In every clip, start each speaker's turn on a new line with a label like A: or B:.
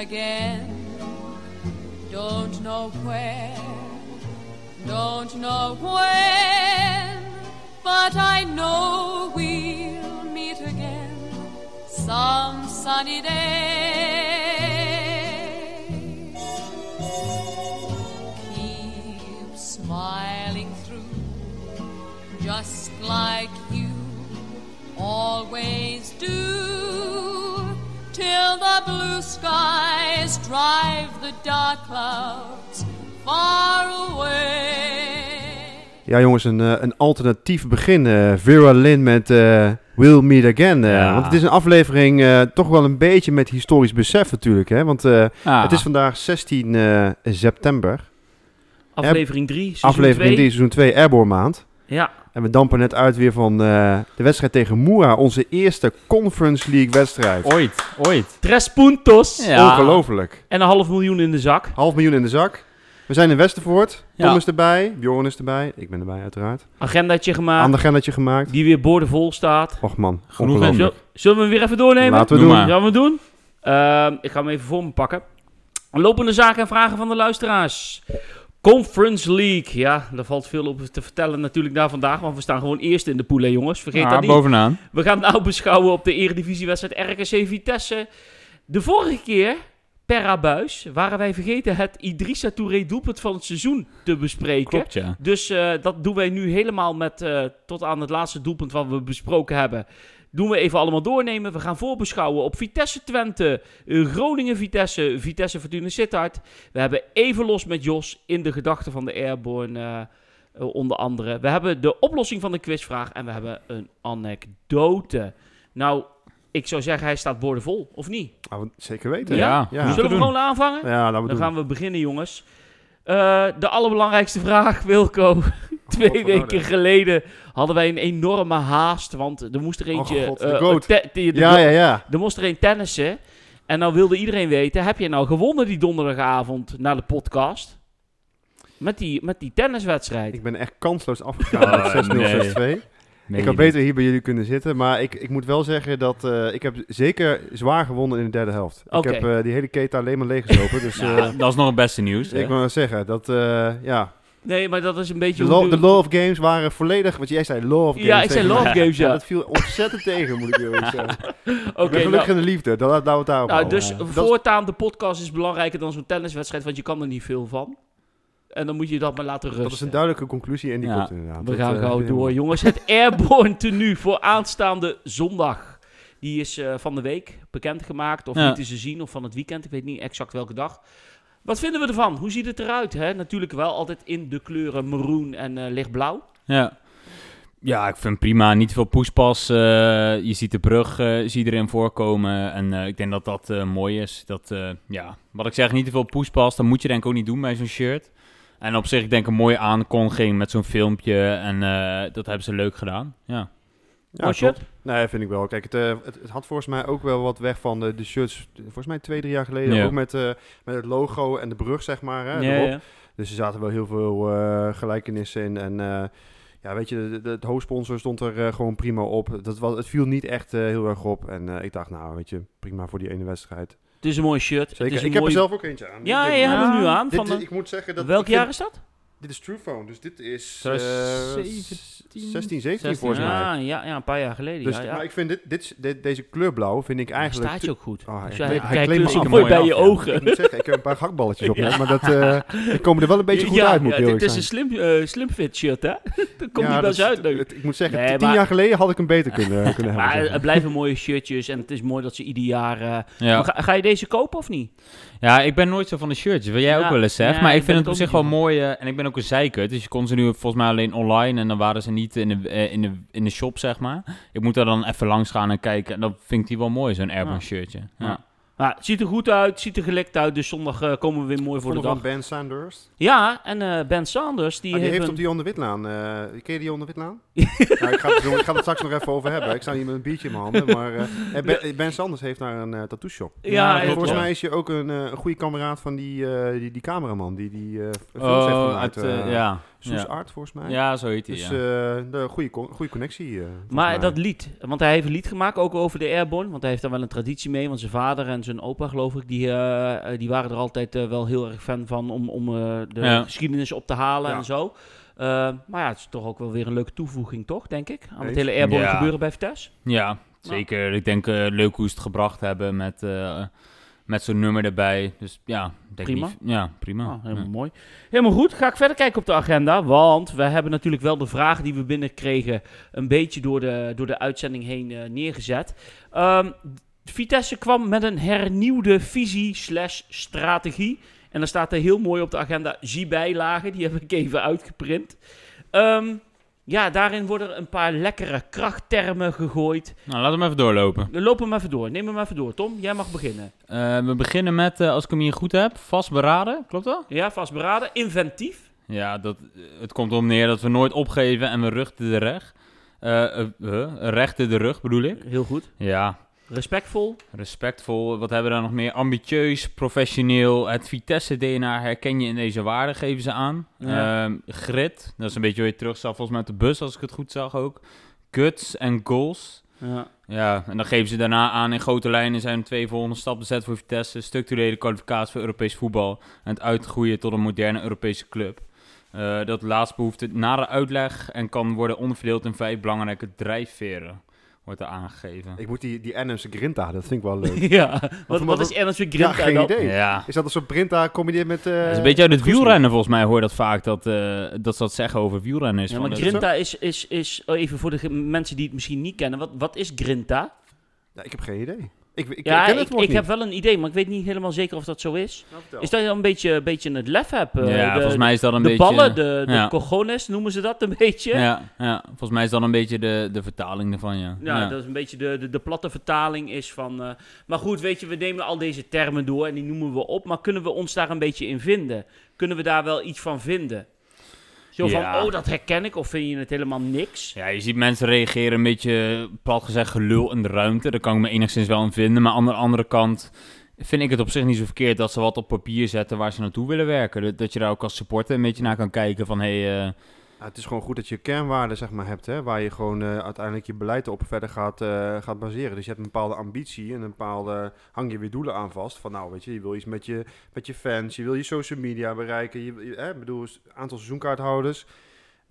A: again. Don't know where, don't know when, but I know we'll meet again some sunny day. Keep smiling through, just like you always do, till the blue skies drive the dark clouds far away.
B: Ja, jongens, een, eh, een alternatief begin. eh, Vera Lynn met eh, We'll Meet Again. eh.
C: Ja.
B: Want het is een aflevering eh, toch wel een beetje met historisch besef natuurlijk. Hè? Want eh,
C: Ah,
B: het is vandaag 16 eh, september.
C: aflevering 3,
B: aflevering 3, seizoen 2, Airborne maand.
C: Ja,
B: En we dampen net uit weer van eh, de wedstrijd tegen Moera. Onze eerste Conference League wedstrijd.
D: Ooit, ooit.
C: tres puntos.
D: Oh, Ja.
B: Ongelooflijk.
C: En een half miljoen in de zak.
B: Half miljoen in de zak. We zijn in Westervoort. Tom
D: Ja.
B: is erbij. Bjorn is erbij. Ik ben erbij uiteraard.
C: Agendaatje gemaakt,
B: Ander agendatje gemaakt.
C: die weer boordevol staat.
B: Och man,
D: Genoeg, hè?
B: ongelooflijk.
C: Zul- Zullen we hem weer even doornemen?
B: Laten we
D: Doe
B: doen.
D: maar.
C: Gaan we doen? Ehm, ik ga hem even voor me pakken. Lopende zaken en vragen van de luisteraars. Conference League. Ja, daar valt veel op te vertellen natuurlijk daar vandaag. Want we staan gewoon eerst in de pool, hè, jongens. Vergeet
D: Ah,
C: dat niet.
D: bovenaan.
C: We gaan het nou beschouwen op de eredivisiewedstrijd RKC Vitesse. De vorige keer, per abuis, waren wij vergeten het Idrissa Touré doelpunt van het seizoen te bespreken.
D: Klopt, ja.
C: Dus eh, dat doen wij nu helemaal met eh, tot aan het laatste doelpunt wat we besproken hebben. Doen we even allemaal doornemen. We gaan voorbeschouwen op Vitesse Twente, eh, Groningen Vitesse, Vitesse Fortuna Sittard. We hebben even los met Jos in de gedachten van de Airborne eh, eh, onder andere. We hebben de oplossing van de quizvraag en we hebben een anekdote. Nou, ik zou zeggen hij staat boordevol, of niet?
B: Ah, wat- zeker weten.
C: Ja?
B: Ja.
D: moeten
C: Zullen we
D: doen.
C: gewoon aanvangen?
B: Ja, laten we
C: Dan
B: doen.
C: gaan we beginnen, jongens. Eh, de allerbelangrijkste vraag, Wilco. Twee
B: Oh, Godverdomme.
C: weken geleden hadden wij een enorme haast, want er moest er eentje...
B: Oh, God, de
C: eh,
B: goat.
C: te- te- de
B: Ja,
C: go-
B: ja, ja.
C: Er moest er een tennissen. En nou wilde iedereen weten, heb je nou gewonnen die donderdagavond na de podcast? Met die, met die tenniswedstrijd.
B: Ik ben echt kansloos afgegaan
D: Ah,
B: met 6-0,
D: nee.
B: 6-2.
D: Nee,
B: Ik had
D: nee.
B: beter hier bij jullie kunnen zitten. Maar ik, ik moet wel zeggen dat eh, ik heb zeker zwaar gewonnen in de derde helft.
C: Oké.
B: Ik heb eh, die hele keten alleen maar leeggelopen. Dus eh,
D: Ja, dat is nog het beste nieuws. hè?
B: ik wil zeggen dat, eh, ja.
C: Nee, maar dat is een beetje...
B: De,
C: hoe
B: lo-
C: de-
B: de love games waren volledig, want jij zei love games.
C: ja, ik zei
B: tegen
C: love
B: mij.
C: games,
B: Ja,
C: ja.
B: dat viel ontzettend tegen, moet ik eerlijk zeggen. Ik ben
C: Oké, nou,
B: gelukkig in de liefde, dan laten we het daarop
C: Nou,
B: houden.
C: dus
D: ja.
B: Dat is-
C: voortaan, de podcast is belangrijker dan zo'n tenniswedstrijd, want je kan er niet veel van. En dan moet je dat maar laten rusten.
B: Dat is een duidelijke conclusie en die
D: Ja.
B: komt inderdaad.
C: We
B: Dat,
C: gaan
B: eh,
C: gauw
B: helemaal-
C: door, jongens. Het Airborne tenue voor aanstaande zondag. Die is eh, van de week bekendgemaakt, of
D: Ja.
C: niet te zien, of van het weekend. Ik weet niet exact welke dag. Wat vinden we ervan? Hoe ziet het eruit? Hè? Natuurlijk wel altijd in de kleuren maroon en eh, lichtblauw.
D: Ja. Ja, ik vind hem prima. Niet veel poespas. eh, je ziet de brug, eh, zie je erin voorkomen. En eh, ik denk dat dat eh, mooi is. Dat, eh, ja. Wat ik zeg, niet te veel poespas. Dat moet je denk ik ook niet doen bij zo'n shirt. En op zich, ik denk een mooie aankondiging met zo'n filmpje. En eh, dat hebben ze leuk gedaan. Ja.
B: Ja,
C: Mooi shirt.
B: klopt. Nee, vind ik wel. Kijk, het, eh, het, het had volgens mij ook wel wat weg van de, de shirts. Volgens mij twee, drie jaar geleden.
D: Ja.
B: Ook met, eh, met het logo en de brug, zeg maar. Hè,
C: Ja,
B: erop.
C: ja.
B: Dus er zaten wel heel veel eh, gelijkenissen in. En eh, ja, weet je, de, de- het hoofdsponsor stond er eh, gewoon prima op. Dat was, het viel niet echt eh, heel erg op. En eh, ik dacht, nou, weet je, prima voor die ene wedstrijd.
C: Het is een mooi shirt. Het
B: Zeker.
C: is
B: Ik
C: een
B: heb er
C: mooi-
B: zelf ook eentje aan.
C: Ja,
B: Ik
C: ja,
B: denk,
C: je hebt
B: nou,
C: hem nu aan.
B: dit-
C: Van
B: dit-
C: de-
B: ik moet zeggen dat...
C: Welk
B: ik vind-
C: jaar is dat?
B: Dit is Truephone, dus dit is... eh
D: 2017?
B: 16, 17 volgens mij.
C: Ja, ja, ja, een paar jaar geleden.
B: Dus,
C: ja, ja.
B: Maar ik vind dit, dit, is- dit- deze kleurblauw vind ik
C: Hij
B: eigenlijk...
C: staat je ook goed.
B: Oh, hij
C: Dus
B: kleedt-
C: jij
B: hij
C: kijkt
B: kleedt
C: dus
B: me
C: ook
B: af.
C: mooi bij je
D: Ja.
B: Ik
C: ogen.
B: moet zeggen, ik heb een paar gakballetjes op, net, maar dat, eh ik kom er wel een beetje goed
C: Ja,
B: uit, moet ik
C: ja,
B: eerlijk
C: Dit is
B: zijn.
C: een slim, eh, slim fit shirt, hè? Dat komt
B: Ja,
C: niet
B: dat
C: best
B: is-
C: uit, leuk.
B: het- ik moet zeggen,
C: Nee,
B: tien
C: maar-
B: jaar geleden had ik hem beter kunnen, kunnen hebben.
C: Maar eh,
B: zeg
C: het blijven mooie shirtjes en het is mooi dat ze ieder jaar... eh,
D: Ja.
C: maar Ga, ga je deze kopen of niet?
D: Ja, ik ben nooit zo van de shirtjes. Wil jij
C: Ja,
D: ook wel eens, Sef? maar
C: ja, ik
D: ik
C: ben
D: vind het
C: het
D: op
C: ook
D: zich
C: niet
D: wel mooi. eh, en ik ben ook een zeiker. Dus je kon ze nu volgens mij alleen online. En dan waren ze niet in de, eh, in de, in de shop, zeg maar. Ik moet daar dan even langs gaan en kijken. En dat vind ik die wel mooi, zo'n Airborne
C: Ja.
D: shirtje.
C: Ja.
D: Ja.
C: Nou, het ziet er goed uit, het ziet er gelekt uit. Dus zondag eh, komen we weer mooi
B: maar.
C: voor de
B: Vond van
C: dag.
B: Ben Sanders.
C: Ja, en eh, Ben Sanders, die,
B: Ah, Die, die
C: heeft,
B: heeft
C: een-
B: op Dion de Witlaan. eh ken je Dion de Witlaan? nou, ik, ga het, doen- ik ga het straks nog even over hebben. Ik sta hier met een biertje in mijn handen. Maar eh, eh, ben, eh, ben Sanders heeft daar een eh, tattoo shop.
C: Ja,
D: Ja,
B: En
C: ja,
B: volgens
C: klopt.
B: mij is je ook een, eh, een goede kameraad van die, eh, die, die cameraman. Die die eh films heeft
D: Oh,
B: gemaakt.
D: uit, eh,
B: eh,
D: ja.
B: Soes
D: Ja.
B: Art, volgens mij.
D: ja, zo heet hij.
B: Dus
D: ja.
B: eh, de goede, con- goede connectie. eh, volgens
C: Maar
B: mij.
C: dat lied, want hij heeft een lied gemaakt, ook over de Airborne. Want hij heeft daar wel een traditie mee, want zijn vader en zijn opa, geloof ik, die, eh, eh, die waren er altijd eh, wel heel erg fan van om, om eh, de
D: Ja.
C: geschiedenis op te halen
B: Ja.
C: en zo. Eh, maar ja, het is toch ook wel weer een leuke toevoeging, toch, denk ik? Aan het
B: Eens.
C: hele airborne
D: Ja.
C: gebeuren bij Vitesse.
D: Ja, zeker. Ik denk eh, leuk hoe ze het gebracht hebben met, eh, met zo'n nummer erbij. Dus ja, ik denk
C: Prima.
D: Niet, ja, prima.
C: Ah, helemaal mooi. Helemaal goed. Ga ik verder kijken op de agenda. Want we hebben natuurlijk wel de vragen die we binnenkregen. een beetje door de, door de uitzending heen eh, neergezet. Ehm, Vitesse kwam met een hernieuwde visie/slash strategie. En daar staat er heel mooi op de agenda J-bijlagen. Die heb ik even uitgeprint. Ehm, ja, daarin worden een paar lekkere krachttermen gegooid.
D: Ja. Nou, laten we hem even doorlopen.
C: We lopen hem even door. Neem hem even door. Tom, jij mag beginnen.
D: Eh, we beginnen met, eh, als ik hem hier goed heb, vastberaden. Klopt dat?
C: Ja, vastberaden. Inventief.
D: Ja, dat, het komt om neer dat we nooit opgeven en we ruchten de rug. Eh, eh, eh, rechten de rug bedoel ik.
C: Heel goed.
D: Ja,
C: Respectvol.
D: respectvol. Wat hebben we daar nog meer? Ambitieus, professioneel. Het Vitesse-DNA herken je in deze waarden, geven ze aan.
C: Ja.
D: Ehm, grit, dat is een beetje hoe je het terugzag volgens mij met de bus, als ik het goed zag ook. Guts en goals.
C: Ja.
D: Ja, en dan geven ze daarna aan in grote lijnen zijn er twee volgende stappen zet voor Vitesse. Structurele kwalificatie voor Europees voetbal en het uitgroeien tot een moderne Europese club. Eh, dat laatst behoeft het nare uitleg en kan worden onderverdeeld in vijf belangrijke drijfveren, wordt er aangegeven.
B: Ik moet die, die Adamse Grinta, dat vind ik wel leuk.
C: ja, wat,
B: voor
C: wat
B: mij-
C: is Ernst weer
B: ja,
C: Grinta
B: geen
C: dan?
B: idee.
D: Ja,
B: Is dat een soort Grinta combineerd met... eh,
D: dat is een beetje uit het
B: Koesman?
D: wielrennen volgens mij hoor je dat vaak, dat, eh, dat ze dat zeggen over wielrenners.
C: Ja,
D: Van
C: maar
D: dat-
C: Grinta is, is, is, oh, even voor de ge- mensen die het misschien niet kennen, wat, wat is Grinta?
B: Ja, ik heb geen idee. Ik, ik,
C: ja,
B: ik ken het
C: ik,
B: woord
C: ik
B: niet. Nou,
C: heb wel een idee, maar ik weet niet helemaal zeker of dat zo is. Is dat je dan een beetje, een beetje het lef hebt? eh,
D: ja,
C: de,
D: volgens mij is dat een
C: de
D: beetje...
C: ballen, de, de
D: ja.
C: cojones noemen ze dat een beetje. Ja,
D: ja, ja, volgens mij is dat een beetje de, de vertaling ervan, ja.
C: dat is een beetje de, de, de platte vertaling is van... eh, maar goed, weet je, we nemen al deze termen door en die noemen we op, maar kunnen we ons daar een beetje in vinden? Kunnen we daar wel iets van vinden? Zo
D: Ja.
C: van, oh, dat herken ik, of vind je het helemaal niks?
D: Ja, je ziet mensen reageren een beetje, plat gezegd, gelul in de ruimte. Daar kan ik me enigszins wel in vinden. Maar aan de andere kant vind ik het op zich niet zo verkeerd dat ze wat op papier zetten waar ze naartoe willen werken. Dat, dat je daar ook als supporter een beetje naar kan kijken van, hé, hey, eh,
B: Ja, het is gewoon goed dat je kernwaarden zeg maar, hebt, hè, waar je gewoon eh, uiteindelijk je beleid op verder gaat, eh, gaat baseren. Dus je hebt een bepaalde ambitie en een bepaalde, hang je weer doelen aan vast. Van nou, weet je, je wil iets met je, met je fans, je wil je social media bereiken. Je, je- hè, ik bedoel, s- aantal seizoenkaarthouders.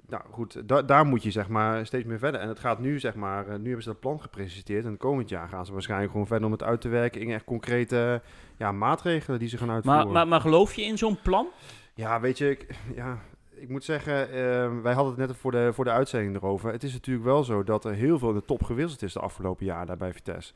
B: Nou goed, da- daar moet je zeg maar steeds meer verder. En het gaat nu zeg maar, eh, nu hebben ze dat plan gepresenteerd. En komend jaar gaan ze waarschijnlijk gewoon verder om het uit te werken in echt concrete ja, maatregelen die ze gaan uitvoeren.
C: Maar, maar, maar geloof je in zo'n plan?
B: Ja, weet je, ik, ja, ik moet zeggen, eh, wij hadden het net voor de, voor de uitzending erover. Het is natuurlijk wel zo dat er heel veel in de top gewisseld is de afgelopen jaren daar bij Vitesse.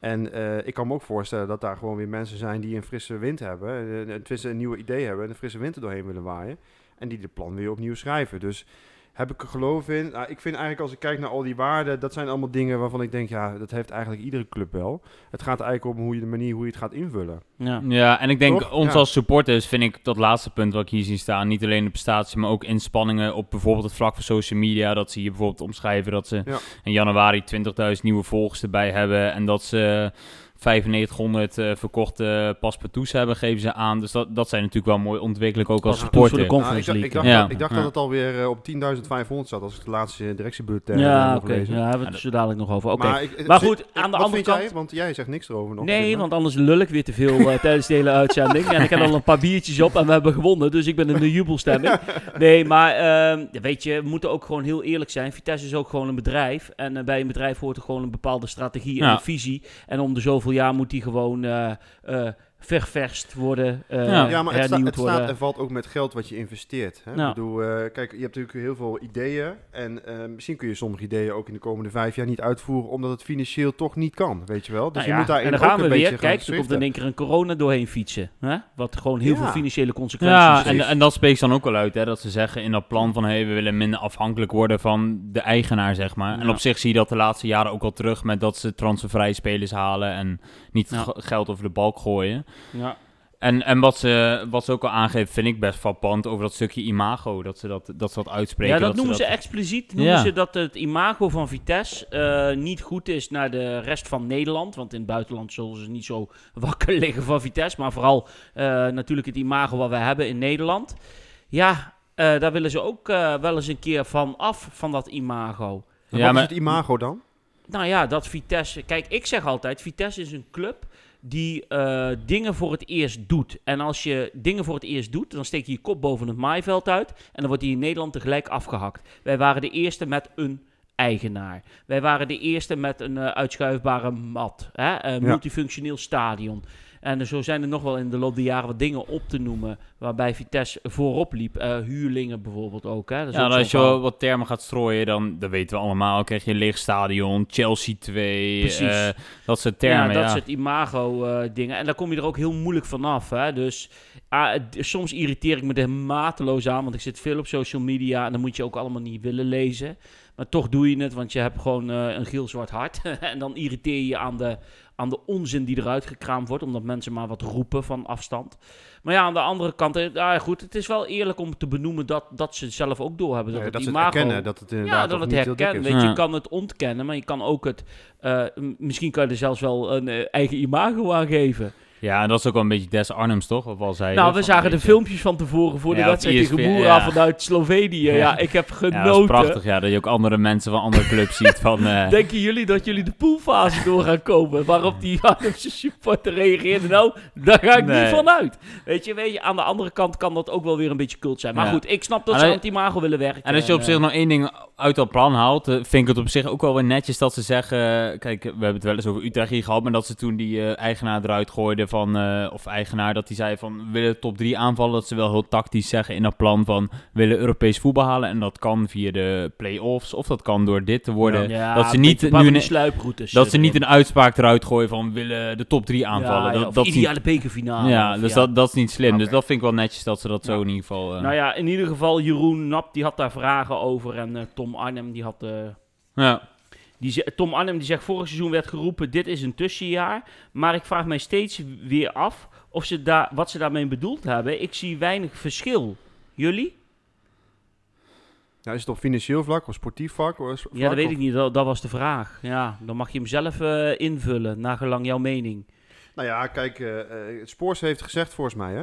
B: En eh, ik kan me ook voorstellen dat daar gewoon weer mensen zijn die een frisse wind hebben. eh, tenminste, een nieuwe idee hebben en een frisse wind er doorheen willen waaien. En die dit plan weer opnieuw schrijven. Dus heb ik er geloof in. Nou, ik vind eigenlijk als ik kijk naar al die waarden, dat zijn allemaal dingen waarvan ik denk, ja, dat heeft eigenlijk iedere club wel. Het gaat eigenlijk om hoe je de manier hoe je het gaat invullen.
C: Ja.
D: ja, en ik denk
B: Toch?
D: ons
B: Ja.
D: als supporters vind ik dat laatste punt wat ik hier zie staan, niet alleen de prestatie, maar ook inspanningen op bijvoorbeeld het vlak van social media, dat ze hier bijvoorbeeld omschrijven dat ze
B: Ja.
D: in januari 20.000 nieuwe volgers erbij hebben en dat ze 9500 eh, verkochte paspartouts hebben, geven ze aan. Dus dat, dat zijn natuurlijk wel mooi ontwikkelijk ook als
B: Paspartouts
D: supporter.
C: voor de
B: Nou, ik, dacht, ik dacht,
D: Ja.
B: dat, ik dacht
D: Ja.
B: dat het alweer eh, op 10.500 zat als ik de laatste eh, directiebulletin
C: Ja,
B: ja,
C: oké.
B: gelezen.
C: Daar hebben we het zo dadelijk nog over. Oké.
B: ik- het
C: Maar
B: zit-
C: goed,
B: ik-
C: aan de
B: wat
C: andere
B: vind
C: kant-
B: Jij? Want jij zegt niks erover nog.
C: Nee,
B: Tim, hè?
C: want anders lul ik weer te veel eh, tijdens de hele uitzending. En ik heb al een paar biertjes op en we hebben gewonnen. Dus ik ben in de jubelstemming. Nee, maar ehm, ja, weet je, we moeten ook gewoon heel eerlijk zijn. Vitesse is ook gewoon een bedrijf. En eh, bij een bedrijf hoort er gewoon een bepaalde strategie en
D: Ja.
C: een visie. En om de zoveel jaar moet die gewoon eh, eh, ververst worden, eh,
D: Ja.
B: ja, maar het, sta-
C: hernieuwd
B: het
C: worden.
B: staat en valt ook met geld wat je investeert. Hè?
C: Ja.
B: Ik bedoel, eh, kijk, je hebt natuurlijk heel veel ideeën. En eh, misschien kun je sommige ideeën ook in de komende vijf jaar niet uitvoeren, omdat het financieel toch niet kan, weet je wel. Dus
C: Nou
B: je
C: ja,
B: moet daarin
C: en dan
B: ook
C: gaan we
B: een
C: weer.
B: beetje
C: Kijk,
B: gaan
C: er komt in
B: schriften.
C: één keer een corona doorheen fietsen. Hè? Wat gewoon heel
B: Ja.
C: veel financiële consequenties
D: Ja,
C: heeft.
D: en, en dat spreekt ze dan ook wel uit, hè, dat ze zeggen in dat plan van hey, we willen minder afhankelijk worden van de eigenaar, zeg maar. En
C: Ja.
D: op zich zie je dat de laatste jaren ook al terug met dat ze transfervrije spelers halen en niet
C: Ja.
D: ge- geld over de balk gooien.
C: Ja.
D: En, en wat, ze, wat ze ook al aangeeft, vind ik best frappant over dat stukje imago, dat ze dat, dat, ze dat uitspreken.
C: Ja, dat,
D: ze
C: noemen ze,
D: dat-
C: expliciet. Noemen
D: Ja.
C: ze dat het imago van Vitesse eh, niet goed is naar de rest van Nederland. Want in het buitenland zullen ze niet zo wakker liggen van Vitesse. Maar vooral eh, natuurlijk het imago wat wij hebben in Nederland. Ja, eh, daar willen ze ook eh, wel eens een keer van af, van dat imago.
B: En
D: Ja,
B: wat
D: maar-
B: is het imago dan?
C: Nou ja, dat Vitesse. Kijk, ik zeg altijd: Vitesse is een club die eh, dingen voor het eerst doet. En als je dingen voor het eerst doet, dan steek je je kop boven het maaiveld uit. En dan wordt die in Nederland tegelijk afgehakt. Wij waren de eerste met een eigenaar. Wij waren de eerste met een eh, uitschuifbare mat. Hè? Een
B: Ja.
C: multifunctioneel stadion. En zo zijn er nog wel in de loop der jaren wat dingen op te noemen. Waarbij Vitesse voorop liep. Eh, huurlingen bijvoorbeeld ook. Hè? Dat is
D: Ja,
C: ook
D: dan
C: zo'n
D: als je
C: verhaal.
D: wel wat termen gaat strooien, dan dat weten we allemaal. Dan krijg je een leeg stadion, Chelsea 2,
C: Precies.
D: eh, dat soort termen.
C: ja, dat
D: ja.
C: soort imago-dingen. en daar kom je er ook heel moeilijk vanaf. Hè? Dus ah, d- soms irriteer ik me er mateloos aan, want ik zit veel op social media en dan moet je ook allemaal niet willen lezen. Maar toch doe je het, want je hebt gewoon eh, een geel-zwart hart. en dan irriteer je je aan de, aan de onzin die eruit gekraamd wordt, omdat mensen maar wat roepen van afstand. Maar ja, aan de andere kant, eh, nou ja, goed, het is wel eerlijk om te benoemen dat, dat ze het zelf ook doorhebben. Dat,
B: Nee,
C: het
B: Eh, dat ze het
C: imago,
B: herkennen, dat het inderdaad
C: ja, dat
B: nog
C: het
B: niet heel dik
C: herkennen.
B: is.
C: Weet je, je
D: Ja.
C: kan het ontkennen, maar je kan ook het. eh, m- misschien kan je er zelfs wel een eh, eigen imago aan geven.
D: Ja, en dat is ook wel een beetje Des Arnhems, toch? Of al zei
C: nou, we zagen de filmpjes van tevoren voor de
D: Ja, op E
C: wedstrijd tegen
D: ESPN,
C: Boera
D: ja.
C: vanuit Slovenië. Ja.
D: Ja.
C: ik heb
D: Ja, dat is
C: genoten.
D: prachtig, ja. Dat je ook andere mensen van andere clubs ziet van... eh,
C: Denken jullie dat jullie de poolfase door gaan komen? Waarop die Arnhemse supporter reageerde? Nou, daar ga ik
D: Nee.
C: niet van uit. Weet je, weet je, aan de andere kant kan dat ook wel weer een beetje cult zijn. Maar
D: Ja.
C: goed, ik snap dat ze
D: Alleen-
C: aan het imago willen werken.
D: En als je op
C: eh,
D: zich nog één ding uit dat plan haalt, eh, vind ik het op zich ook wel weer netjes dat ze zeggen... eh, Kijk, we hebben het wel eens over Utrecht hier gehad, maar dat ze toen die eh, eigenaar eruit gooiden van... eh, of eigenaar, dat die zei van, we willen top 3 aanvallen. Dat ze wel heel tactisch zeggen in dat plan van, we willen Europees voetbal halen. En dat kan via de play-offs, of dat kan door dit te worden.
C: ja,
D: dat ze
C: een
D: niet,
C: beetje een paar
D: nu
C: van die
D: een,
C: sluiproutes.
D: dat ze
C: erin.
D: niet een uitspraak eruit gooien van, we willen de top 3 aanvallen.
C: Ja, ja,
D: dat,
C: of
D: dat is niet-
C: ideale bekerfinale.
D: ja,
C: Ah, of
D: dus Dat, dat is niet slim. Dus
B: Oké.
D: dat vind ik wel netjes dat ze dat zo in ieder geval... eh,
C: Nou ja, in ieder geval, Jeroen Nap die had daar vragen over. En eh, Tom Arnhem die had. eh,
D: ja.
C: die ze- Tom Arnhem die zegt: vorig seizoen werd geroepen: dit is een tussenjaar. Maar ik vraag mij steeds weer af of ze daar wat ze daarmee bedoeld hebben. Ik zie weinig verschil. Jullie?
B: Ja, Nou, is het op financieel vlak of sportief vlak? Of vlak
C: Ja, dat weet
B: of-
C: ik niet. Dat, dat was de vraag. Ja, dan mag je hem zelf eh, invullen, naar gelang jouw mening.
B: Nou ja, kijk, eh, eh, het Spoors heeft gezegd volgens mij, hè?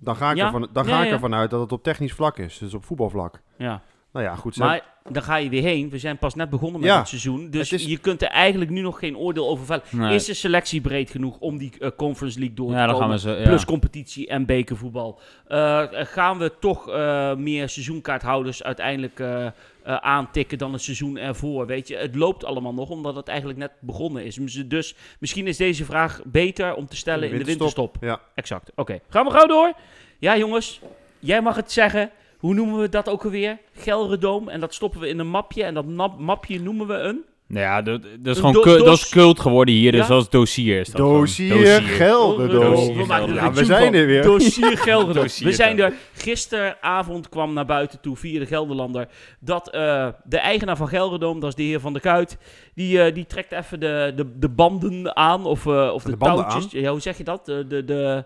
B: Dan ga ik,
C: Ja?
B: ervan, dan
C: Ja,
B: ga ik
C: ja.
B: ervan uit dat het op technisch vlak is, dus op voetbalvlak.
C: Ja.
B: Nou ja, goed. ze hebben-
C: Maar dan ga je weer heen. We zijn pas net begonnen met
B: Ja,
C: het seizoen. Dus
B: het is-
C: je kunt er eigenlijk nu nog geen oordeel over vellen.
D: Nee.
C: Is de selectie breed genoeg om die eh, Conference League door
D: ja,
C: te
D: dan gaan
C: komen?
D: we ze... Ja.
C: Plus competitie en bekervoetbal. Eh, gaan we toch eh, meer seizoenkaarthouders uiteindelijk eh, eh, aantikken dan het seizoen ervoor? Weet je, het loopt allemaal nog omdat het eigenlijk net begonnen is. Dus- Dus misschien is deze vraag beter om te stellen eh, in de winterstop.
B: Ja.
C: Exact. Oké, gaan we gauw door. Ja, jongens, jij mag het zeggen. Hoe noemen we dat ook alweer? Gelredoom. En dat stoppen we in een mapje. En dat nap- mapje noemen we een.
D: Nou ja, dat, dat is
C: Een
D: gewoon
C: Dus do-
D: cult, dat
C: dos-
D: is cult geworden hier, dus
C: Ja?
D: dat is dossier. Is dat gewoon.
B: Dossier Gelderdoom.
D: Dossier.
C: We maken er
B: Ja,
C: een
B: we
C: tune
B: zijn
C: van.
B: er weer.
C: Dossier Gelderlander.
D: Dossier
C: we zijn er. Gisteravond kwam naar buiten toe via de Gelderlander dat eh, de eigenaar van Gelderdoom, dat is de heer Van der Kuit, die, eh, die trekt even de, de, de banden aan of, eh, of de,
B: De banden
C: touwtjes. Ja, hoe zeg je dat? De, de, de,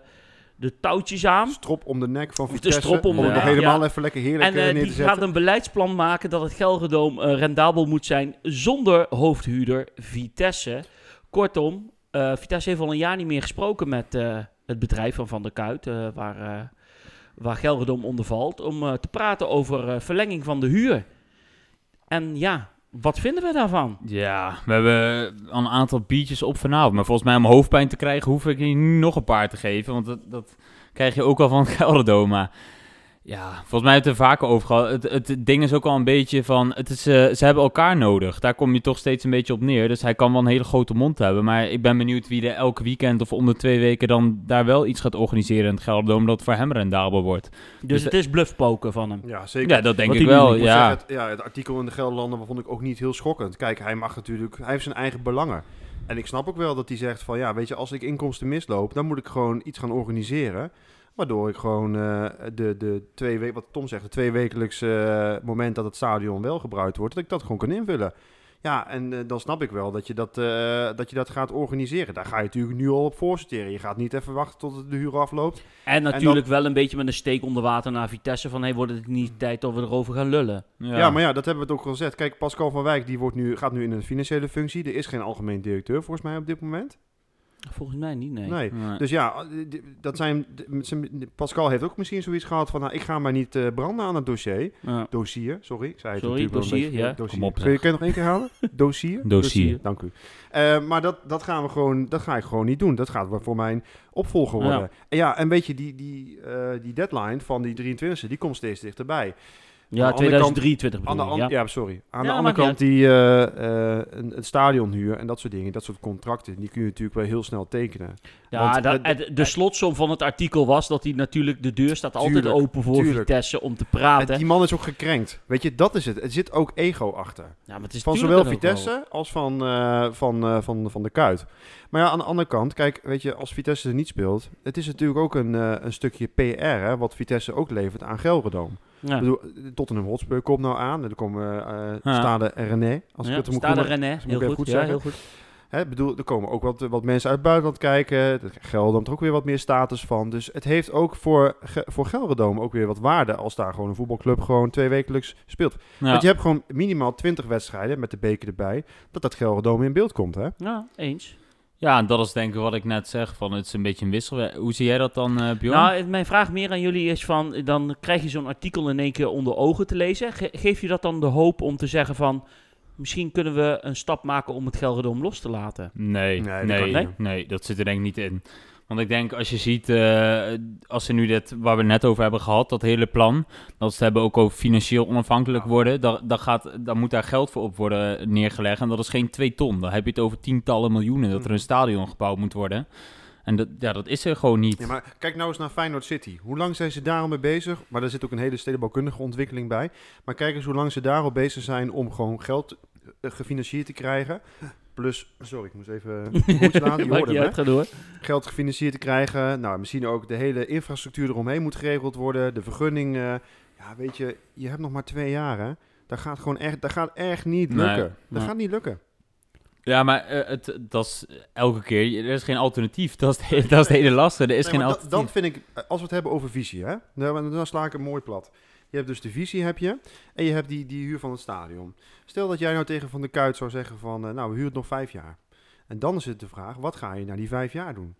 C: de touwtjes aan.
B: Strop om de nek van
C: Of de
B: Vitesse.
C: strop om
B: om
C: de
B: het nog
C: nek,
B: helemaal
C: ja.
B: even lekker heerlijk
C: En
B: eh, neer
C: eh, die
B: te zetten.
C: gaat een beleidsplan maken dat het Gelderdoom eh, rendabel moet zijn zonder hoofdhuurder Vitesse. Kortom, eh, Vitesse heeft al een jaar niet meer gesproken met eh, het bedrijf van Van der Kuit, eh, waar, eh waar Gelderdoom onder valt, om eh, te praten over eh, verlenging van de huur. En ja, wat vinden we daarvan?
D: Ja, we hebben al een aantal biertjes op vanavond. Maar volgens mij om hoofdpijn te krijgen hoef ik hier niet nog een paar te geven. Want dat, dat krijg je ook wel van Gelderdome. Maar ja, volgens mij hebben we het er vaker over gehad. Het, het ding is ook al een beetje van, het is, eh, ze hebben elkaar nodig. Daar kom je toch steeds een beetje op neer. Dus hij kan wel een hele grote mond hebben. Maar ik ben benieuwd wie er elke weekend of om de twee weken dan daar wel iets gaat organiseren in het Gelderdome. Dat het voor hem rendabel wordt.
C: Dus,
D: Dus
C: het is bluffpoken van hem.
B: Ja, zeker.
D: Ja, dat denk
C: Wat
D: ik
C: hij nu
D: wel.
C: doet,
B: Ik moet
D: Ja.
B: zeggen, het, ja, het artikel in de Gelderlanden vond ik ook niet heel schokkend. Kijk, hij mag natuurlijk, hij heeft zijn eigen belangen. En ik snap ook wel dat hij zegt van ja, weet je, als ik inkomsten misloop, dan moet ik gewoon iets gaan organiseren. Waardoor ik gewoon eh, de, de twee weken, wat Tom zegt, de twee wekelijks eh, moment dat het stadion wel gebruikt wordt, dat ik dat gewoon kan invullen. Ja, en eh, dan snap ik wel dat je dat, eh, dat je dat gaat organiseren. Daar ga je natuurlijk nu al op voorsorteren. Je gaat niet even wachten tot het de huur afloopt.
C: En natuurlijk wel een beetje met een steek onder water naar Vitesse van, hey, wordt het niet tijd dat we erover gaan lullen?
B: Ja. maar ja, dat hebben we het ook al gezegd. Kijk, Pascal van Wijk die wordt nu, gaat nu in een financiële functie. Er is geen algemeen directeur volgens mij op dit moment.
C: Volgens mij niet, nee.
B: Nee.
D: Nee.
B: Dus ja, d- d- dat zijn, d- met zijn- Pascal heeft ook misschien zoiets gehad van, nou, ik ga maar niet eh, branden aan het dossier.
C: Ja.
B: Dossier, sorry. Ik zei het
C: Sorry,
B: natuurlijk wel een
C: dossier,
B: beetje- eh,
C: ja.
B: dossier.
D: Kom op,
B: Kun je, kun je nog één keer halen? Dossier?
C: Dus
D: Dossier.
B: Dank u. Eh, maar dat, dat, gaan we gewoon, dat ga ik gewoon niet doen. Dat gaat wel voor mijn opvolger worden.
C: Ja.
B: En ja, en weet je, die, die, eh, die deadline van die 23e, die komt steeds dichterbij.
C: Ja,
B: Aan de andere kant-
C: 2023
B: Aan de
C: bedoel
B: an-
C: ik,
B: ja.
C: ja.
B: sorry. Aan
C: Ja,
B: de
C: maakt
B: andere kant, die, eh, eh, een, een stadionhuur en dat soort dingen, dat soort contracten, die kun je natuurlijk wel heel snel tekenen.
C: Ja,
B: want,
C: da-
B: eh,
C: het- de slotsom van het artikel was dat hij natuurlijk... De deur staat altijd
B: Tuurlijk,
C: open voor
B: tuurlijk.
C: Vitesse om te
B: En
C: praten.
B: die man is ook gekrenkt. Weet je, dat is het. Er zit ook ego achter.
C: ja, maar het is
B: Van
C: tuurlijk
B: zowel
C: dan ook wel.
B: Vitesse als van, eh, van, eh, van, van de Kuit. Maar ja, aan de andere kant, kijk, weet je, als Vitesse er niet speelt, het is natuurlijk ook een, eh, een stukje PR, hè, wat Vitesse ook levert aan Gelredome. Ik
C: Ja.
B: bedoel, eh, Tottenham Hotspur komt nou aan, en er komen eh eh,
D: Ja.
B: Stade René, als
C: Ja,
B: ik het hem
C: Stade
B: goed
C: René,
B: ik
C: heel
B: even
C: goed.
B: goed
C: ja,
B: zeggen.
C: heel goed.
B: Hè, bedoel, er komen ook wat, wat mensen uit het buitenland kijken. Dat Gelderdoom er ook weer wat meer status van. Dus het heeft ook voor, Ge- voor Gelderdoom ook weer wat waarde als daar gewoon een voetbalclub gewoon twee wekelijks speelt. Want je hebt gewoon minimaal 20 wedstrijden met de beker erbij, dat dat Gelderdoom in beeld komt, hè?
C: Ja, eens.
D: Ja, en dat is denk ik wat ik net zeg. Van, het is een beetje een wissel. Hoe zie jij dat dan, eh Bjorn?
C: Nou, het- mijn vraag meer aan jullie is van, dan krijg je zo'n artikel in één keer onder ogen te lezen. Ge- geef je dat dan de hoop om te zeggen van, misschien kunnen we een stap maken om het Gelredome los te laten?
B: Nee,
D: Nee, nee,
B: dat
D: nee,
B: kan
D: nee,
B: niet.
D: dat zit er denk ik niet in. Want ik denk, als je ziet, eh, als ze nu dit, waar we het net over hebben gehad, dat hele plan, dat ze het hebben ook over financieel onafhankelijk worden, dan, dan, gaat, dan moet daar geld voor op worden neergelegd. En dat is geen twee ton, dan heb je het over tientallen miljoenen, dat er een
B: Mhm.
D: stadion gebouwd moet worden. En dat, ja, dat is er gewoon niet.
B: Ja, maar kijk nou eens naar Feyenoord City. Hoe lang zijn ze daarom mee bezig? Maar daar zit ook een hele stedenbouwkundige ontwikkeling bij. Maar kijk eens hoe lang ze daarop bezig zijn om gewoon geld eh, gefinancierd te krijgen. Plus, sorry, ik moest even goed laten. Je
C: Maakt
B: hoorde
C: niet
B: me, hè?
C: uit, ga door.
B: geld gefinancierd te krijgen. Nou, misschien ook de hele infrastructuur eromheen moet geregeld worden. De vergunning. eh, ja, weet je, je hebt nog maar twee jaar, hè. Dat gaat gewoon echt, dat gaat echt niet
D: Nee,
B: lukken. dat
C: nee.
B: gaat niet lukken.
D: Ja, maar eh, het, dat is elke keer, je- er is geen alternatief, dat is, de- dat is de hele lastige, er is
B: Nee,
D: geen
B: maar da-
D: alternatief.
B: dan vind ik, eh, als we het hebben over visie, hè. Nou, Dan, dan sla ik het mooi plat. Je hebt dus de visie, heb je. En je hebt die, die huur van het stadion. Stel dat jij nou tegen Van der Kuit zou zeggen van, eh, nou, we huren het nog vijf jaar. En dan is het de vraag, wat ga je na die vijf jaar doen?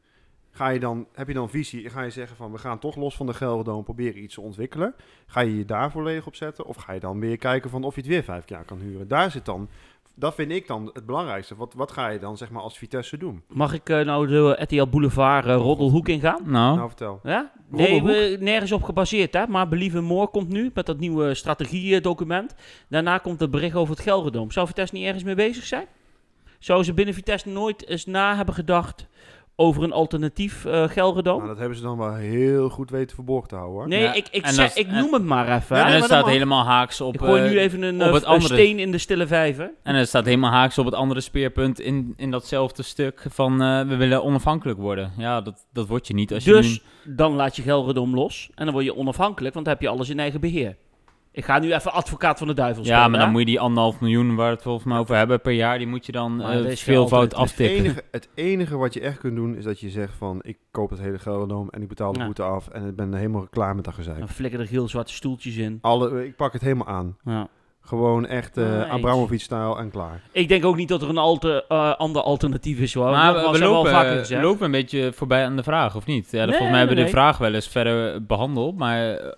B: Ga je dan, heb je dan visie en ga je zeggen van we gaan toch los van de Gelderdoom proberen iets te ontwikkelen? Ga je je daar volledig op zetten? Of ga je dan meer kijken van of je het weer vijf jaar kan huren? Daar zit dan, dat vind ik dan het belangrijkste. Wat, wat ga je dan zeg maar als Vitesse doen?
C: Mag ik eh, nou de RTL Boulevard eh, Roddelhoek ingaan?
D: Nou,
B: Nou vertel.
C: Ja? Nee, we,
B: Roddelhoek?
C: nergens op gebaseerd, hè? maar Believe Moor komt nu met dat nieuwe strategiedocument. Daarna komt het bericht over het Gelredome. Zou Vitesse niet ergens mee bezig zijn? Zou ze binnen Vitesse nooit eens na hebben gedacht over een alternatief eh Gelredome?
B: Nou, dat hebben ze dan wel heel goed weten verborgen te houden hoor.
C: Nee,
D: Ja,
C: ik, ik,
D: en
C: zeg,
D: dat is-
C: ik noem het maar
B: Ja,
D: en
C: even. hè.
B: nee,
D: het
B: maar
D: staat
B: dan-
D: helemaal haaks op...
C: ik gooi
D: eh,
C: nu even een, eh,
D: op het
C: een
D: andere.
C: steen in de stille vijver.
D: En er staat helemaal haaks op het andere speerpunt in, in datzelfde stuk van eh, we willen onafhankelijk worden. Ja, dat, dat word je niet als je
C: Dus
D: nu...
C: dan laat je Gelredome los en dan word je onafhankelijk, want dan heb je alles in eigen beheer. Ik ga nu even advocaat van de duivel spelen.
D: Ja, maar dan
C: hè?
D: moet je die anderhalf miljoen waar we het volgens mij over hebben per jaar, die moet je dan
C: Maar
D: eh,
C: dat is geen
D: veelvoud
B: Het
C: alternatief.
D: aftikken.
B: enige, het enige wat je echt kunt doen is dat je zegt van ik koop het hele Gelderdoom en ik betaal de
C: Ja.
B: boete af en ik ben helemaal klaar met dat gezeik.
C: Dan flikken er heel zwarte stoeltjes in.
B: Alle, ik pak het helemaal aan.
C: Ja.
B: Gewoon echt eh
C: Right.
B: Abramovic-stijl en klaar.
C: Ik denk ook niet dat er een alte, eh, ander alternatief is. Hoor.
D: Maar we,
C: Nogmaals,
D: we
C: hebben al
D: lopen, eh,
C: vaker
D: we
C: gezegd.
D: lopen een beetje voorbij aan de vraag, of niet? Ja, dan
C: Nee,
D: volgens mij hebben we
C: nee,
D: de vraag wel eens verder behandeld, maar... eh,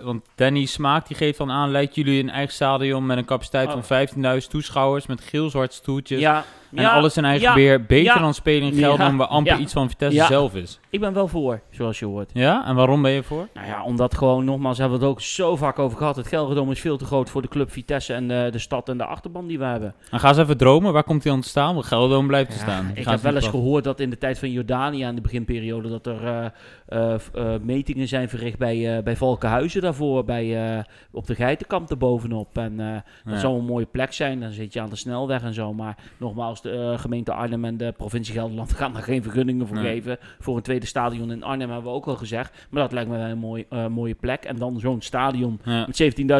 D: want Danny Smaak die geeft dan aan, leidt jullie een eigen stadion met een capaciteit
C: Oh.
D: van 15.000 toeschouwers met geel-zwart stoeltjes
C: ja,
D: en
C: ja,
D: alles in eigen
C: ja,
D: beheer. Beter
C: ja.
D: dan spelen in Gelderland
C: Ja,
D: waar amper
C: ja.
D: iets van Vitesse
C: Ja.
D: zelf is.
C: Ik ben wel voor, zoals je hoort.
D: Ja, en waarom ben je voor?
C: Nou ja, omdat gewoon, nogmaals, hebben we het ook zo vaak over gehad. Het Gelredome is veel te groot voor de club Vitesse en eh, de stad en de achterban die we hebben.
D: Dan ga eens even dromen. Waar komt hij aan te staan? Want Gelderdoom blijft te staan.
C: Ik
D: Ga
C: heb wel eens
D: even-
C: gehoord dat in de tijd van Jordanië aan de beginperiode dat er eh, eh, f- eh, metingen zijn verricht bij, eh, bij Valkenhuizen daarvoor, bij, eh, op de Geitenkamp erbovenop. En eh, dat
D: Ja.
C: zou een mooie plek zijn, dan zit je aan de snelweg en zo. Maar nogmaals, de eh, gemeente Arnhem en de provincie Gelderland gaan daar geen vergunningen voor
D: Nee.
C: geven. Voor een tweede stadion in Arnhem hebben we ook al gezegd. Maar dat lijkt me wel een mooi, eh, mooie plek. En dan zo'n stadion
D: Ja.
C: met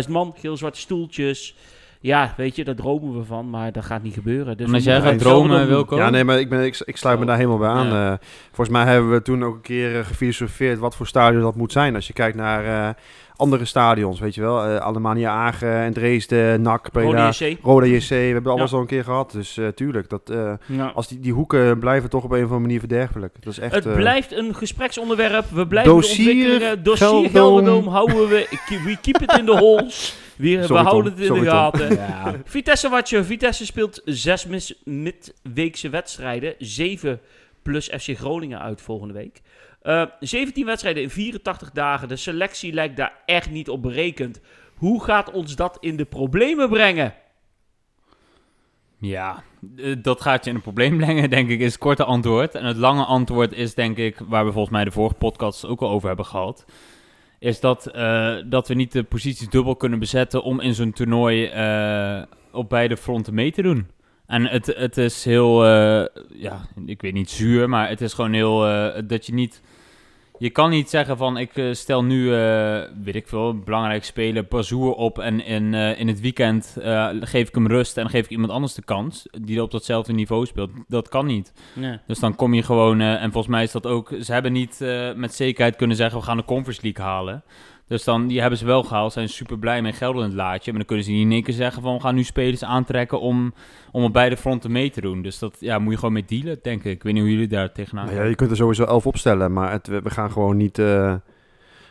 C: 17.000 man, geel-zwarte stoeltjes. Ja, weet je, daar dromen we van, maar dat gaat niet gebeuren. Dus
D: En
C: we
D: als jij
C: moeten
D: gaat
C: gewoon
D: dromen,
C: Gelderdoom
D: Wilco?
B: Ja, nee, maar ik, ben, ik, ik sluit me
D: Zo.
B: daar helemaal bij aan.
D: Ja.
B: Eh, volgens mij hebben we toen ook een keer eh, gefilosofeerd wat voor stadion dat moet zijn. Als je kijkt naar eh, andere stadions, weet je wel. Eh, Alemannia Agen en Dresden, NAC,
C: Rode E
B: Breda,
C: JC.
B: Roda JC. We hebben het alles
C: Ja.
B: al een keer gehad, dus eh, tuurlijk. Dat, eh,
C: Ja.
B: als die, die hoeken blijven toch op een of andere manier verderfelijk. Dat is echt...
C: Het
B: eh,
C: blijft een gespreksonderwerp. We blijven het
B: Dossier
C: ontwikkelen. Dossier
B: Gelderdoom.
C: Gelderdoom houden we. ik- We keep it in the holes. We, we
B: Tom.
C: houden het in
B: Sorry,
C: de
B: Tom.
C: gaten.
D: Ja.
C: Vitesse Watcher. Vitesse speelt zes mis- midweekse wedstrijden. Zeven plus FC Groningen uit volgende week. Eh 17 wedstrijden in 84 dagen. De selectie lijkt daar echt niet op berekend. Hoe gaat ons dat in de problemen brengen?
D: Ja, eh, dat gaat je in een probleem brengen, denk ik, is het korte antwoord. En het lange antwoord is, denk ik, waar we volgens mij de vorige podcast ook al over hebben gehad. Is dat, eh, dat we niet de posities dubbel kunnen bezetten om in zo'n toernooi eh, op beide fronten mee te doen. En het, het is heel, eh, ja, ik weet niet zuur, maar het is gewoon heel, eh, dat je niet... Je kan niet zeggen van, ik eh, stel nu, eh, weet ik veel, een belangrijk speler Bazoer op en in, eh, in het weekend eh, geef ik hem rust en geef ik iemand anders de kans die op datzelfde niveau speelt. Dat kan niet.
C: Nee.
D: Dus dan kom je gewoon, eh, en volgens mij is dat ook, ze hebben niet eh, met zekerheid kunnen zeggen, we gaan de Conference League halen. Dus dan, die hebben ze wel gehaald, zijn super blij met geld in het laadje. Maar dan kunnen ze niet in één keer zeggen van, we gaan nu spelers aantrekken om, om op beide fronten mee te doen. Dus dat, ja, moet je gewoon mee dealen, denk ik. Ik weet niet hoe jullie daar tegenaan
B: Nou ja, je kunt er sowieso elf opstellen, maar het, we we gaan gewoon niet. eh,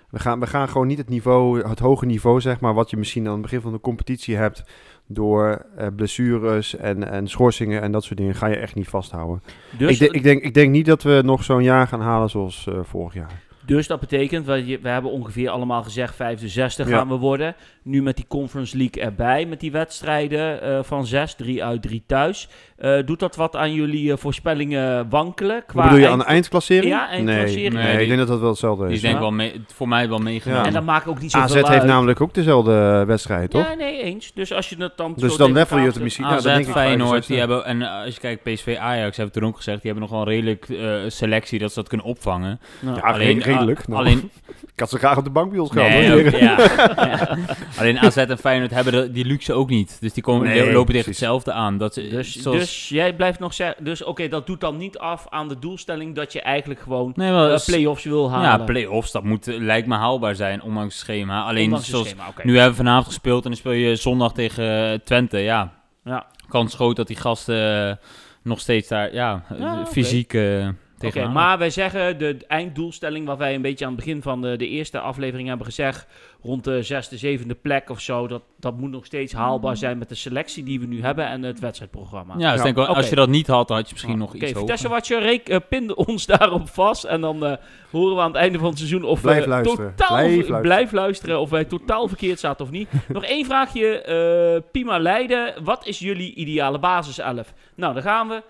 B: we, gaan, we gaan gewoon niet het niveau, het hoge niveau, zeg maar, wat je misschien aan het begin van de competitie hebt. Door eh, blessures en, en schorsingen en dat soort dingen ga je echt niet vasthouden.
C: Dus
B: ik, denk- ik, denk, ik denk niet dat we nog zo'n jaar gaan halen zoals eh, vorig jaar.
C: Dus dat betekent, we, je- we hebben ongeveer allemaal gezegd 65
B: Ja.
C: gaan we worden. Nu met die Conference League erbij, met die wedstrijden eh, van 6, 3 uit, 3 thuis. Eh, doet dat wat aan jullie eh, voorspellingen wankelen?
B: Wat bedoel je, aan
C: eind-
B: de eindklassering?
C: Ja, eindklassering.
B: Nee, nee,
D: Nee,
B: ik
D: die-
B: denk dat dat wel hetzelfde
D: Die
B: is.
D: is denk ik wel mee, voor mij wel meegenomen.
B: Ja.
C: En dat maakt ook niet
B: AZ
C: zoveel
B: heeft
C: uit.
B: namelijk ook dezelfde wedstrijd, toch?
C: Ja, nee, eens. Dus als je het dan
B: dus
C: zo
B: dan
C: tegen
B: level je het
C: elkaar-
B: misschien.
D: AZ,
B: ja, dan denk ik
D: Feyenoord,
B: 65.
D: die hebben, en eh, als je kijkt PSV, Ajax, hebben we toen ook gezegd, die hebben nog wel een redelijk eh, selectie dat ze dat kunnen opvangen.
C: Nou,
B: Ja,
D: Alleen,
B: Ah, re- redelijk.
D: ah,
B: nou.
D: alleen,
B: Ik had ze graag op de bank bij ons gehad.
D: nee,
B: hoor.
D: ook- ja. Ja. alleen AZ en Feyenoord hebben de- die luxe ook niet. Dus die komen,
B: Nee,
D: die lopen tegen
B: precies.
D: hetzelfde aan. Dat, ze- eh,
C: Dus,
D: zoals-
C: dus jij blijft nog zeggen... Dus oké, dat doet dan niet af aan de doelstelling dat je eigenlijk gewoon
D: nee, maar,
C: eh, play-offs wil
D: Nou, ja,
C: halen.
D: play-offs, dat moet, eh, lijkt me haalbaar zijn, ondanks het schema. Alleen,
C: Ondanks het
D: zoals,
C: schema, oké.
D: nu hebben we vanavond gespeeld en dan speel je zondag tegen eh, Twente, ja.
C: Ja.
D: Kans groot dat die gasten eh, nog steeds daar, ja, eh,
C: Ja, oké.
D: fysiek eh
C: Oké,
D: tegenaan.
C: maar wij zeggen de einddoelstelling, wat wij een beetje aan het begin van de, de eerste aflevering hebben gezegd, rond de zesde, zevende plek of zo, dat, dat moet nog steeds haalbaar zijn met de selectie die we nu hebben en het wedstrijdprogramma.
D: Mm. Ja, dus
B: Ja.
D: denk wel,
C: Oké.
D: als je dat niet had, dan had je misschien nog
C: Ah, Oké,
D: iets
C: Vitesse
D: hoger.
C: Watcher, reek, eh, pinde ons daarop vast en dan eh, horen we aan het einde van het seizoen of we
B: Blijf luisteren.
C: totaal
B: Blijf luisteren.
C: blijf luisteren of wij totaal verkeerd zaten of niet. nog één vraagje, eh, Pima Leiden, wat is jullie ideale basiself? Nou, daar gaan we.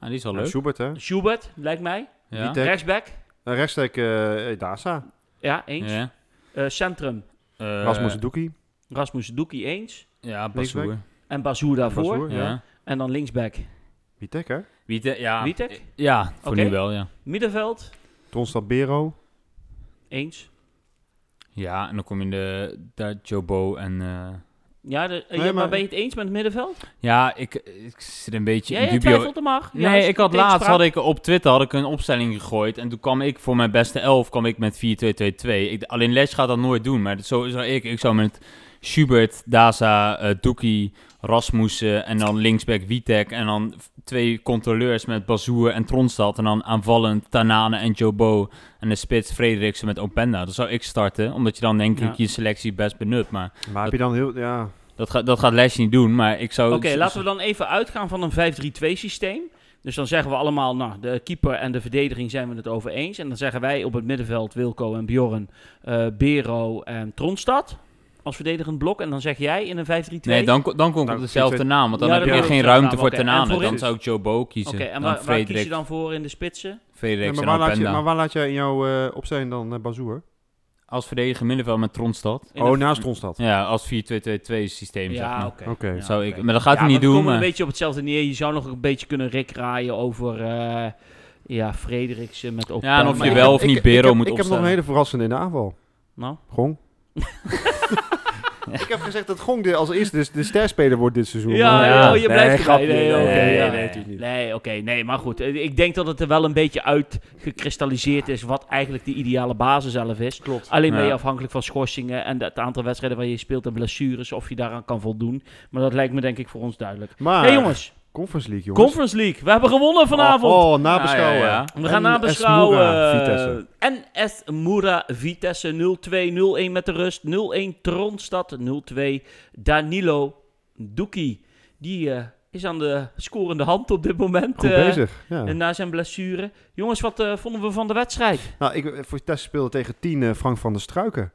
D: Ah, die is wel
B: Ja,
D: leuk.
B: Schubert, hè?
C: Schubert, lijkt mij.
D: Ja.
B: Witek.
C: Rechtsback.
B: Een rechtstek eh Dasa.
C: Ja, eens.
D: Ja.
C: Eh, centrum.
D: Eh,
B: Rasmus Doekie.
C: Rasmus Doekie eens.
D: Ja, Bassoer.
B: Linksback.
C: En Bazoer daarvoor.
B: Bazoer. Ja.
D: Ja.
C: En dan linksback.
B: Witek, hè?
D: Witek, ja.
C: Witek?
D: Ja, voor
C: Oké.
D: nu wel, ja.
C: Middenveld
B: Tronstad Bero.
C: eens.
D: Ja, en dan kom je in de, daar Jobo en... eh,
C: Ja, de- eh, ja,
B: Nee,
C: maar...
B: maar-
C: ben je het eens met het middenveld?
D: ja, ik, ik zit een beetje
C: Ja,
D: in
C: je
D: dubio.
C: twijfelt er maar. Ja,
D: nee,
C: is
D: ik had
C: het
D: laatst
C: tegenspraak?
D: had ik op Twitter had ik een opstelling gegooid. En toen kwam ik voor mijn beste elf kwam ik met 4-2-2-2. Ik, alleen Les gaat dat nooit doen. Maar dat- zo zou ik. Ik zou met Schubert, Daza, eh Doekie, Rasmussen en dan linksback Witek. En dan v- twee controleurs met Bazoer en Tronstad. En dan aanvallend Tanane en Jobo. En de spits Frederiksen met Openda. Dat zou ik starten. Omdat je dan denk ik
C: Ja.
D: je selectie best benut. Maar
B: Maar heb je dan heel... Ja,
D: dat, ga, dat gaat Les niet doen. Maar ik zou...
C: Oké, laten we dan even uitgaan van een 5-3-2 systeem. Dus dan zeggen we allemaal, nou, de keeper en de verdediging zijn we het over eens. En dan zeggen wij op het middenveld Wilco en Bjorn, eh, Bero en Tronstad als verdedigend blok. En dan zeg jij in een 5-3-2...
D: Nee, dan, ko- dan kom ik
B: Nou,
D: op dezelfde
B: Pieter-
D: naam, want dan
C: Ja,
D: heb
C: dan
D: je
C: kom je
D: geen
C: op dezelfde
D: ruimte
C: naam,
D: voor
C: oké. En
D: Tanane. Dan
C: voorin?
D: zou ik Joe Bo kiezen.
C: Oké, en
D: dan
C: waar, waar kies je
D: Frederik,
C: dan voor in de spitsen?
D: Frederik
B: Nee,
D: en
B: maar, waar laat je,
D: Openda.
B: maar waar laat jij in jouw eh, opstelling dan eh Bazoer?
D: Als verdediger middenveld met Tronstad.
C: In
B: oh,
C: een-
B: naast Tronstad.
D: Ja, als 4-2-2-2 systeem, zeg
C: Ja,
D: maar.
C: oké.
B: Oké.
C: Ja,
D: Zou ik,
C: oké.
D: maar dat gaat hij
C: Ja,
D: niet
C: we
D: doen.
C: komen
D: maar-
C: een beetje op hetzelfde neer. Je zou nog een beetje kunnen rikraaien over eh ja, Frederiksen met Openda.
D: Ja, en of
B: Maar
D: je
B: ik
D: wel
B: heb-
D: of
B: ik-
D: niet
B: ik
D: Bero
B: heb-
D: moet
B: Ik heb nog
D: opstellen.
B: een hele verrassende in de aanval.
C: Nou,
B: Gong. Ik heb gezegd dat Gong de, als eerste de, de sterspeler wordt dit seizoen.
C: Ja,
B: Maar,
D: ja.
C: joh,
B: Nee,
C: je blijft erbij.
B: grapje.
C: Nee, oké,
B: Nee,
C: ja.
B: nee, natuurlijk niet.
C: Nee, oké, nee, maar goed. Eh, Ik denk dat het er wel een beetje uit gekristalliseerd is wat eigenlijk de ideale basis zelf is.
B: Klopt.
C: Alleen ben je
D: Ja.
C: afhankelijk van schorsingen en het aantal wedstrijden waar je speelt en blessures, of je daaraan kan voldoen. Maar dat lijkt me denk ik voor ons duidelijk.
B: Maar,
C: hey jongens,
B: Conference League, Ah. jongens.
C: Conference League. We hebben gewonnen vanavond.
B: Oh, oh, nabeschouwen.
D: Ja, ja,
C: We gaan
B: En
C: nabeschouwen.
B: Esmura, Vitesse.
C: eh, NS Moura Vitesse 0-2, 0-1 met de rust. 0-1 Tronstad, 0-2 Danilo Doekie. Die eh, is aan de scorende hand op dit moment.
B: Goed
C: eh,
B: bezig. Ja.
C: en Na zijn blessure. Jongens, wat eh, vonden we van de wedstrijd?
B: Nou, ik, eh, Vitesse speelde tegen 10 Frank van der Struiken.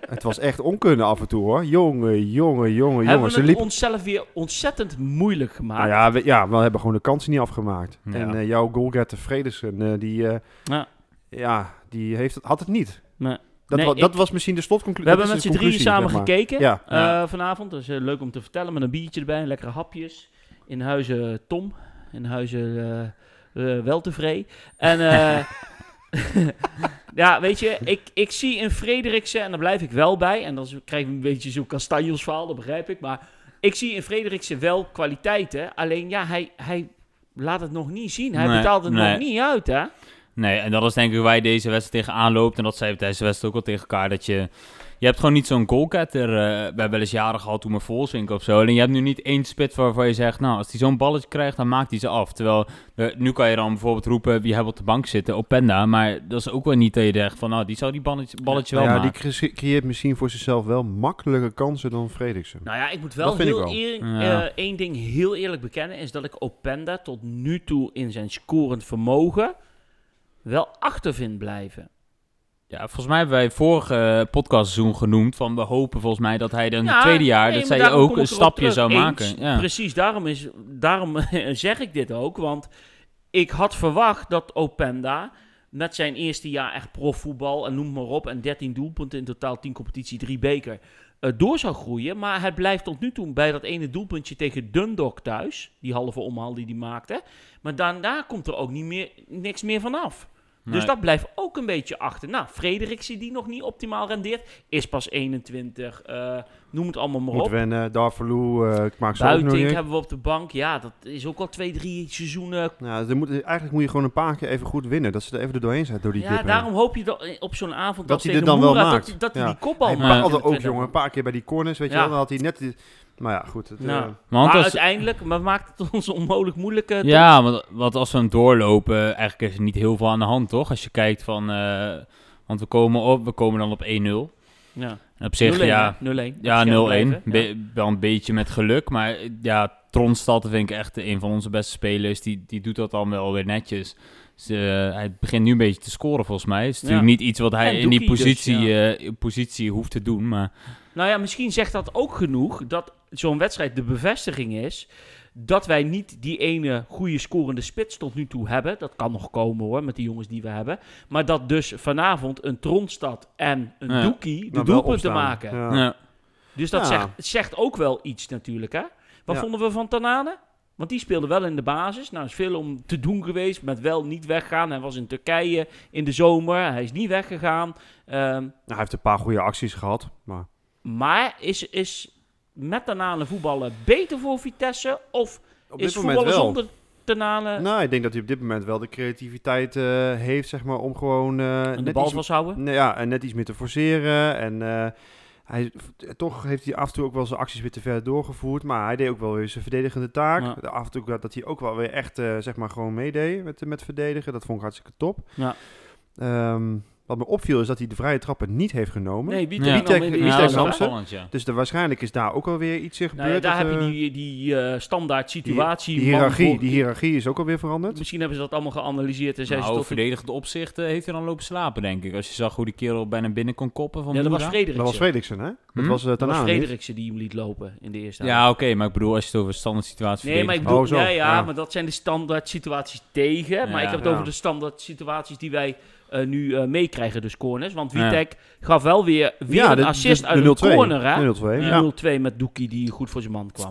B: het was echt onkunde af en toe hoor. Jongen, jongen, jongen,
C: Hebben
B: jongen.
C: we
B: Ze
C: het
B: liepen.
C: onszelf weer ontzettend moeilijk
B: Nou
C: gemaakt?
B: ja we, ja, we hebben gewoon de kansen niet afgemaakt.
D: Ja.
B: En eh, jouw goalgetter Fredersen, eh, die, eh,
C: Ja.
B: ja. die heeft het, had het niet.
C: Nee.
B: Dat,
C: Nee,
B: wa- dat
C: ik-
B: was misschien de slotconclusie.
C: We hebben met z'n drieën samen gekeken
B: Ja.
C: eh,
D: Ja.
C: vanavond. Dus eh, leuk om te vertellen. Met een biertje erbij, lekkere hapjes. In huizen eh, Tom. In huizen eh eh Weltevree. En eh, ja, weet je, ik, ik zie in Frederiksen, en daar blijf ik wel bij. En dan zo- krijg ik een beetje zo'n kastanjels verhaal, dat begrijp ik. Maar ik zie in Frederiksen wel kwaliteiten. Alleen ja, hij, hij laat het nog niet zien. Hij
D: Nee,
C: betaalt het nog
D: nee.
C: niet uit, hè?
D: Nee, en dat is denk ik waar je deze wedstrijd tegen aanloopt. En dat zei we tijdens de wedstrijd ook al tegen elkaar. Dat je, je hebt gewoon niet zo'n goalketter. eh bij wel eens jaren gehad toen met Volswinkel of zo. En je hebt nu niet één spit waarvan je zegt... Nou, als hij zo'n balletje krijgt, dan maakt hij ze af. Terwijl, eh, nu kan je dan bijvoorbeeld roepen... Wie hebben op de bank zitten? Openda. Maar dat is ook wel niet dat je zegt van... Nou, die zou die balletje, balletje wel
B: ja, die
D: maken.
B: cre- creëert misschien voor zichzelf wel makkelijker kansen dan Frederiksen.
C: Nou ja, ik moet wel,
B: Dat vind ik
C: heel
B: wel.
C: eer-
D: Ja.
C: eh, één ding heel eerlijk bekennen, is dat ik Openda tot nu toe in zijn scorend vermogen wel achter vind blijven.
D: Ja, volgens mij hebben wij vorige podcastseizoen genoemd... Van we hopen volgens mij dat hij dan
C: Ja,
D: het tweede jaar...
C: nee,
D: dat
C: maar
D: zij
C: daarom
D: ook
C: kom ik
D: een
C: erop
D: stapje
C: terug.
D: zou
C: Eens,
D: maken. Ja.
C: Precies, daarom, is, daarom zeg ik dit ook, want ik had verwacht dat Openda met zijn eerste jaar echt profvoetbal en noem maar op, en 13 doelpunten in totaal, 10 competitie, 3 beker, eh, door zou groeien. Maar het blijft tot nu toe bij dat ene doelpuntje tegen Dundalk thuis, die halve omhaal die hij maakte. Maar daarna komt er ook niet meer, niks meer vanaf. Dus
D: Nee.
C: dat blijft ook een beetje achter. Nou, Frederiksen die nog niet optimaal rendeert, is pas 21, eh, noem het allemaal maar
B: Moet
C: op.
B: wennen, Darvalu, eh ik maak ze ook nog
C: Buitink
B: niet.
C: hebben we op de bank. Ja, dat is ook al twee, drie seizoenen.
B: Nou, er moet, eigenlijk moet je gewoon een paar keer even goed winnen. Dat ze er even doorheen zijn door die
C: Ja,
B: dip heen.
C: daarom hoop je dat eh, op zo'n avond
B: Dat
C: als
B: hij
C: tegen
B: dit dan wel
C: Moera,
B: maakt.
C: Dat, dat hij
B: Ja.
C: die kopbal
B: Hij
C: maakt. in de
B: baalde ook,
C: tweede
B: jongen. Een paar keer bij die corners, weet
C: Ja.
B: je wel. Dan had hij net... die- Maar ja, goed. Het,
C: Nou.
B: eh,
D: Want
C: maar
D: als,
C: uiteindelijk maar maakt het ons onmogelijk moeilijk. eh,
D: Ja, want, want als we hem doorlopen, eigenlijk is er niet heel veel aan de hand, toch? Als je kijkt van, eh, want we komen, op, we komen dan op 1-0.
C: tot- Ja.
D: En op zich,
C: 0-1,
D: ja,
C: hè? 0-1.
D: ja 0-1.
C: Scherp blijven, ja.
D: Be- wel een beetje met geluk, maar eh, ja, Tronstad vind ik echt een van onze beste spelers. Die, die doet dat dan wel weer netjes. Dus, eh, hij begint nu een beetje te scoren, volgens mij. Het is
C: Ja.
D: natuurlijk niet iets wat hij
C: En
D: in die
C: Doekie dus,
D: positie, eh, positie hoeft te doen, maar...
C: Nou ja, misschien zegt dat ook genoeg dat zo'n wedstrijd de bevestiging is dat wij niet die ene goede scorende spits tot nu toe hebben. Dat kan nog komen hoor, met die jongens die we hebben. Maar dat dus vanavond een Tronstad en een
D: Ja.
C: Doekie de
B: nou, wel
C: doelpunten
B: opstaan.
C: maken.
B: Ja. Nou,
D: ja.
C: Dus dat
B: Ja.
C: zegt, zegt ook wel iets natuurlijk, hè? Wat
B: Ja.
C: vonden we van Tanane? Want die speelde wel in de basis. Nou, er is veel om te doen geweest met wel niet weggaan. Hij was in Turkije in de zomer. Hij is niet weggegaan. Ehm,
B: Nou, hij heeft een paar goede acties gehad, maar...
C: maar is, is met Tanane voetballen beter voor Vitesse? Of
B: Op
C: is voetballen zonder eh, Tanane
B: Nou, ik denk dat hij op dit moment wel de creativiteit eh, heeft, zeg maar, om gewoon... eh,
C: en de
B: net
C: bal
B: iets-
C: vasthouden?
B: Nee, ja, en net iets meer te forceren. En eh, hij, toch heeft hij af en toe ook wel zijn acties weer te ver doorgevoerd. Maar hij deed ook wel weer zijn verdedigende taak.
C: Ja.
B: Af en toe dat, dat hij ook wel weer echt, eh, zeg maar, gewoon meedeed met, met verdedigen. Dat vond ik hartstikke top.
C: Ja.
B: Ehm, wat me opviel is dat hij de vrije trappen niet heeft genomen.
C: Nee, wie nou,
D: Ja.
C: ja.
B: Witek- Wie
D: Ja,
B: staat
D: dat is
B: er?
D: opvallend, ja.
B: Dus de, waarschijnlijk is daar ook alweer iets in
C: Nou, ja,
B: gebeurd.
C: daar
B: dat,
C: heb je
B: eh,
C: die, die eh, standaard situatie.
B: die
C: man
B: hiërarchie,
C: voor-
B: die hiërarchie is ook alweer veranderd.
C: Misschien hebben ze dat allemaal geanalyseerd en zijn ze
D: Nou,
C: tot een
D: verdedigend opzicht eh, heeft hij dan lopen slapen, denk ik. Als je zag hoe die kerel bijna binnen kon koppen van
C: Ja, dat was
D: Moera.
C: Frederiksen.
B: Dat was Fredriksen, hè? Dat
D: Hm?
B: was eh
C: Dat was
B: Tanane niet.
C: Frederiksen die hem liet lopen in de eerste helft.
D: Ja, oké, maar ik bedoel, als je het over standaard situatie
C: Nee, maar ik
D: verdedigt-
C: bedoel,
B: Oh, zo.
C: ja, ja,
B: Ja.
C: maar dat zijn de standaard situaties tegen. Maar
D: Ja.
C: ik heb het
B: Ja.
C: over de standaard situaties die wij eh, nu eh, meekrijgen, dus corners. Want Witek gaf wel weer, weer een
B: de-
C: assist
B: de-
C: uit
B: de
C: een
B: 0-2.
C: corner, hè?
B: De 0-2,
C: Die
B: ja.
C: 0-2 met Doekie die goed voor zijn man kwam.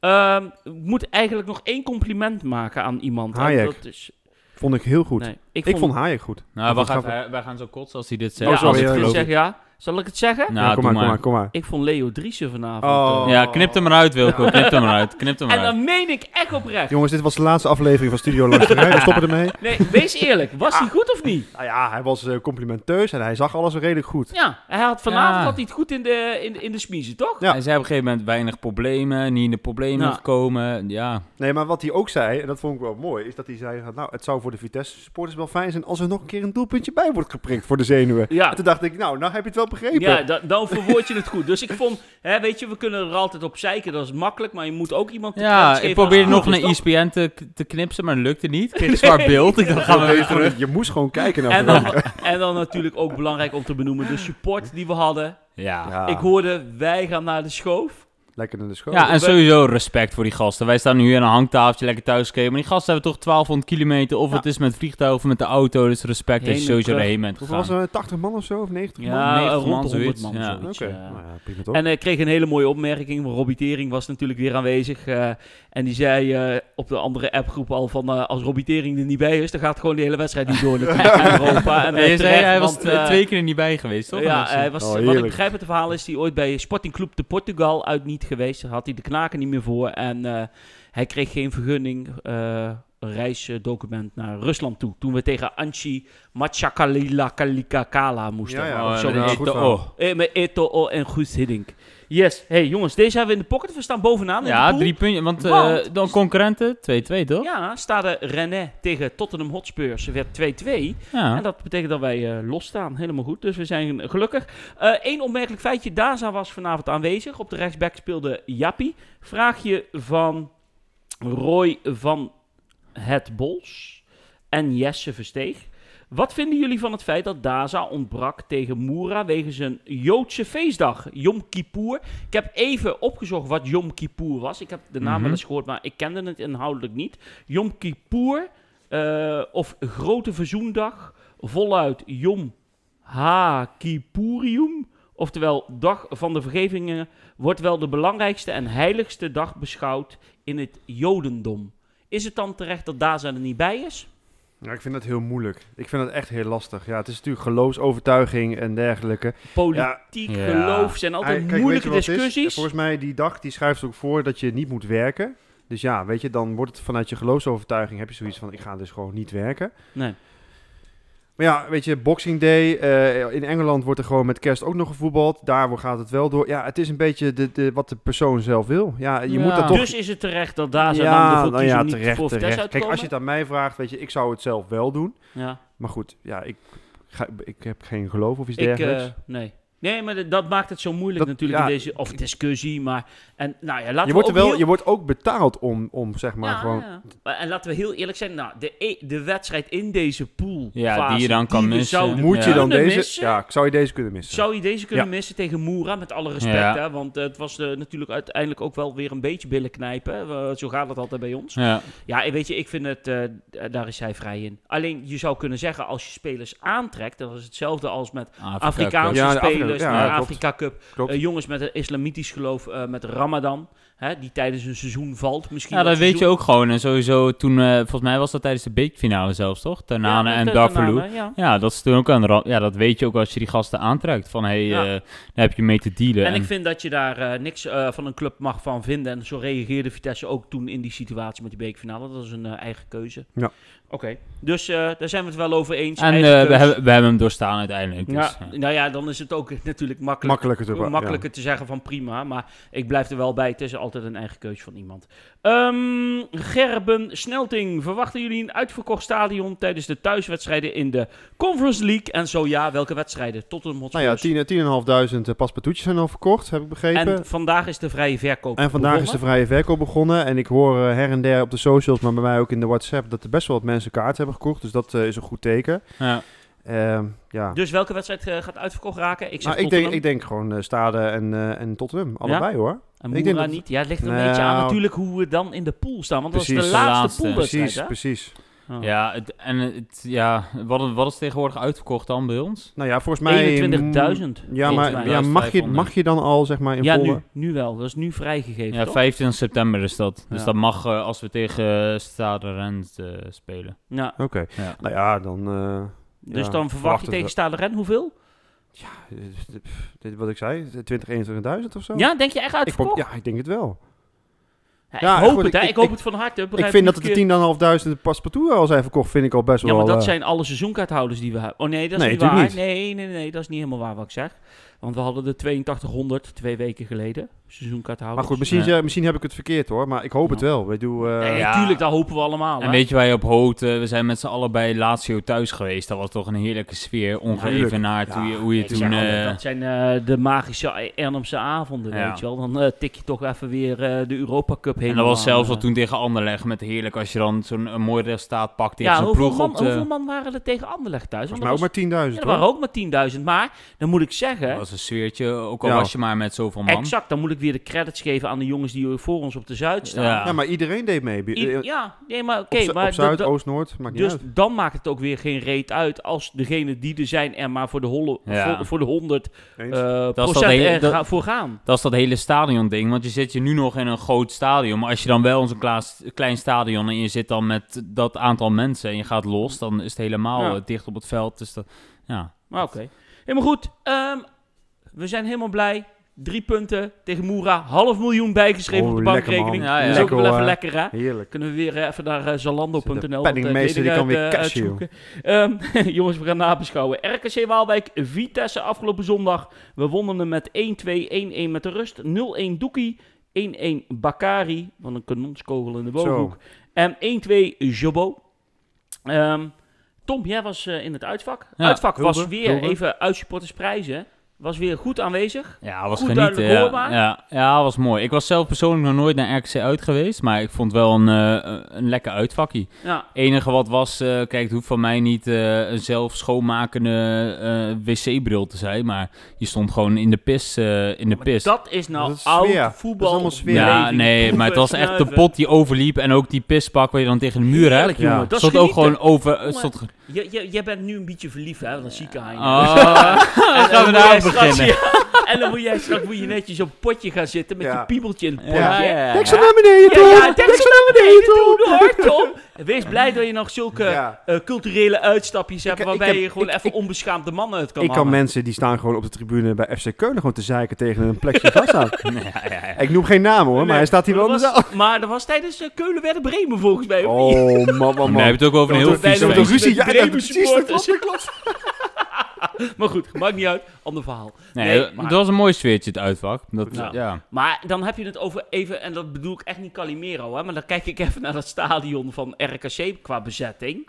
C: Ehm, ik moet eigenlijk nog één compliment maken aan iemand. hè.
B: Hayek.
C: Dat is,
B: Vond ik heel goed.
C: nee,
B: ik, vond... Hayek goed.
D: Nou,
B: Dat
D: wacht
B: was
D: even, wij, wij gaan zo kotsen als hij dit
C: ja,
D: zegt.
B: sorry,
C: als ik
B: ja,
C: dit
B: geloof
C: zeg, ja. Zal ik het zeggen?
D: Nou,
B: Ja, kom, maar,
D: doe
B: kom maar,
D: maar.
B: kom maar.
C: Ik vond Leo Driessen vanavond.
B: Oh.
C: eh,
D: Ja, knip hem eruit, Wilco. Knip hem eruit. Knip hem
C: En
D: eruit.
C: dan meen ik echt oprecht.
B: Jongens, dit was de laatste aflevering van Studio Langs de Rij. We stoppen ermee.
C: Nee, wees eerlijk. Was hij goed of niet?
B: Nou ja, hij was eh, complimenteus en hij zag alles redelijk goed.
C: Ja, hij had vanavond
D: Ja.
C: had hij het goed in de, in, de- in de smiezen, toch?
B: Ja.
D: Hij zei op een gegeven moment weinig problemen, niet in de problemen
C: Nou.
D: gekomen. Ja,
B: Nee, maar wat hij ook zei, en dat vond ik wel mooi, is dat hij zei... Nou, het zou voor de Vitesse-supporters wel fijn zijn als er nog een keer een doelpuntje bij wordt geprikt voor de zenuwen.
C: Ja.
B: En toen dacht ik, nou, nou heb je het wel begrepen.
C: Ja, da- dan verwoord je het goed. Dus ik vond, hè, weet je, we kunnen er altijd op zeiken, dat is makkelijk, maar je moet ook iemand de credits
D: ja ik
C: geven als
D: probeerde
C: het
D: nog
C: goed is,
D: naar E
C: toch?
D: ESPN te, te knipsen, maar dat lukte niet. Ik kreeg een zwaar beeld. Ik dacht, gaan we weer terug.
B: Je moest gewoon kijken naar
C: En dan, en dan natuurlijk ook belangrijk om te benoemen, de support die we hadden.
D: Ja.
B: Ja,
C: Ik hoorde, wij gaan naar de schoof.
B: lekker naar de school.
D: ja, en sowieso respect voor die gasten. Wij staan nu aan een hangtafeltje lekker thuis gekeken, maar die gasten hebben toch 1200 kilometer, of het is met vliegtuig of met de auto, dus respect dat
C: Heen
D: je
C: en
D: sowieso
C: terug.
D: erheen bent
B: Hoeveel was
D: gegaan.
B: er? 80 man of zo? Of 90 man?
C: Ja,
D: 90 man,
C: rond de 100
D: zoiets,
C: eh, man.
D: ja.
C: zoiets,
B: Oké,
C: ja.
B: nou ja, prima toch?
C: En ik kreeg een hele mooie opmerking. Robbie Tering was natuurlijk weer aanwezig. eh, en die zei eh, op de andere appgroep al van... eh, als Robbie Tering er niet bij is, dan gaat gewoon de hele wedstrijd niet door natuurlijk in Europa. En,
D: Nee,
C: eh,
D: je zei,
C: terecht,
D: hij was
C: want,
D: twee-
C: eh,
D: twee keer er niet bij geweest, toch?
C: Ja,
D: Dat is-
C: hij was,
B: Oh,
C: wat ik
B: heerlijk.
C: begrijp uit het verhaal is hij ooit bij Sporting Club de Portugal uit niet geweest. Daar had hij de knaken niet meer voor. En eh, hij kreeg geen vergunning, eh, een reisdocument naar Rusland toe. Toen we tegen Anchi Machakalila Kalikakala moesten.
B: Ja, ja,
D: Oh,
C: Of zo.
D: en
B: ja,
D: ik
B: goed
D: dacht,
B: verhaal.
D: oh.
C: Eh, Met Eto O en Guus Hiddink. Yes. Hey jongens, deze hebben we in de pocket. We staan bovenaan in de
D: Ja,
C: pool.
D: drie punten. Want eh,
C: Want-
D: dan concurrenten, 2-2 toch?
C: Ja, staat René tegen Tottenham Hotspur. Ze werd 2-2.
D: Ja.
C: En dat betekent dat wij eh, losstaan. Helemaal goed. Dus we zijn gelukkig. Eén opmerkelijk feitje. Daza was vanavond aanwezig. Op de rechtsback speelde Jappie. Vraagje van Roy van het Bols en Jesse Versteeg. Wat vinden jullie van het feit dat Daza ontbrak tegen Moera wegens een Joodse feestdag, Yom Kippur? Ik heb even opgezocht wat Yom Kippur was. Ik heb de naam wel eens gehoord, maar ik kende het inhoudelijk niet. Yom Kippur eh, of Grote Verzoendag, voluit Yom Ha Kippurium, oftewel Dag van de Vergevingen, wordt wel de belangrijkste en heiligste dag beschouwd in het Jodendom. Is het dan terecht dat Daza er niet bij is?
B: Ja, ik vind dat heel moeilijk. Ik vind dat echt heel lastig. Ja, het is natuurlijk geloofsovertuiging en dergelijke.
C: Politiek,
D: Ja.
C: geloof zijn
B: Hij-
C: altijd
B: kijk, weet je
C: moeilijke
B: wat het is?
C: discussies.
B: Volgens mij, die dag die schuift ook voor dat je niet moet werken. Dus ja, weet je, dan wordt het vanuit je geloofsovertuiging heb je zoiets van, ik ga dus gewoon niet werken.
C: Nee.
B: Maar ja, weet je, Boxing Day. eh, in Engeland wordt er gewoon met kerst ook nog gevoetbald. Daar gaat het wel door. Ja, het is een beetje de, de, wat de persoon zelf wil. Ja, je moet
D: Ja.
B: dat toch...
C: Dus is het terecht dat Daza
B: ja,
C: dan ervoor
B: nou
C: kiezen
B: ja,
C: om niet voor Vitesse uit te
B: Kijk, als je het
C: komen?
B: aan mij vraagt, weet je, ik zou het zelf wel doen.
C: Ja,
B: Maar goed, ja, ik, ga, ik heb geen geloof of iets
C: ik, eh,
B: dergelijks.
C: nee. Nee, maar d- dat maakt het zo moeilijk
B: Dat-
C: natuurlijk
B: ja.
C: in deze of discussie. Maar en, nou ja, laten
B: je, wordt
C: we
B: er
C: ook
B: wel,
C: heel-
B: je wordt ook betaald om, om zeg maar,
C: Ja,
B: gewoon...
C: ja. Maar- En laten we heel eerlijk zijn, nou, de, e- de wedstrijd in deze pool.
D: Ja, die je dan kan missen.
B: Moet je
D: Ja.
B: dan deze...
C: Missen?
B: Ja, ik zou je deze kunnen missen.
C: Zou je deze kunnen
B: Ja.
C: missen tegen Moera, met alle respect,
D: Ja.
C: hè? Want eh, het was eh, natuurlijk uiteindelijk ook wel weer een beetje billen knijpen. Eh, zo gaat het altijd bij ons.
D: Ja.
C: Ja, en weet je, ik vind het, eh, d- daar is zij vrij in. Alleen, je zou kunnen zeggen, als je spelers aantrekt, dat is hetzelfde als met
D: Afrika,
C: Afrikaanse
B: Cup. Ja, de Afrika-
C: spelers,
B: ja,
C: naar
B: klopt.
C: Afrika Cup.
B: Klopt.
C: Eh, jongens met een islamitisch geloof, eh, met Ramadan, hè, die tijdens een seizoen valt. Misschien
D: Ja, dat weet je
C: seizoen-
D: ook gewoon. En sowieso toen, eh, volgens mij was dat tijdens de beekfinale zelfs, toch? Tanane
C: Ja,
D: en
C: met, eh,
D: Darvalu.
C: Tanane, ja.
D: Ja, dat is toen ook een ra- Ja, dat weet je ook als je die gasten aantrekt. Van, hey,
C: Ja.
D: eh, daar heb je mee te dealen.
C: En ik vind dat je daar eh, niks eh, van een club mag van vinden. En zo reageerde Vitesse ook toen in die situatie met die beekfinale. Dat is een eh, eigen keuze.
B: Ja.
C: Oké. Dus eh, daar zijn we het wel over eens.
D: en,
C: Eigen
D: eh, we,
C: keus.
D: hebben, we hebben hem doorstaan uiteindelijk. Dus,
C: Ja,
D: ja.
C: nou ja, dan is het ook natuurlijk makkelijk,
B: Makkelijker te...
C: makkelijker te zeggen van prima. Maar ik blijf er wel bij. Het is altijd een eigen keuze van iemand. Ehm, Gerben Snelting. Verwachten jullie een uitverkocht stadion tijdens de thuiswedstrijden in de Conference League? En zo ja, welke wedstrijden? Tot een
B: Ja. Nou ja, 10.500 10 paspartoutjes zijn al verkocht, heb ik begrepen.
C: En vandaag is de vrije verkoop.
B: En vandaag is
C: begonnen.
B: de vrije verkoop begonnen. En ik hoor eh, her en der op de socials, maar bij mij ook in de WhatsApp, dat er best wel wat mensen kaart hebben gekocht. Dus dat eh, is een goed teken.
D: Ja.
B: Ehm, ja.
C: Dus welke wedstrijd eh, gaat uitverkocht raken? Ik zeg
B: Nou, ik, denk,
C: Tottenham.
B: ik denk gewoon eh, Stade en, eh, en Tottenham. Allebei hoor.
C: en
B: ik
C: Moera
B: denk dat-
C: niet. Ja, het ligt er een
B: Nou,
C: beetje aan natuurlijk hoe we dan in de pool staan. Want dat is
B: Precies,
C: de
B: de
C: laatste,
D: laatste.
B: Precies,
C: poolwedstrijd,
B: precies.
C: hè? Oh.
D: Ja, het, en het, ja, wat, wat is tegenwoordig uitverkocht dan bij ons?
B: Nou ja, volgens mij...
C: 21.000
B: Ja,
C: volgens
B: maar
C: mij.
B: ja, mag, je, mag je dan al zeg maar in
C: Ja,
B: volle...
C: nu, nu wel. Dat is nu vrijgegeven,
D: Ja,
C: toch?
D: 25 september is dat. Dus
C: Ja.
D: dat mag eh, als we tegen eh, Stade Rennes eh, spelen.
C: Ja.
B: Oké.
D: Ja.
B: Nou ja, dan... eh,
C: Dus
B: Ja,
C: dan verwacht je
B: verwachten
C: tegen
B: we.
C: Stade Ren hoeveel?
B: eh, pff, dit wat ik zei, 20, 21.000 of zo.
C: Ja, denk je echt
B: ik, prob-
C: uitverkocht?
B: ja, ik denk het wel.
C: Ja,
B: ja,
C: ik hoop
B: goed,
C: het, hè.
B: ik-
C: Ik, hoop
B: ik-
C: het van harte.
B: ik
C: Begrijp
B: vind
C: me
B: dat
C: niet verkeerd.
B: de 10.500 paspartout al zijn verkocht, vind ik al best
C: Ja,
B: wel...
C: maar dat
B: eh,
C: zijn alle seizoenkaarthouders die we hebben. Oh nee, dat is
B: Nee,
C: niet waar.
B: natuurlijk
C: Nee, nee, nee, dat is niet helemaal waar wat ik zeg. Want we hadden de 8200 twee weken geleden. Seizoenkaarthouders.
B: maar goed, misschien,
D: Ja.
B: ja, misschien heb ik het verkeerd hoor, maar ik hoop het
C: eh. Ja.
B: wel. Ik doe, eh,
C: Nee,
D: ja.
C: natuurlijk, dat hopen we allemaal.
D: En
C: hè.
D: weet je waar je op hoopt? Eh, we zijn met z'n allen bij Lazio thuis geweest. Dat was toch een heerlijke sfeer. Ongeëvenaard
B: Ja,
D: hoe je, hoe je
C: Ik
D: toen...
C: zeg altijd,
D: eh,
C: dat zijn eh, de magische Ernemse avonden,
D: Ja.
C: weet je wel. Dan eh, tik je toch even weer eh, de Europa Cup eh, heen.
D: en dat was zelfs al toen tegen Anderlecht. Met heerlijk als je dan zo'n een mooi resultaat pakt tegen
C: Ja,
D: zo'n
C: hoeveel
D: ploeg
C: man,
D: op de...
C: hoeveel man waren er tegen Anderlecht thuis? Want
B: volgens mij ook
C: dat was-
B: maar 10.000
C: ja,
B: hoor.
C: er waren ook maar 10.000. Maar, dan moet ik zeggen...
D: Dat was een sfeertje, ook al
B: Ja.
D: was je maar met zoveel man.
C: Exact, dan moet ik weer de credits geven aan de jongens die voor ons op de Zuid staan.
D: Ja.
B: Ja, maar iedereen deed mee. Bi-
C: I-
B: eh,
C: ja, nee, maar oké.
B: op, zu-
C: maar
B: op Zuid,
C: dat- dat-
B: Oost, Noord, maakt niet
C: dus
B: uit.
C: dan maakt het ook weer geen reet uit als degene die er zijn er maar voor de, holle,
D: Ja.
C: voor, voor de 100
B: Eens.
C: eh
D: dat
C: procent
D: hele-
C: er
D: dat-
C: ga- voor gaan.
D: Dat is dat hele stadion ding, want je zit je nu nog in een groot stadion. Maar als je dan wel in zo'n klaas- klein stadion en je zit dan met dat aantal mensen en je gaat los, dan is het helemaal
C: Ja.
D: eh, dicht op het veld. Dus dat, ja.
C: Maar oké. Helemaal goed. ehm, we zijn helemaal blij. Drie punten tegen Moera. Half miljoen bijgeschreven
B: Oh,
C: op de
B: lekker,
C: bankrekening.
D: man. Ja, ja.
C: Dat is ook wel
B: Lekker,
C: even
B: hoor.
C: lekker, hè?
B: Heerlijk.
C: Kunnen we weer eh, even naar eh,
B: Zit de
C: zalando.nl.
B: penningmeester,
C: eh,
B: die kan weer cashen,
C: cashen. Ehm, jongens, we gaan nabeschouwen. RKC Waalwijk, Vitesse afgelopen zondag. We wonnen hem met 1-2, 1-1 met de rust. 0-1 Doekie, 1-1 Bakari, van een kanonskogel in de bovenhoek. En 1-2 Jobbo. Ehm, Tom, jij was eh, in het uitvak.
D: Ja,
C: uitvak was
B: Hulde,
C: weer,
B: Hulde.
C: even uitsportersprijzen, was weer goed aanwezig.
D: ja, was
C: Goed
D: genieten.
C: duidelijk
D: Ja,
C: hoorbaar.
D: ja, ja, was mooi. Ik was zelf persoonlijk nog nooit naar RKC uit geweest, maar ik vond wel een, eh, een lekker uitvakkie.
C: Ja,
D: enige wat was, eh, kijk, het hoeft van mij niet eh, een zelf schoonmakende eh, wc-bril te zijn, maar je stond gewoon in de pis. eh, in de
C: maar
D: pis.
C: dat is nou
B: Dat is
C: oud
B: sfeer. Dat is
C: voetbal.
B: allemaal sfeer.
D: Ja,
C: beleving,
D: nee, maar het was
C: proeven,
D: echt de
C: snuiven.
D: pot die overliep en ook die pispak waar je dan tegen de muur hebt.
C: Heerlijk, jongen.
B: Ja.
C: Dat is
D: stond ook
C: genieten.
D: gewoon over. het
C: Jongen.
D: Stond... ge-
C: Je, je, jij bent nu een beetje verliefd, hè? Want een zieke aan je.
B: Ah,
D: Oh,
C: En
D: gaan
C: dan
D: we daar
C: moet jij
D: aan
C: straks-
D: beginnen.
C: ja, en dan moet jij straks moet je netjes op een potje gaan zitten met
B: Ja.
C: je piebeltje in het potje.
B: Ja.
C: Ja, ja.
B: Deksel naar beneden, Tom!
C: deksel naar beneden doen, hoor, Tom. Wees blij dat je nog zulke
B: Ja.
C: eh, culturele uitstapjes hebt...
B: ik
C: waarbij
B: heb-
C: je gewoon
B: ik-
C: even
B: ik-
C: onbeschaamde mannen het kan
B: ik kan
C: hangen.
B: mensen die staan gewoon op de tribune bij FC Keulen gewoon te zeiken tegen een plekje vast aan.
D: Ja, ja, ja.
B: Ik noem geen naam hoor, maar hij staat hier wel
C: Maar
B: in
C: dat
B: de zaal.
C: was- Maar dat was tijdens eh, Keulen werden Bremen volgens mij, of niet?
B: Oh, man, man,
D: Maar je
B: man.
D: hebt het ook over een
B: Dat
D: heel
B: wordt-
D: vies
B: dat wordt een
D: feest.
B: ruzie. Ja,
C: Met
B: dat
C: Bremen
B: precies. dat
C: supporters.
B: klopt, dat klopt.
C: Maar goed, maakt niet uit. Ander verhaal.
D: Nee,
C: maar-
D: Het was een mooi sfeertje, het uitvak. Dat,
C: Ja.
D: ja.
C: Maar dan heb je het over even, en dat bedoel ik echt niet Calimero, hè, maar dan kijk ik even naar dat stadion van RKC qua bezetting.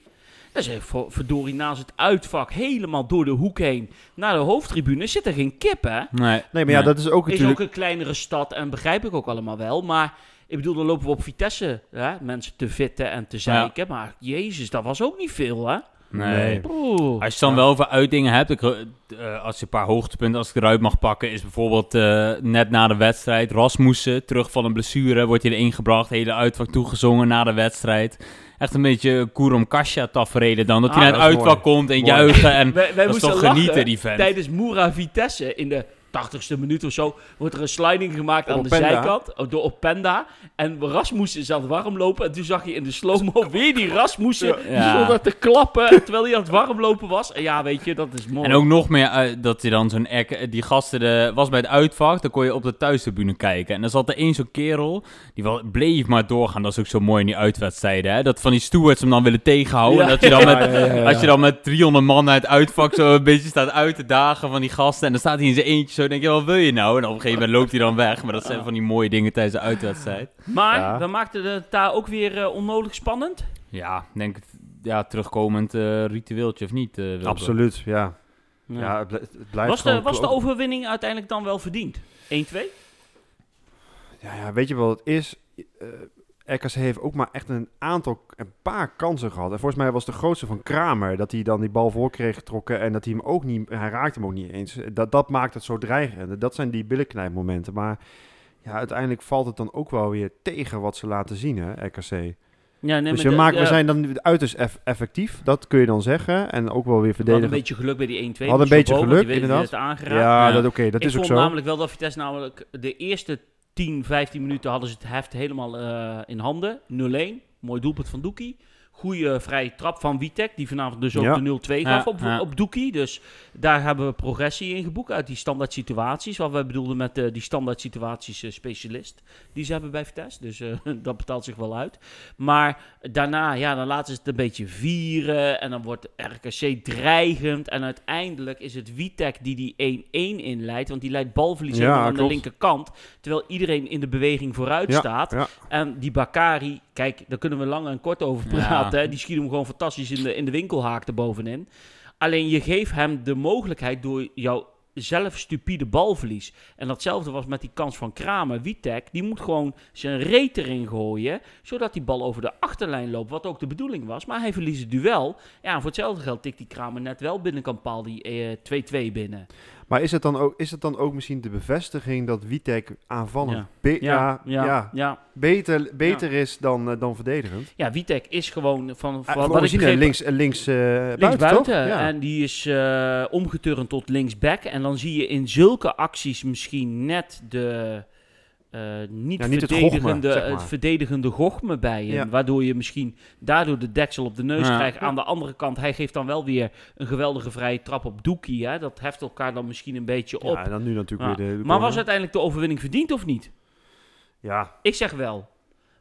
C: Dat is even voor- verdorie naast het uitvak, helemaal door de hoek heen naar de hoofdtribune, zit er geen kip, hè?
D: Nee,
B: Nee, maar ja, dat is ook
C: Is ook
B: natuurlijk...
C: een kleinere stad en begrijp ik ook allemaal wel, maar ik bedoel, dan lopen we op Vitesse, hè? mensen te vitten en te zeiken, maar jezus, dat was ook niet veel, hè?
D: nee.
C: Oeh.
D: Als je dan wel over uitdingen hebt, ik, eh, als je een paar hoogtepunten als ik eruit mag pakken, is bijvoorbeeld eh, net na de wedstrijd Rasmussen, terug van een blessure, wordt hij erin gebracht, hele uitvak toegezongen na de wedstrijd. Echt een beetje Kurum Kasia tafereel dan, dat hij
C: Ah,
D: naar het
B: dat is
D: uitvak komt en
B: Mooi.
D: juichen en
C: Wij, wij
D: dat is
C: moesten
D: toch
C: lachen
D: genieten die vent.
C: tijdens Moera Vitesse in de 80ste minuut of zo wordt er een sliding gemaakt aan de
B: Openda.
C: zijkant oh, door Openda. En Rasmussen is aan het warmlopen. En toen zag je in de slow-mo weer die Rasmussen
D: Ja.
C: die stond daar te klappen terwijl hij aan het warmlopen was. En ja, weet je, dat is mooi.
D: En ook nog meer eh, dat hij dan zo'n erk- die gasten de, was bij het uitvak, dan kon je op de thuistribune kijken. En dan zat er één zo'n kerel, die wel, bleef maar doorgaan. Dat is ook zo mooi in die uitwedstrijden, hè? Dat van die stewards hem dan willen tegenhouden.
C: Ja.
D: En dat je dan met,
B: Ja, ja, ja, ja.
D: als je dan met 300 man naar het uitvak zo een beetje staat uit te dagen van die gasten. En dan staat hij in zijn eentje zo, denk je, wat wil je nou? En op een gegeven moment loopt hij dan weg. Maar dat zijn van die mooie dingen tijdens de uitwedstrijd.
C: maar
B: Ja.
C: we maakten het daar ook weer eh, onnodig spannend.
D: Ja, denk het, ja, terugkomend eh, ritueeltje of niet? eh, Wilbert?
B: Absoluut, ja. Ja, het bl- het blijft
C: was, de,
B: gewoon
C: was de
B: kloten.
C: overwinning uiteindelijk dan wel verdiend? 1-2?
B: Ja, ja, weet je wat het is? Eh RKC heeft ook maar echt een aantal, een paar kansen gehad. En volgens mij was de grootste van Kramer dat hij dan die bal voor kreeg getrokken en dat hij hem ook niet, hij raakte hem ook niet eens. Dat, dat maakt het zo dreigend. Dat zijn die billenknijpmomenten. Maar ja, uiteindelijk valt het dan ook wel weer tegen wat ze laten zien, hè, RKC.
C: Ja,
B: dus
C: nee, maar
B: je
C: de-
B: maakt, we
C: de-
B: zijn dan uiterst eff- effectief, dat kun je dan zeggen. En ook wel weer
C: we hadden
B: verdedigen.
C: een beetje geluk bij die 1-2.
B: We hadden een
C: met
B: beetje
C: Sobo, want
B: geluk,
C: die werd- die
B: inderdaad.
C: werd aangeraakt.
B: ja,
D: Ja.
B: dat, oké, dat is
C: ik
B: ook
C: vond
B: zo.
C: namelijk wel dat Vitesse namelijk de eerste 10, 15 minuten hadden ze het heft helemaal eh, in handen. 0-1, mooi doelpunt van Doekie. goede vrije trap van Witek. Die vanavond dus ook
B: Ja.
C: de 0-2
D: Ja,
C: gaf op,
D: ja.
C: op Doekie. Dus daar hebben we progressie in geboekt uit die standaard situaties. Wat wij bedoelden met eh, die standaard situaties eh, specialist. Die ze hebben bij Vitesse. Dus eh, dat betaalt zich wel uit. Maar daarna, ja, dan laten ze het een beetje vieren. En dan wordt RKC dreigend. En uiteindelijk is het Witek die die 1-1 inleidt. Want die leidt balverlies
B: Ja,
C: helemaal aan de
B: klopt.
C: linkerkant. Terwijl iedereen in de beweging vooruit
B: Ja,
C: staat.
B: ja.
C: En Ehm, die Bakari, kijk, daar kunnen we lang en kort over
D: Ja.
C: praten. Hè? Die schiet hem gewoon fantastisch in de, in de winkelhaak erbovenin. Alleen je geeft hem de mogelijkheid door jouw zelf stupide balverlies. En datzelfde was met die kans van Kramer. Witek, die moet gewoon zijn reet erin gooien, zodat die bal over de achterlijn loopt, wat ook de bedoeling was. Maar hij verliest het duel. Ja, en voor hetzelfde geld tikt die Kramer net wel binnenkant paal die eh, 2-2 binnen.
B: Maar is het, dan ook, is het dan ook misschien de bevestiging dat Witek aanvallend
C: Ja.
B: be- ja, ja,
C: ja.
B: beter, beter is dan, eh, dan verdedigend?
C: ja Witek is gewoon van...
B: Eh,
C: van
B: voor
C: wat ik
B: Origine
C: begreep-
B: links, eh, links, eh, buiten,
C: Linksbuiten.
B: toch? Ja.
C: En die is eh, omgeturnd tot linksback. En dan zie je in zulke acties misschien net de. eh, niet,
B: Ja, niet het
C: verdedigende,
B: gochme, zeg maar.
C: het verdedigende gochme bij hem.
B: Ja.
C: Waardoor je misschien daardoor de deksel op de neus
D: Ja.
C: krijgt. Aan de andere kant, hij geeft dan wel weer een geweldige vrije trap op Doekie. Hè? Dat heft elkaar dan misschien een beetje op.
B: Ja, en dan nu natuurlijk
C: Ja.
B: weer de, de
C: maar
B: corner.
C: was uiteindelijk de overwinning verdiend of niet?
B: Ja,
C: Ik zeg wel.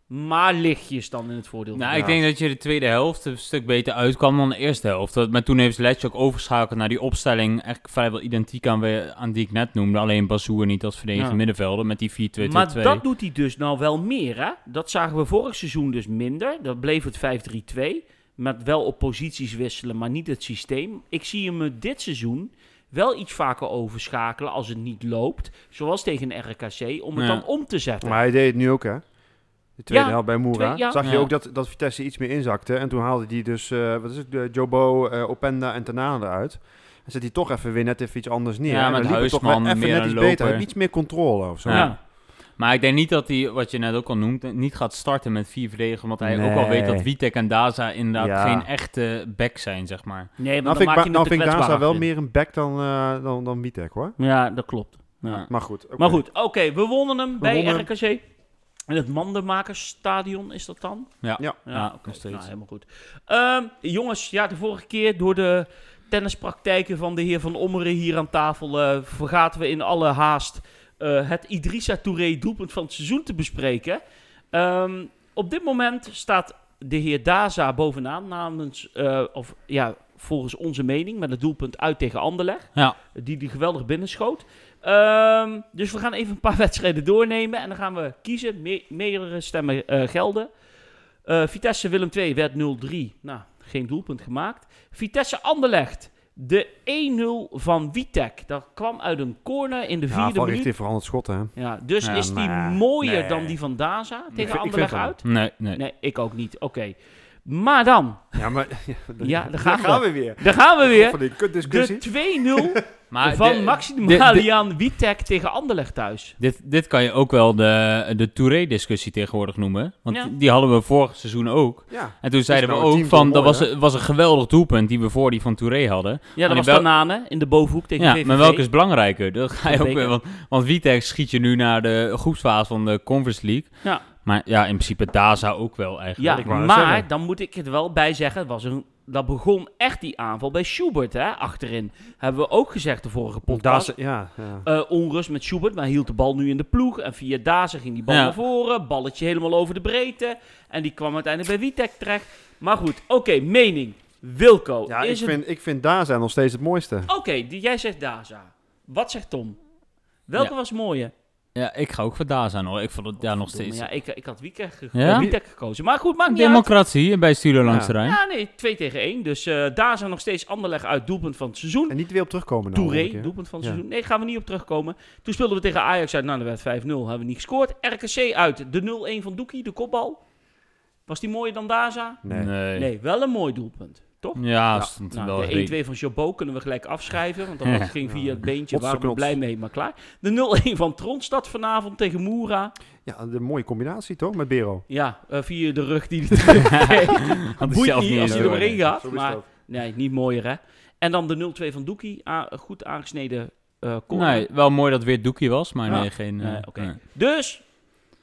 C: Maar lichtjes dan in het voordeel.
D: Nou,
C: van-
D: ik denk dat je de tweede helft een stuk beter uitkwam dan de eerste helft. Dat- Maar toen heeft Letch ook overschakeld naar die opstelling. Eigenlijk vrijwel identiek aan, we- aan die ik net noemde. Alleen Bazoer niet als verdedigend
C: Ja.
D: middenvelder met die 4-2-2-2.
C: Maar dat doet hij dus nou wel meer, hè? Dat zagen we vorig seizoen dus minder. Dat bleef het 5-3-2. Met wel op posities wisselen, maar niet het systeem. Ik zie hem eh, dit seizoen wel iets vaker overschakelen als het niet loopt. Zoals tegen RKC, om het
D: Ja.
C: dan om te zetten.
B: maar hij deed het nu ook, hè? De tweede
C: Ja,
B: helft bij Moera.
C: twee- ja.
B: Zag je
D: Ja.
B: ook dat, dat Vitesse iets meer inzakte. En toen haalde hij dus, eh, wat is het, eh, Jobo, eh, Openda en Tanaan eruit. En zet hij toch even weer net even iets anders neer.
D: Ja,
B: En
D: met
B: dan liep het toch
D: Huisman,
B: wel even
D: meer
B: net
D: een
B: iets beter.
D: loper.
B: Iets meer controle of zo.
D: Ja. Maar ik denk niet dat hij, wat je net ook al noemt, niet gaat starten met vier verdedigers. Omdat hij ook al
B: Nee.
D: weet dat Witek en Daza inderdaad
B: Ja.
D: geen echte back zijn, zeg maar.
C: Nee,
B: Nou
C: want dan
B: vind ik,
C: maak
B: ba-
C: je
B: nou
C: het
B: vind ik
C: kwetsbaar.
B: Daza wel meer een back dan, eh dan, dan Witek, hoor.
C: Ja, dat klopt. Ja.
D: Ja.
B: Maar goed. oké.
C: Maar goed, oké, we wonnen hem bij
B: wonnen hem.
C: RKC. In het Mandenmakersstadion is dat dan?
D: Ja,
B: Ja.
D: Ja,
C: oké.
D: nog steeds.
C: Nou, helemaal goed. Ehm, jongens, ja, de vorige keer door de tennispraktijken van de heer Van Ommeren hier aan tafel... eh, vergaten we in alle haast eh, het Idrissa Touré doelpunt van het seizoen te bespreken. Ehm, op dit moment staat de heer Daza bovenaan namens... eh, of ja, volgens onze mening met het doelpunt uit tegen Anderlecht.
D: Ja.
C: Die die geweldig binnenschoot. Ehm, dus we gaan even een paar wedstrijden doornemen. En dan gaan we kiezen. Me- meerdere stemmen eh, gelden. Eh, Vitesse Willem 2 werd 0-3. Nou, geen doelpunt gemaakt. Vitesse Anderlecht. De 1-0 van Witek. Dat kwam uit een corner in de
B: Ja,
C: vierde
B: van
C: minuut.
B: richting veranderd schot, hè.
C: Ja, dus
D: Ja,
C: is die
B: maar-
C: mooier
B: nee.
C: dan die van Daza
B: vind- ik
C: tegen
B: vind
C: Anderlecht
B: het wel.
C: uit?
D: Nee, nee.
C: Nee, ik ook niet. Oké. Maar dan,
B: Ja, maar...
C: Ja, daar gaan we.
B: weer.
C: daar gaan we weer.
B: Van die kutdiscussie.
C: Ah, De 2-0
D: Maar
C: van
D: de- de- de-
C: Maximilian Witek tegen Anderlecht thuis.
D: Dit, dit kan je ook wel de, de Touré-discussie tegenwoordig noemen. Want
C: Ja.
D: die hadden we vorig seizoen ook.
B: Ja.
D: En toen zeiden
B: nou
D: we
B: een
D: ook
B: team
D: van,
B: van
D: dat
B: mooi,
D: was, was een geweldig doelpunt die we voor die van Touré hadden.
C: Ja, dat
D: in
C: was
D: wel-
C: Tanane in de bovenhoek tegen
D: Ja,
C: VVV.
D: maar welke is belangrijker? Dat ga je
C: Dat
D: ook,
C: weet ik.
D: want, want Witek schiet je nu naar de groepsfase van de Conference League.
C: Ja.
D: Maar ja, in principe Daza ook wel eigenlijk.
C: Ja,
B: Ik wou net
C: maar
B: zeggen.
C: dan moet ik het wel bij zeggen. het Was een, dat begon echt die aanval bij Schubert, hè, achterin. Hebben we ook gezegd de vorige podcast.
B: Daza, ja, ja.
C: Eh, onrust met Schubert, maar hield de bal nu in de ploeg. En via Dazen ging die bal
D: Ja.
C: naar voren. Balletje helemaal over de breedte. En die kwam uiteindelijk bij Witek terecht. Maar goed, oké, mening. Wilco.
B: Ja, ik
C: is het... Oh,
B: vind, ik vind Daza nog steeds het mooiste.
C: Oké, die- jij zegt Daza. Wat zegt Tom? Welke
D: Ja.
C: was mooier?
D: Ja, ik ga ook voor Daza nog. Ik vond het daar nog steeds.
C: Ja, ik, ik had Witek, geko-
D: Ja?
C: eh, Witek gekozen. Maar goed, maakt niet uit.
D: Democratie bij Studio Langs de Rijn.
C: Ja, nee, 2 tegen 1. Dus eh daar zijn nog steeds Anderlecht uit doelpunt van het seizoen.
B: En niet weer op terugkomen. nou, volgende
C: Touré,
B: keer.
C: doelpunt van het
B: Ja.
C: seizoen. Nee, gaan we niet op terugkomen. Toen speelden we tegen Ajax uit. Nou, dat werd 5-0. Hebben we niet gescoord. RKC uit. De 0-1 van Doekie, de kopbal. Was die mooier dan Daza?
B: Nee.
D: Nee.
C: Nee, wel een mooi doelpunt. Toch?
D: Ja, stond er wel
C: Nou,
D: redelijk-
C: de 1-2 van Jobbo kunnen we gelijk afschrijven. Want dat ging via het beentje.
B: Hotse
C: Waren we
B: knots.
C: blij mee, maar klaar. De 0-1 van Tronstad vanavond tegen Moera.
B: Ja, de mooie combinatie toch met Bero.
C: Ja, eh, via de rug die hij terugkreeg.
D: Had hij
C: Boeit
D: zelf
C: niet
D: niet
C: als hij
D: eens
C: doorheen
D: door,
C: gaat. Maar eh, nee, niet mooier hè. En dan de 0-2 van Doekie. a- goed aangesneden eh corner.
D: Nee, wel mooi dat het weer Doekie was, maar
C: Ja.
D: nee, geen... eh,
C: Nee, oké.
D: nee.
C: Dus,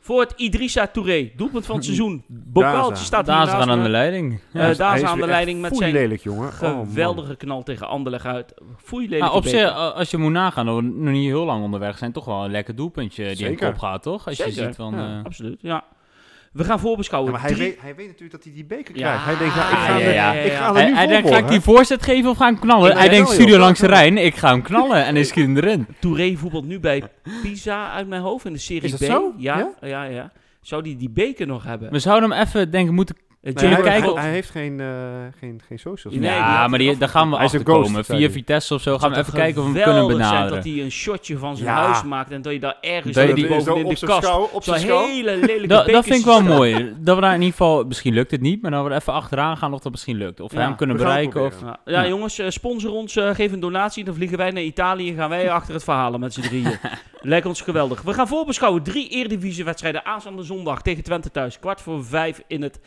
C: Voor het Idrissa Touré. Doelpunt van het seizoen. Bokaaltje
B: Daza.
C: staat hier
D: Daar is
C: naast
D: aan
C: me.
D: de leiding.
C: Eh,
B: Ja,
C: daar
B: hij
C: is
B: is
C: aan de
B: weer
C: lelijk, met
B: Foei
C: zijn
B: lelijk, jongen. Oh, man.
C: geweldige knal tegen Anderlecht uit. Foei lelijk.
D: Nou, op zich, a- als je moet nagaan, dat we nog niet heel lang onderweg zijn, toch wel een lekker doelpuntje die
B: Zeker.
D: hem opgaat, toch? Als je
C: Zeker,
D: ziet van...
B: ja.
D: eh,
C: Absoluut, ja. We gaan
B: Ja,
C: voorbeschouwen.
B: maar hij,
C: Drie-
B: weet, hij weet natuurlijk dat hij die beker
C: Ja.
B: krijgt. Hij denkt, nou, ik
D: Ah,
B: ga,
D: ja,
B: er,
D: ja,
B: Ik
C: ja.
B: ga er
D: hij
B: nu
D: hij
B: voor
D: denkt, ga ik
B: worden.
D: die voorzet geven of ga ik hem knallen?
B: Ja,
D: hij denkt,
B: wel,
D: studio
B: joh.
D: langs de Rijn, ik ga hem knallen. En hij schiet hem erin.
C: Touré voetbalt nu bij Pisa uit mijn hoofd in de Serie
B: Is dat
C: B.
B: zo?
C: Ja, ja, ja. Zou die die beker nog hebben?
D: We zouden hem even, denk ik, moeten...
B: Nee,
C: Eh, Jay
B: hij,
D: kijken
B: hij-
D: op-
B: hij heeft geen, eh, geen, geen socials.
C: Nee, die had
D: ja, maar die,
C: hij
D: daar gaan we
B: Hij is een
D: achter
B: ghost,
D: komen.
B: zei
D: Via
B: hij.
D: Vitesse of zo gaan we
C: Zou
D: even
C: toch
D: kijken of we hem kunnen
C: geweldig zijn
D: benaderen.
C: dat hij een shotje van zijn
B: Ja.
C: huis maakt en dat je daar ergens
D: Dat je
C: zo
D: die-
B: Zo
C: bovenin
B: op
C: de
B: zijn
C: kast
B: schouw, op
C: zo'n
B: zijn schouw.
C: hele lelijke
D: Dat, dat
C: bekertje
D: vind ik wel
C: staat.
D: mooi. Dat we daar in ieder geval, misschien lukt het niet, maar dat we er even achteraan gaan of dat misschien lukt. Of we
C: Ja.
D: hem kunnen
B: We gaan het
D: bereiken. Of...
B: proberen.
C: Ja, ja,
D: Ja.
C: jongens, eh, sponsor ons, eh, geef een donatie, dan vliegen wij naar Italië en gaan wij achter het verhalen met z'n drieën. Lijkt ons geweldig. We gaan voorbeschouwen drie Eredivisie-wedstrijden aanstaande zondag tegen Twente thuis. Kwart voor vijf in het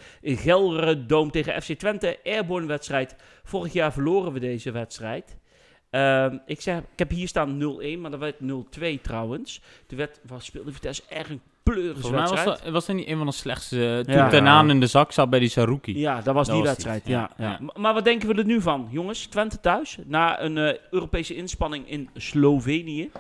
C: Gelredoom tegen FC Twente. Airborne-wedstrijd. Vorig jaar verloren we deze wedstrijd. Ehm, ik, zeg, ik heb hier staan 0-1, maar dat werd 0-2 trouwens. Toen werd, was, speelde Vitesse echt een
D: Volgens mij was
C: pleuriswedstrijd.
D: dat, was dat niet een van de slechtste. eh, Toen
C: Ja.
D: Ten Haan in de zak zat bij die Saruki.
C: Ja, dat was
D: Dat
C: die
D: was die,
C: wedstrijd.
D: ja,
C: ja, ja.
D: ja.
C: M- Maar wat denken we er nu van, jongens? Twente thuis, na een eh, Europese inspanning in Slovenië.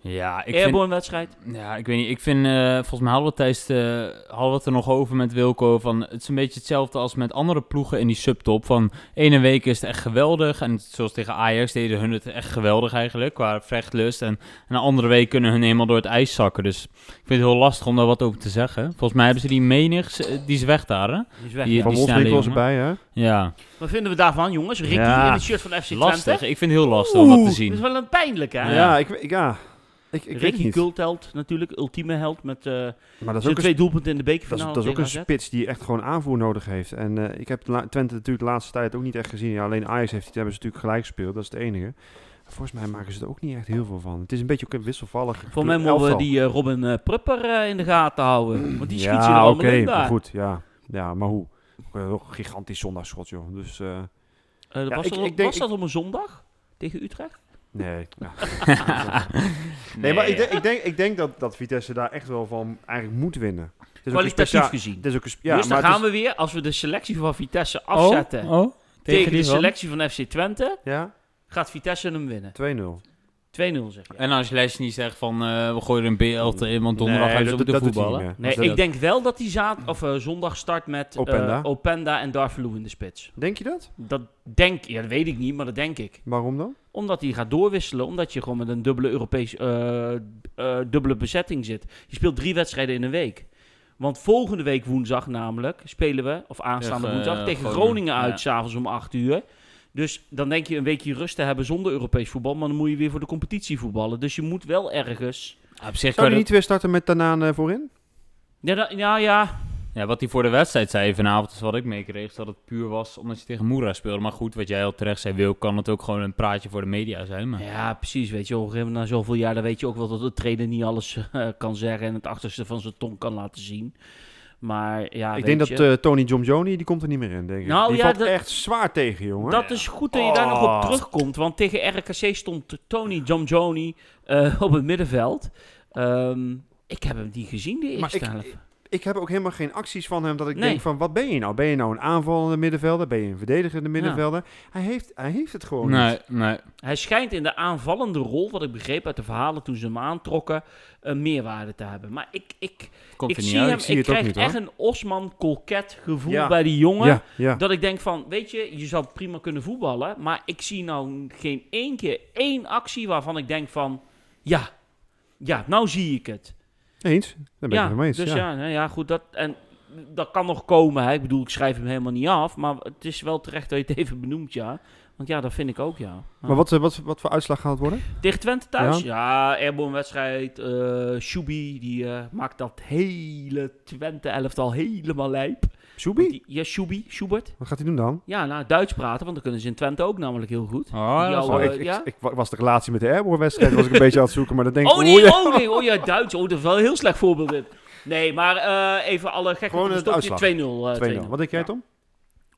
D: Ja, ik vind,
C: Airborne-wedstrijd.
D: ja, ik weet niet. Ik vind, eh, volgens mij hadden we, het tijdens de- hadden we het er nog over met Wilco. Van, het is een beetje hetzelfde als met andere ploegen in die subtop. Van ene week is het echt geweldig. En zoals tegen Ajax deden hun het echt geweldig eigenlijk. Qua vechtlust. En, en een andere week kunnen hun helemaal door het ijs zakken. Dus ik vind het heel lastig om daar wat over te zeggen. Volgens mij hebben ze die menigs, eh, die is weg daar hè?
C: Die is weg,
D: Die-
C: ja.
B: Van
D: snelle
B: Wolfswinkel is
D: jongen.
B: erbij, hè?
D: Ja,
C: Wat vinden we daarvan, jongens? Ricky
B: Ja.
C: in het shirt van FC Twente.
D: lastig. Ik vind het heel lastig om dat te
C: Dat is
D: zien.
C: wel een pijnlijk, hè?
B: Ja,
D: Ja.
B: ik, ik, ja. ik, ik weet
C: Ricky
B: niet.
C: Kultheld, natuurlijk. Ultieme held met eh,
B: Maar dat is
C: zijn
B: ook een,
C: twee doelpunten in de
B: dat is,
C: bekerfinale
B: dat is ook een
C: tegen AZ.
B: spits die echt gewoon aanvoer nodig heeft. En eh, ik heb la- Twente natuurlijk de laatste tijd ook niet echt gezien. Ja, alleen Ajax heeft, die hebben ze natuurlijk gelijk gespeeld. Dat is het enige. Volgens mij maken ze er ook niet echt heel veel van. Het is een beetje ook een wisselvallig
C: Voor mij moeten we
B: elftal.
C: die eh, Robin eh, Prupper eh, in de gaten houden. Want die schiet ze er
B: Ja,
C: allemaal
B: oké,
C: in
B: maar
C: daar.
B: goed, ja. Ja, maar hoe? Ook wel Een gigantisch zondagschot, joh. Dus, eh,
C: Eh,
B: Ja,
C: was
B: ik-
C: dat,
B: ik denk-
C: was dat op een zondag? Tegen Utrecht?
B: nee. Ja. Nee,
C: eh,
B: maar ik, denk- ik denk, ik denk dat, dat Vitesse daar echt wel van eigenlijk moet winnen. Het is ook een
C: Kwalitatief
B: specia-
C: gezien.
B: Het is ook een spe- ja,
C: dus dan
B: maar het
C: gaan
B: is-
C: we weer, als we de selectie van Vitesse
D: Oh,
C: afzetten
D: Oh,
C: tegen, de
D: die van?
C: selectie van FC Twente,
B: Ja,
C: gaat Vitesse hem winnen.
B: 2-0.
C: 2-0 zeg
B: Eh,
C: je.
D: En als Lesje niet zegt van eh, we gooien een BLT in, want donderdag
B: Nee,
D: hebben ze
B: dat-
D: ook de
B: dat doet hij
D: voetballen.
B: niet meer.
C: Nee,
B: Dat-
C: ik denk wel dat hij za- of, eh, zondag start met eh,
B: Openda.
C: Openda en Darvalu in de spits.
B: Denk je dat?
C: Dat denk ja, dat weet ik niet, maar dat denk ik.
B: Waarom dan?
C: Omdat hij gaat doorwisselen, omdat je gewoon met een dubbele Europese eh, eh, dubbele bezetting zit. Je speelt drie wedstrijden in een week. Want volgende week woensdag namelijk spelen we, of aanstaande
D: Tegen,
C: woensdag,
D: eh,
C: tegen Groningen,
D: Groningen.
C: uit,
D: Ja.
C: s'avonds om 8 uur. Dus dan denk je een weekje rust te hebben zonder Europees voetbal, maar dan moet je weer voor de competitie voetballen. Dus je moet wel ergens...
D: Ja, op zich
B: Zou
D: kan
B: je
D: het-
B: niet weer starten met Tanaan eh, voorin?
C: Ja, da- ja, ja.
D: ja, wat hij voor de wedstrijd zei vanavond, is wat ik meekreeg, is dat het puur was omdat hij tegen Moera speelde. Maar goed, wat jij al terecht zei, wil, kan het ook gewoon een praatje voor de media zijn. Maar...
C: ja, precies. Weet je, op een gegeven moment na zoveel jaar, dan weet je ook wel dat de trainer niet alles eh, kan zeggen en het achterste van zijn tong kan laten zien. Maar ja,
B: ik
C: Ah, weet
B: denk dat
C: je.
B: eh, Tony Jomjoni, die komt er niet meer in, denk ik.
C: Nou,
B: die
C: ja,
B: valt
C: dat-
B: echt zwaar tegen, jongen.
C: Dat is goed dat je daar nog op
B: Oh.
C: terugkomt. Want tegen RKC stond Tony Jomjoni eh op het middenveld. Ehm, ik heb hem niet gezien, de
B: Maar
C: eerste
B: ik-
C: helft.
B: Ik heb ook helemaal geen acties van hem dat ik
C: Nee.
B: denk van, wat ben je nou? Ben je nou een aanvallende middenvelder? Ben je een verdedigende middenvelder? Hij, heeft, hij heeft het gewoon
D: nee,
B: niet.
D: nee.
C: Hij schijnt in de aanvallende rol, wat ik begreep uit de verhalen toen ze hem aantrokken, een meerwaarde te hebben. Maar ik, ik,
D: Komt
C: ik
D: er niet
C: zie
D: uit.
C: hem,
B: Ik
C: ik,
B: zie het ook
C: krijg
B: niet, hoor.
C: echt een Osman-Kolket gevoel
B: Ja.
C: bij die jongen.
B: Ja, ja.
C: Dat ik denk van, weet je, je zou prima kunnen voetballen, maar ik zie nou geen één keer één actie waarvan ik denk van, ja, ja, nou zie ik het.
B: Eens? Daar ben ik het mee eens.
C: dus
B: ja.
C: ja, nou ja, goed, dat, en dat kan nog komen. Hè. Ik bedoel, ik schrijf hem helemaal niet af, maar het is wel terecht dat je het even benoemt, ja. Want ja, dat vind ik ook, ja. Ja.
B: Maar wat, eh, wat, wat voor uitslag gaat het worden?
C: Tegen Twente thuis? Ja, Airborne wedstrijd. eh Shubi, die eh, maakt dat hele Twente-elftal helemaal lijp. Want
B: Schubi?
C: die- Ja, Shubi, Schubert.
B: Wat gaat hij doen dan?
C: Ja, nou, Duits praten, want dan kunnen ze in Twente ook namelijk heel goed.
D: Oh,
C: Die
D: dat is
C: oude-
B: Oh,
D: wel-
B: ik, ik-
C: eh, ja?
B: ik wa- was de relatie met de Airborne-wedstrijd was ik een beetje aan het zoeken, maar dat denk ik...
C: Oh nee,
B: oei,
C: oh nee, oh ja, Duits. Oh, dat is wel een heel slecht voorbeeld dit. Nee, maar eh, even alle gekke
B: Gewoon
C: op de
B: de
C: stokje. 2-0. eh,
B: 2-0. Wat denk jij,
C: Ja,
B: Tom?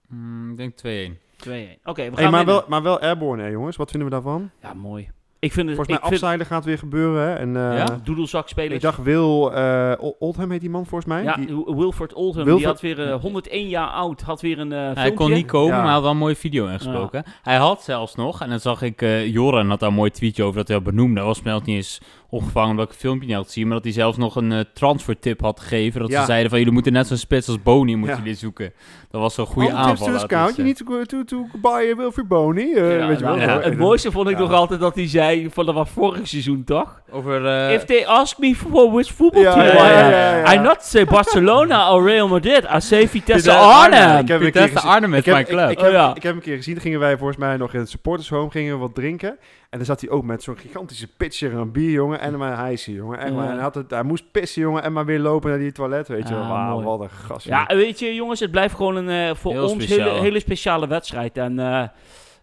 D: Mm, ik denk 2-1.
C: 2-1. Oké, we gaan
B: Hey, maar,
C: winnen.
B: wel, maar wel Airborne, hè, jongens. Wat vinden we daarvan?
C: Ja, mooi. Ik vind
B: Volgens
C: het...
B: mij
C: Dus ik vind,
B: afzeilen gaat weer gebeuren. Hè? En, eh,
D: Ja?
C: doedelzak
B: Ik
C: spelers.
B: dacht Wil eh, O- Oldham heet die man volgens mij.
C: ja,
B: Die-
C: Wilford Oldham, die
B: Wilford-
C: had weer eh, 101 jaar oud, had weer een eh
D: Hij kon
C: filmpje.
D: niet komen,
B: Ja.
D: maar hij had wel een mooie video ingesproken. Hij had zelfs nog, en dan zag ik, eh, Joran had daar een mooi tweetje over dat hij had benoemd. Dat was mij nog niet eens opgevangen omdat ik het filmpje niet had zien. Maar dat hij zelfs nog een eh, transfertip had gegeven. Dat
B: Ja.
D: ze zeiden van, jullie moeten net zo'n spits als Boni moeten
B: Ja.
D: jullie zoeken. Dat was zo'n goede
B: Alle tips
D: aanval. eh,
B: to the
D: laten we
B: scout. You
D: zeggen.
B: need to, go- to, to buy a Wilfried Boney. eh,
C: eh. Ja,
B: weet je wel.
C: nou,
D: ja.
C: Het mooiste vond ik nog altijd dat hij zei, van dat was vorig seizoen toch?
D: Over, eh,
C: If they ask me for which football
B: Ja,
C: team
B: ja,
C: I am,
B: ja, ja, ja.
C: I not say Barcelona or Real Madrid, I say Vitesse
D: Vitesse
C: Arnhem.
B: Ik heb een keer
D: Vitesse
B: gezien-
D: Arnhem is
B: Ik heb,
D: mijn club.
B: Ik, ik heb,
C: Oh, ja.
B: ik heb hem een keer gezien, dan gingen wij volgens mij nog in het supporters home gingen we wat drinken. En dan zat hij ook met zo'n gigantische pitcher en bier, jongen. En maar hij is hier, jongen. En maar,
C: Ja.
B: hij, had het, hij moest pissen, jongen. En maar weer lopen naar die toilet, weet je wel.
C: Ah,
B: Wauw,
C: mooi.
B: wat een gast.
C: Ja,
B: jongen.
C: en weet je jongens, het blijft gewoon een eh, voor
D: Heel
C: ons
D: speciaal.
C: hele, hele speciale wedstrijd. En eh,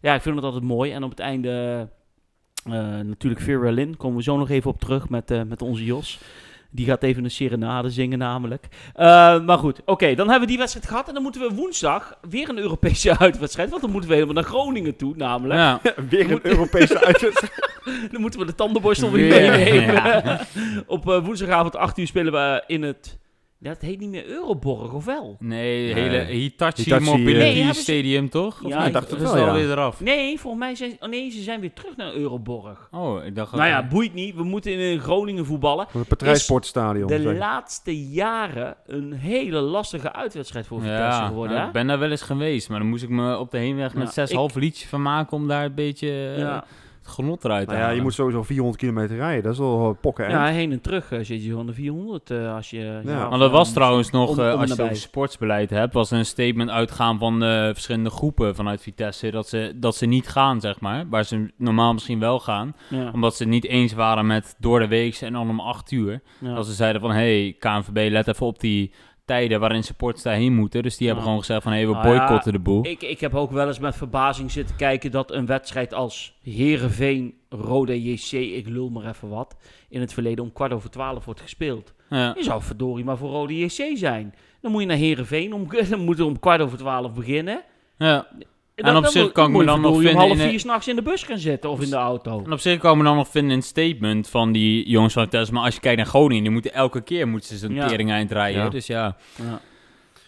C: ja, ik vind het altijd mooi. En op het einde eh, natuurlijk Vera Lynn, komen we zo nog even op terug met, eh, met onze Jos. Die gaat even een serenade zingen namelijk. Eh, maar goed, oké, dan hebben we die wedstrijd gehad. En dan moeten we woensdag weer een Europese uitwedstrijd. Want dan moeten we helemaal naar Groningen toe namelijk.
D: ja.
B: weer een Europese uitzending.
C: Dan moeten we de tandenborstel weer
D: Weer.
C: meenemen. Op eh, woensdagavond 8 uur spelen we eh, in het... Ja, dat heet niet meer Euroborg, of wel?
D: Nee,
B: Nee.
D: hele Hitachi,
B: Hitachi, eh,
D: Mobility
C: Nee, hebben ze-
D: Stadium, toch? Of
C: Ja,
D: niet?
C: ik dacht
B: het
D: Dat is
B: wel, ja.
D: alweer eraf.
C: Nee, volgens mij zijn... Oh nee, ze zijn weer terug naar Euroborg.
D: Oh, ik dacht...
C: Nou ja, boeit niet. We moeten in eh, Groningen voetballen.
B: Een patrijsportstadion.
C: De
B: zeg.
C: laatste jaren een hele lastige uitwedstrijd voor Vitesse
D: Ja,
C: geworden,
D: nou,
C: hè?
D: ik ben daar wel eens geweest, maar dan moest ik me op de heenweg
C: Ja,
D: met zes
C: ik-
D: half liedje van maken om daar een beetje eh,
C: Ja.
D: het genot eruit te
B: Nou ja, je
D: halen.
B: moet sowieso 400 kilometer rijden. Dat is wel eh, pokken. hè?
C: ja, heen en terug eh, zit je van de 400 eh, als je... Ja,
D: Maar dat was
C: eh,
D: trouwens nog,
C: om-
D: eh,
C: om en
D: als je het
C: nabij.
D: over sportsbeleid hebt, was er een statement uitgaan van eh, verschillende groepen vanuit Vitesse dat ze, dat ze niet gaan, zeg maar. Waar ze normaal misschien wel gaan,
C: Ja,
D: omdat ze het niet eens waren met door de week en dan om acht uur.
C: ja.
D: Als ze zeiden van, hey, KNVB, let even op die tijden waarin supporters daarheen moeten. Dus die hebben
C: Ja.
D: gewoon gezegd van, hey, we
C: Ah, ja,
D: boycotten de boel.
C: Ik, ik heb ook wel eens met verbazing zitten kijken dat een wedstrijd als Herenveen, Rode JC, ik lul maar even wat, in het verleden om kwart over twaalf wordt gespeeld.
D: Ja.
C: Je zou verdorie maar voor Rode JC zijn. Dan moet je naar Herenveen, om, dan moet je om kwart over twaalf beginnen.
D: Ja.
C: En,
D: op zich kan ik me dan nog
C: om
D: vinden
C: half
D: in een-
C: vier s'nachts in de bus gaan zitten of in de auto.
D: En op zich kan ik me dan nog vinden in het statement van die jongens van Vitesse. Maar als je kijkt naar Groningen, die moeten elke keer moeten ze zijn
C: Ja.
D: tering eind rijden.
B: Ja.
D: Dus ja.
C: Ja.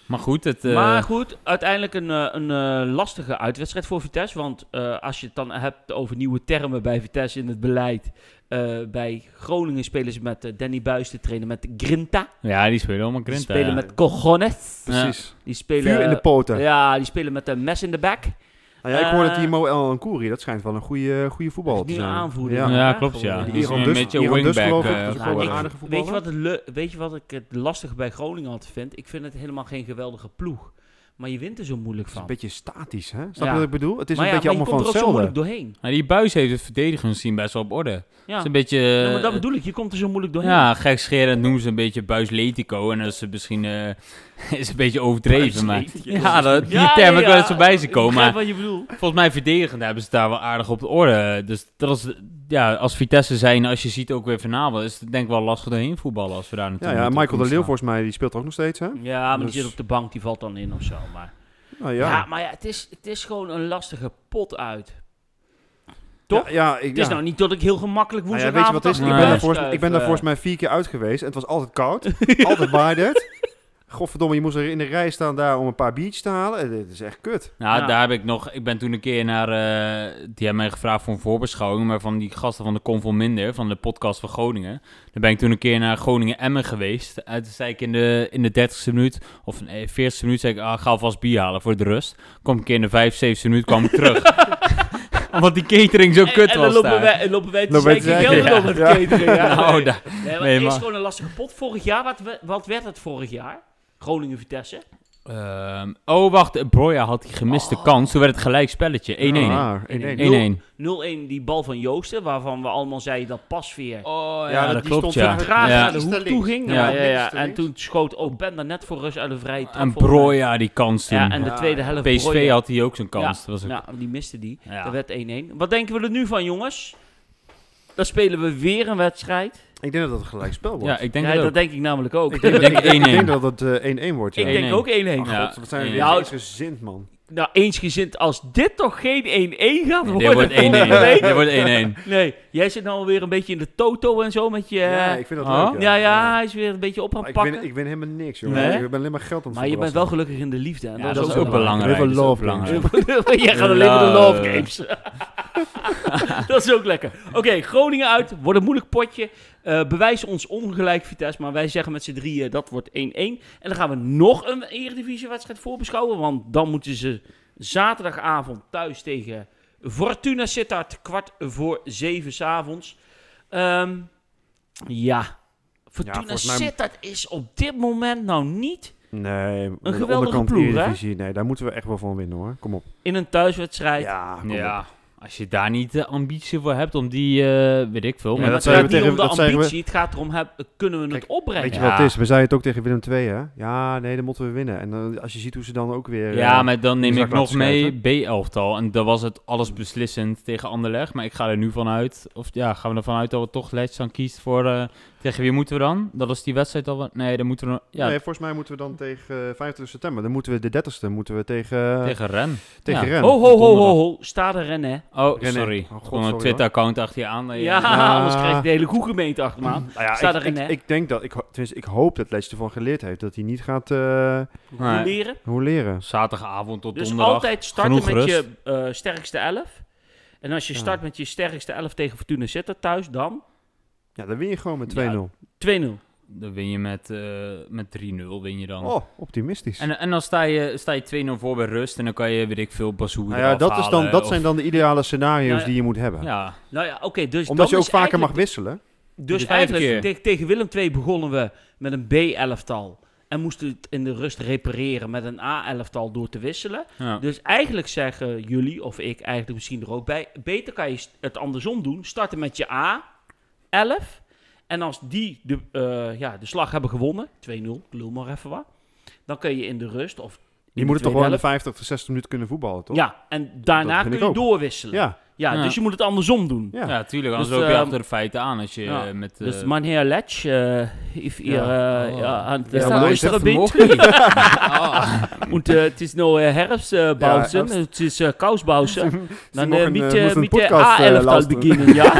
D: Maar goed, het... eh,
C: Maar goed, uiteindelijk een, eh, een eh, lastige uitwedstrijd voor Vitesse. Want eh, als je het dan hebt over nieuwe termen bij Vitesse in het beleid. eh, bij Groningen spelen ze met eh, Danny Buis te trainen met Grinta.
D: Ja, die spelen allemaal
C: Die
D: Grinta.
C: spelen
D: ja.
C: met Cojones.
B: Precies.
C: Die spelen,
B: Vuur in de poten.
C: Ja, die spelen met een mes in de bek.
B: Nou ja, ik hoorde dat die
C: Eh,
B: Mo El Ankouri, dat schijnt wel een goede, goede voetballer te
C: Die
B: zijn.
C: aanvoerder.
B: Ja.
D: Ja,
C: Ja,
D: klopt, ja.
C: gewoon,
D: Die
C: ja.
D: is
B: Iran
D: een
B: Dus-
D: beetje een
B: Iran Dus
D: wingback.
B: geloof ik,
D: eh,
B: dat is
C: Nou,
B: wel
D: geworden.
B: een
C: ik-
B: aardige
C: weet, je
B: voetballer.
C: wat het leu- weet je wat ik het lastig bij Groningen altijd vind? Ik vind het helemaal geen geweldige ploeg. Maar je wint er zo moeilijk
B: Het is
C: van.
B: een beetje statisch, hè? Snap
C: Ja.
B: je wat ik bedoel? Het is
C: maar
B: een
C: ja,
B: beetje
C: maar
B: allemaal van
C: je komt er
B: hetzelfde.
C: ook zo moeilijk doorheen.
D: Maar die buis heeft het verdedigingsteam best wel op orde. Het
C: Ja.
D: is een beetje... eh,
C: Ja, maar dat
B: eh,
C: bedoel ik. Je komt er zo moeilijk doorheen.
D: Ja, gekscherend noemen ze een beetje buisletico. En dat is misschien eh, is een beetje overdreven. Maar,
C: Buisletico.
D: ja, dat, die
C: Ja,
D: term heb
C: ja,
D: ik wel eens
C: ja.
D: voorbij zien komen.
C: Ik
D: maar-
C: begrijp wat je bedoelt.
D: Volgens mij verdedigend hebben ze daar wel aardig op de orde. Dus dat is, ja, als Vitesse zijn, als je ziet ook weer vanavond, is het denk ik wel lastig doorheen voetballen als we daar
B: Ja,
D: natuurlijk
B: ja,
D: moeten
B: Michael de Leeuw
D: komen
B: volgens mij, die speelt er ook nog steeds, hè?
C: Ja, maar die
B: Dus-
C: zit op de bank. Die valt dan in of zo. Maar...
B: Nou
C: Ja.
B: ja.
C: maar ja, het is, het is gewoon een lastige pot uit.
B: Ja,
C: toch?
B: Ja, ik,
C: Het is
B: ja.
C: nou niet dat ik heel gemakkelijk
B: Nou ja,
C: woensdagavond... eh,
B: weet je wat het is? Ik ben, daar
D: avond aan de
B: volgens, ik ben daar volgens mij vier keer uit geweest en het was altijd koud. altijd waaide Godverdomme, je moest er in de rij staan daar om een paar biertjes te halen. Eh, Dit is echt kut.
D: staan. Nou,
C: Ja.
D: daar heb ik nog. Ik ben toen een keer naar. eh, die hebben mij gevraagd voor een voorbeschouwing. Maar van die gasten van de Kom van Minder. Van de podcast van Groningen. Daar ben ik toen een keer naar Groningen-Emmen geweest. En toen zei ik in de, in de 30ste minuut. Of nee, 40ste minuut. zei ik. Ah, ga alvast bier halen voor de rust. Kom ik een keer in de 75ste minuut. kwam ik terug. Omdat die catering zo kut
C: en, en
D: was.
C: dan lopen
D: daar.
C: wij, en lopen wij te
B: Lopen wij te
C: zeiken.
B: zeiken,
C: Gelder
D: ja.
C: op
B: Ja.
C: het cateren, ja.
D: Nou,
C: Nee.
D: daar-
C: Nee, maar
D: Nee,
C: het is
D: maar-
C: gewoon een lastige pot. Vorig jaar, wat, we- wat werd het vorig jaar? Groningen-Vitesse.
D: Ehm, oh, wacht. Broja had die gemiste
C: Oh.
D: kans. Toen werd het gelijk spelletje. 1-1.
B: Ah, 1-1.
D: 1-1.
C: 0-1 die bal van Joosten, waarvan we allemaal zeiden dat Pasveer
D: Oh,
B: ja, dat
D: dat
B: die
D: klopt,
B: stond toen
D: ja.
C: traag
D: Ja.
C: naar de
B: Iets te
C: hoek toe
B: links.
C: ging.
D: Ja,
C: Ja,
B: ja,
C: ja,
B: iets te
C: En
B: links.
C: toen schoot ook Ben daarnet voor rust uit de vrije trap.
D: En
C: volgens mij.
D: Broja die kans toen.
C: Ja, en de tweede helft
D: PSV
C: Brooijen.
D: had hij ook zijn kans.
C: Ja,
D: dat was ook...
C: ja, die miste die.
D: Ja.
C: Dat werd 1-1. Wat denken we er nu van, jongens? Dan spelen we weer een wedstrijd.
B: Ik denk dat het een gelijk spel wordt.
D: ja, ik denk
C: ja,
D: dat
C: dat
D: ook.
C: denk ik namelijk ook.
D: Ik denk
B: Ik denk
D: 1-1.
B: dat het eh, 1-1 wordt, ja.
C: Ik denk ook 1-1.
B: Ach,
D: Ja.
B: God, wat zijn
D: Ja.
B: we weer
C: Nou,
B: gezind, man.
C: nou eensgezind als dit toch geen 1-1 gaat worden?
D: Dit wordt 1-1.
C: volgende week?
D: Dit wordt 1-1.
C: Nee, jij zit nou alweer een beetje in de toto en zo met je... eh,
B: ja, ik vind dat
D: oh?
B: leuk.
C: ja, ja, hij is weer een beetje op aan
B: Maar
C: het
B: ik,
C: pakken.
B: win, ik win helemaal niks, jongen.
C: Nee?
B: Ik ben alleen maar geld aan het
C: maar je bent wel
B: verbrassen.
C: gelukkig in de liefde. En
D: Ja, dat is ook
B: belangrijk.
D: belangrijk.
B: Even
D: dat is ook
B: love
D: belangrijk.
B: doen.
C: Jij gaat alleen maar de love
D: Love.
C: games. dat is ook lekker. Oké, Groningen uit. Wordt een moeilijk potje. Eh, bewijs ons ongelijk, Vitesse. Maar wij zeggen met z'n drieën, dat wordt 1-1. En dan gaan we nog een Eredivisiewedstrijd voorbeschouwen. Want dan moeten ze zaterdagavond thuis tegen Fortuna Sittard. Kwart voor zeven s'avonds. Ehm ja, Fortuna
B: volgens mij-
C: Sittard is op dit moment nou niet...
B: Nee, een
C: geweldige
B: onderkant
C: ploeg, hè?
B: Eredivisie, Nee, daar moeten we echt wel van winnen, hoor. Kom op.
C: In een thuiswedstrijd.
B: Ja, kom op.
D: Ja, als je daar niet de ambitie voor hebt om die, eh, weet ik veel.
B: Ja,
D: maar
B: dat
C: het
B: zeiden we
C: gaat niet
B: tegen-
C: om de
B: dat zeiden we-
C: ambitie, het gaat erom, heb, kunnen we het
B: Kijk,
C: opbrengen?
B: Weet je
D: Ja.
B: wat het is? We zeiden het ook tegen Willem II, hè? Ja, nee, dan moeten we winnen. En dan, als je ziet hoe ze dan ook weer...
D: ja,
B: eh,
D: maar dan neem
B: die
D: ik
B: zak
D: nog
B: laten
D: mee B-elftal. En dan was het alles beslissend tegen Anderlecht. Maar ik ga er nu vanuit, of ja, gaan we ervan uit dat we toch Leidschan kiest voor... eh, tegen wie moeten we dan? Dat is die wedstrijd al... Nee, dan moeten we... nog- Ja,
B: Nee, volgens mij moeten we dan tegen eh, 25 september. Dan moeten we de 30ste moeten we tegen, eh, tegen,
D: tegen Ren. ja.
B: Ren.
C: ho, ho, ho, ho, ho, sta er rennen, hè?
D: Oh,
B: Rennen.
D: sorry.
B: Oh, god,
D: Gewoon
B: sorry,
D: een
B: hoor.
D: Twitter-account achter je aan.
C: Ja,
D: eh,
C: anders krijg je de hele goede gemeente achter me aan.
B: Nou ja,
C: Staat
B: ik,
C: erin, hè?
B: ik, ik denk dat, ik, ho- tenminste, ik hoop dat Leeds ervan geleerd heeft dat hij niet gaat eh
D: Nee.
C: Leren.
B: hoe leren.
D: Zaterdagavond tot
C: Dus
D: donderdag.
C: altijd starten
D: Genoeg
C: met
D: rust.
C: je eh, sterkste elf. En als je
B: Ja.
C: start met je sterkste elf tegen Fortuna Sittard thuis, dan 2-0.
B: Ja, dan win je gewoon met 2-0.
C: Ja.
D: Dan win je met, eh, met 3-0 win je dan.
B: Oh, optimistisch.
D: En, en dan sta je, sta je 2-0 voor bij rust en dan kan je, weet ik veel, Bazoer
B: nou ja,
D: eraf
B: dat, is dan,
D: halen,
B: dat
D: of-
B: zijn dan de ideale scenario's
C: Nou ja.
B: die je moet hebben.
D: Ja,
C: Nou ja, oké, dus
B: Omdat
C: dan
B: je ook
C: is
B: vaker mag
C: eigenlijk-
B: wisselen.
C: Dus
D: De vijfde
C: eigenlijk,
D: keer.
C: tegen, tegen Willem II begonnen we met een B-elftal. En moesten het in de rust repareren met een A-elftal door te wisselen.
D: ja.
C: Dus eigenlijk zeggen jullie, of ik eigenlijk misschien er ook bij, beter kan je st- het andersom doen. Starten met je A, 11. En als die de, eh, ja, de slag hebben gewonnen, 2-0, ik lul maar even wat. Dan kun je in de rust of...
B: Je moet het toch wel in de 50 tot 60 minuten kunnen voetballen, toch?
C: Ja, en daarna
B: Dat
C: kun
B: vind
C: je
B: ik ook.
C: doorwisselen. Ja.
B: Ja,
D: Ja.
C: dus je moet het andersom doen.
B: ja.
D: Ja, tuurlijk. Anders
C: Dus,
D: loop je
C: ehm,
D: achter de feiten aan als je
C: ja.
D: eh, met... eh,
C: Dus meneer Letch, eh if ihr
D: Ja.
C: eh,
D: Oh.
C: ja, aan het
B: Ja, maar dat is echt
C: luisteren bent. Want eh, het is nou eh, herfstbouwsen,
B: Ja,
C: het is eh kousbouwsen. Dan
B: mogen,
C: eh,
B: eh,
C: moet
B: moesten
C: je
B: een
C: moet je
B: podcast, eh,
C: A11-tal
B: luisteren.
C: beginnen, ja.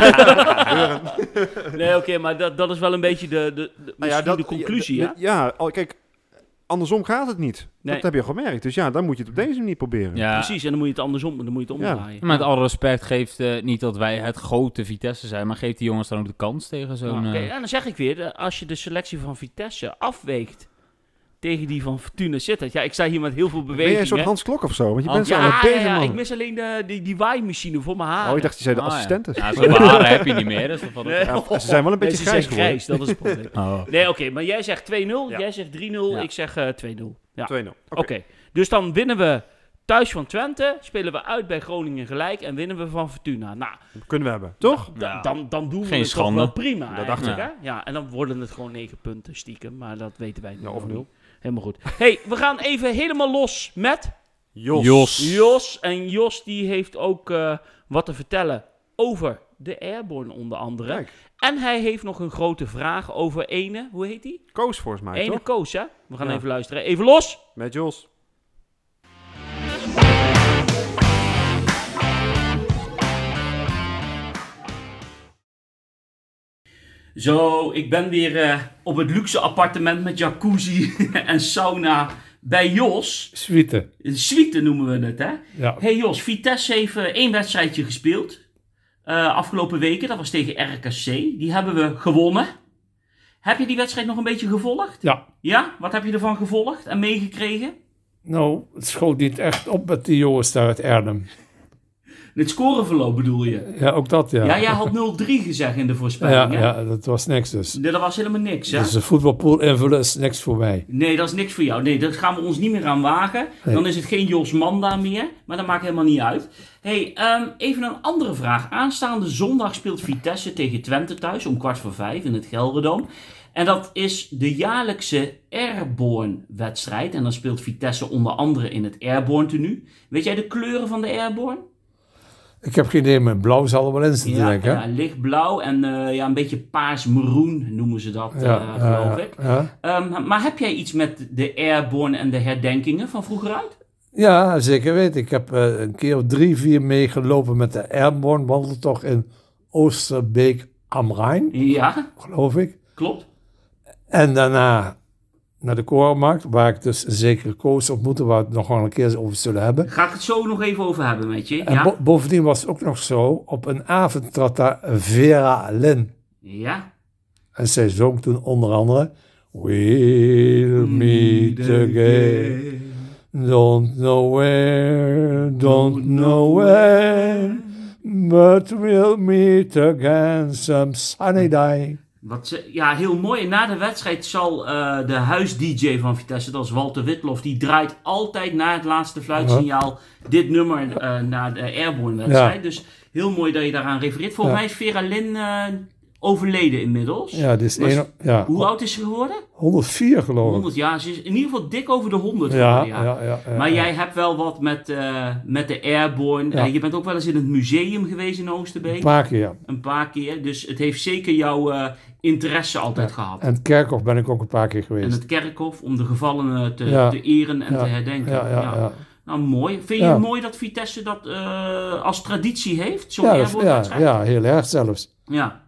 C: nee, oké, maar dat, dat is wel een beetje de, de, de,
B: Nou ja,
C: misschien de conclusie,
B: ja.
C: hè?
B: de- Ja, al, kijk, andersom gaat het niet.
C: Nee.
B: Dat heb je al gemerkt. Dus ja, dan moet je het op deze manier proberen.
D: ja.
C: Precies, en dan moet je het andersom, dan moet je het
B: Ja.
C: omdraaien.
D: Met alle respect geeft eh, niet dat wij het grote Vitesse zijn, maar geeft die jongens dan ook de kans tegen
C: Ja,
D: zo'n...
C: oké,
D: eh,
C: en dan zeg ik weer, eh, als je de selectie van Vitesse afweegt tegen die van Fortuna Sittard. Ja, ik sta hier met heel veel
B: ben jij een
C: beweging,
B: soort
C: hè.
B: Hans Klok of zo? Want je bent
D: Hans-
B: zo
C: ja,
B: aan het
C: ja,
B: bezig,
C: ja,
B: man.
C: ik mis alleen de, die, die waaimachine voor mijn haar.
B: Oh, ik dacht, die zijn de
D: ah, ja.
B: assistenten.
D: Ja, zo'n haren heb je niet meer. Dus dat valt ook
C: Nee.
D: wel.
B: Ja, ze zijn wel een beetje grijs
C: nee, ze zijn
B: geworden.
C: grijs, dat is het probleem.
D: Oh.
C: Nee, oké, maar jij zegt 2-0, jij zegt 3-0,
D: Ja.
C: ik zeg eh, 2-0. Ja. Oké,
B: 2-0. Oké.
C: dus dan winnen we thuis van Twente, spelen we uit bij Groningen gelijk en winnen we van Fortuna. Nou,
B: Kunnen we hebben, toch?
C: da-
D: Ja.
C: dan, dan doen we
D: Geen
C: het toch
D: schande.
C: wel prima.
B: Dat
C: eigenlijk,
D: dacht
C: hè? Ja, en dan worden het gewoon 9 punten stiekem, maar dat weten wij nu
B: Ja, of
C: nog
B: nul.
C: niet. Helemaal goed. hey, we gaan even helemaal los met
B: Jos.
D: Jos.
C: Jos. En Jos die heeft ook eh, wat te vertellen over de Airborne onder andere.
B: Kijk,
C: En hij heeft nog een grote vraag over ene, hoe heet die?
B: Koos volgens mij,
C: Ene
B: toch?
C: Koos, hè? We gaan
B: Ja.
C: even luisteren. Even los!
B: Met Jos.
C: Zo, ik ben weer eh, op het luxe appartement met jacuzzi en sauna bij Jos.
E: Suite.
C: Een suite noemen we het, hè?
E: Ja.
C: Hey Jos, Vitesse heeft eh, één wedstrijdje gespeeld. eh, afgelopen weken, dat was tegen RKC. Die hebben we gewonnen. Heb je die wedstrijd nog een beetje gevolgd?
E: ja.
C: Ja? Wat heb je ervan gevolgd en meegekregen?
E: Nou, het schoot niet echt op met die jongens daar uit Erdem.
C: Het scoreverloop bedoel je?
E: Ja, ook dat, ja.
C: Ja, jij had 0-3 gezegd in de
E: ja,
C: voorspelling, hè?
E: ja, dat was niks dus.
C: Nee, dat was helemaal niks, hè?
E: Dus de voetbalpool invullen is niks voor mij.
C: Nee, dat is niks voor jou. Nee, daar gaan we ons niet meer aan wagen.
E: Nee.
C: Dan is het geen Jos Manda meer. Maar dat maakt helemaal niet uit. hey, ehm, even een andere vraag. Aanstaande zondag speelt Vitesse tegen Twente thuis om kwart voor vijf in het Gelderdoom. En dat is de jaarlijkse Airborne-wedstrijd. En dan speelt Vitesse onder andere in het Airborne-tenue. Weet jij de kleuren van de Airborne?
E: Ik heb geen idee, maar blauw zal er wel in zitten, denk ik. hè?
C: ja, lichtblauw en eh, ja, een beetje paars-maroen noemen ze dat, eh,
E: ja,
C: geloof
E: ja,
C: ik.
E: ja.
C: Ehm, maar heb jij iets met de Airborne en de herdenkingen van vroeger uit?
E: Ja, zeker weten. Ik heb eh, een keer of drie, vier meegelopen met de Airborne wandeltocht in Oosterbeek am Rijn,
C: Ja,
E: geloof ik.
C: klopt.
E: En daarna naar de Korenmarkt, waar ik dus een zekere koos ontmoette, waar we het nog wel een keer over zullen hebben.
C: Ga ik het zo nog even over hebben met je?
E: En
C: Ja.
E: Eh, bo- bovendien was het ook nog zo, op een avond trad daar Vera Lynn.
C: Ja.
E: En zij zong toen onder andere... We'll meet again. Don't know where, don't know where, but we'll meet again some sunny day.
C: Wat ze, ja, heel mooi. En na de wedstrijd zal eh, de huis-DJ van Vitesse, dat is Walter Witlof, die draait altijd na het laatste fluitsignaal dit nummer eh, na de Airborne-wedstrijd.
E: Ja.
C: Dus heel mooi dat je daaraan refereert. Volgens
E: Ja.
C: mij is Vera Lynn eh, overleden inmiddels.
E: Ja, dit is
C: Was-
E: een, ja,
C: Hoe oud is ze geworden?
E: 104 geloof ik.
C: 100 jaar. Ze is in ieder geval dik over de 100.
E: Ja,
C: geworden,
E: ja, ja. ja,
C: Maar
E: ja.
C: jij hebt wel wat met, eh, met de Airborne.
E: Eh, Ja.
C: Eh, je bent ook wel eens in het museum geweest in Oosterbeek.
E: Een paar keer, ja.
C: Een paar keer. Dus het heeft zeker jouw eh, interesse altijd gehad.
E: En het kerkhof ben ik ook een paar keer
C: En
E: geweest.
C: het kerkhof om de gevallenen te,
E: Ja.
C: te eren en
E: Ja.
C: te herdenken.
E: Ja, ja,
C: Ja.
E: ja.
C: Nou, mooi. Vind je
E: Ja.
C: het mooi dat Vitesse dat eh, als traditie heeft? Zo'n
E: Ja, dat-
C: Airborne
E: ja,
C: wedstrijd?
E: ja, heel erg zelfs.
C: ja.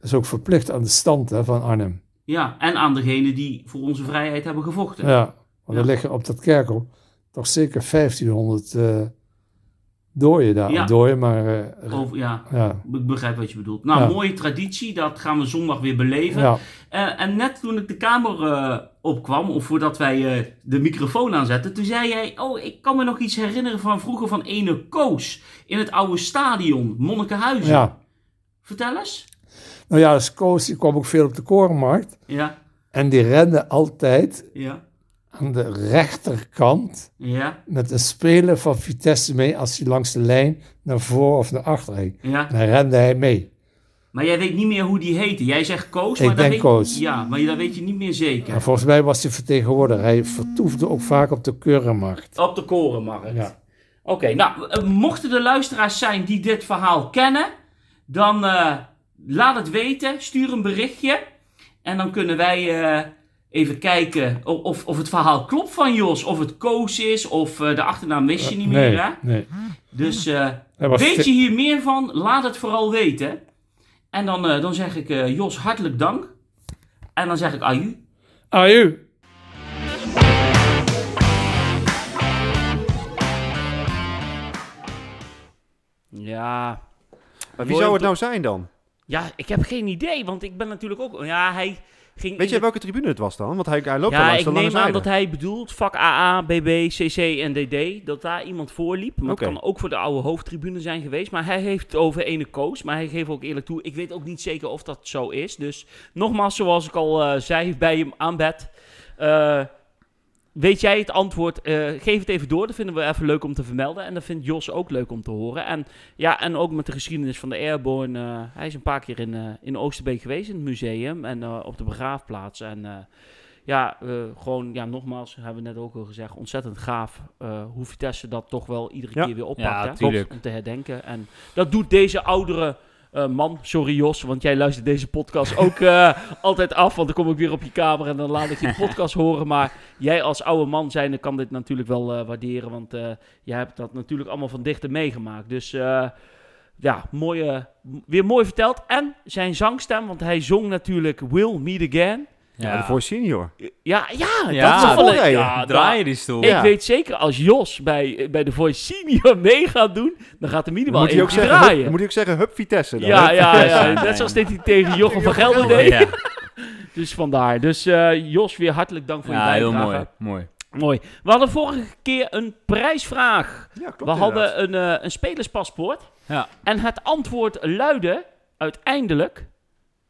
E: Dat is ook verplicht aan de stand hè, van Arnhem.
C: Ja, en aan degenen die voor onze vrijheid hebben gevochten.
E: Ja, want er
C: Ja.
E: liggen op dat kerkhof toch zeker 1500 eh dooien daar.
C: Ja.
E: Dooien, maar... eh,
C: Over, ja,
E: ja.
C: ik begrijp wat je bedoelt. Nou,
E: Ja.
C: mooie traditie. Dat gaan we zondag weer beleven.
E: ja.
C: Eh, en net toen ik de kamer eh, opkwam, of voordat wij eh, de microfoon aanzetten, toen zei jij: Oh, ik kan me nog iets herinneren van vroeger van ene Koos in het oude stadion, Monnikenhuizen.
E: ja.
C: Vertel eens.
E: Nou ja, als Koos die kwam ook veel op de korenmarkt.
C: Ja,
E: En die rende altijd
C: ja,
E: aan de rechterkant
C: ja,
E: met een speler van Vitesse mee als hij langs de lijn naar voor of naar achter ging.
C: ja.
E: En dan rende hij mee.
C: Maar jij weet niet meer hoe die heette. Jij zegt Koos,
E: Ik
C: maar dat
E: denk
C: weet,
E: Koos.
C: Ja, maar dat weet je niet meer zeker.
E: En volgens mij was hij vertegenwoordiger. Hij vertoefde ook vaak op de keurenmarkt.
C: Op de korenmarkt.
E: Ja.
C: Oké, nou, eh, mochten er luisteraars zijn die dit verhaal kennen, dan eh, laat het weten, stuur een berichtje. En dan kunnen wij eh, even kijken o- of, of het verhaal klopt van Jos, of het Koos is, of eh, de achternaam wist je niet
E: nee,
C: meer. Hè?
E: nee.
C: Dus eh,
E: Hij was
C: weet
E: te-
C: je hier meer van, laat het vooral weten. En dan, eh, dan zeg ik eh, Jos hartelijk dank. En dan zeg ik aju.
E: Aju!
C: Ja,
B: Maar wie
C: Mooi
B: zou
C: om
B: het
C: te-
B: nou zijn dan?
C: ja, ik heb geen idee, want ik ben natuurlijk ook... Ja, hij ging...
B: Weet jij welke tribune het was dan? Want hij, hij loopt al
C: Ja,
B: langs
C: ik
B: de lange
C: neem aan
B: zijde.
C: dat hij bedoelt vak AA, BB, CC en DD, dat daar iemand voorliep. Maar
B: Oké.
C: het kan ook voor de oude hoofdtribune zijn geweest. Maar hij heeft het over ene koos, maar hij geeft ook eerlijk toe, ik weet ook niet zeker of dat zo is. Dus nogmaals, zoals ik al eh, zei bij hem aan bed, eh, weet jij het antwoord, eh, geef het even door. Dat vinden we even leuk om te vermelden. En dat vindt Jos ook leuk om te horen. En, ja, en ook met de geschiedenis van de Airborne. eh, hij is een paar keer in, eh, in Oosterbeek geweest, in het museum en eh, op de begraafplaats. En... eh, ja, eh, gewoon, ja, nogmaals, hebben we net ook al gezegd, ontzettend gaaf eh, hoe Vitesse dat toch wel iedere
B: Ja.
C: keer weer oppakt.
D: Ja,
C: hè?
D: tuurlijk.
C: Om te herdenken. En dat doet deze oudere eh, man, sorry Jos, want jij luistert deze podcast ook eh, altijd af, want dan kom ik weer op je kamer en dan laat ik je podcast horen. Maar jij als oude man zijnde kan dit natuurlijk wel eh, waarderen, want eh, jij hebt dat natuurlijk allemaal van dichter meegemaakt. Dus... eh, ja, mooie, weer mooi verteld. En zijn zangstem, want hij zong natuurlijk Will Meet Again.
B: Ja, de voor senior.
C: Ja, ja,
D: Ja,
C: dat is toch wel een...
B: draaien.
C: Ja,
D: draai je
C: draaien.
D: die stoel.
C: Ik
B: Ja.
C: weet zeker, als Jos bij, bij de Voice Senior mee gaat doen, dan gaat er
B: Dan
C: minimaal
B: moet, hij
C: één
B: ook
C: keer
B: zeggen, hup,
C: draaien.
B: dan moet hij ook zeggen, hup Vitesse dan.
C: ja,
B: hè?
C: ja, ja,
D: Ja,
C: net
D: ja.
C: zoals deed hij tegen Jochem van Gelder deed.
D: Ja,
C: Dus vandaar. Dus eh, Jos, weer hartelijk dank voor
D: ja
C: je
D: heel
C: bijdrage.
D: mooi. mooi.
C: mooi. We hadden vorige keer een prijsvraag.
B: Ja, klopt
C: We
B: inderdaad.
C: hadden een, eh, een spelerspaspoort.
D: Ja.
C: En het antwoord luidde uiteindelijk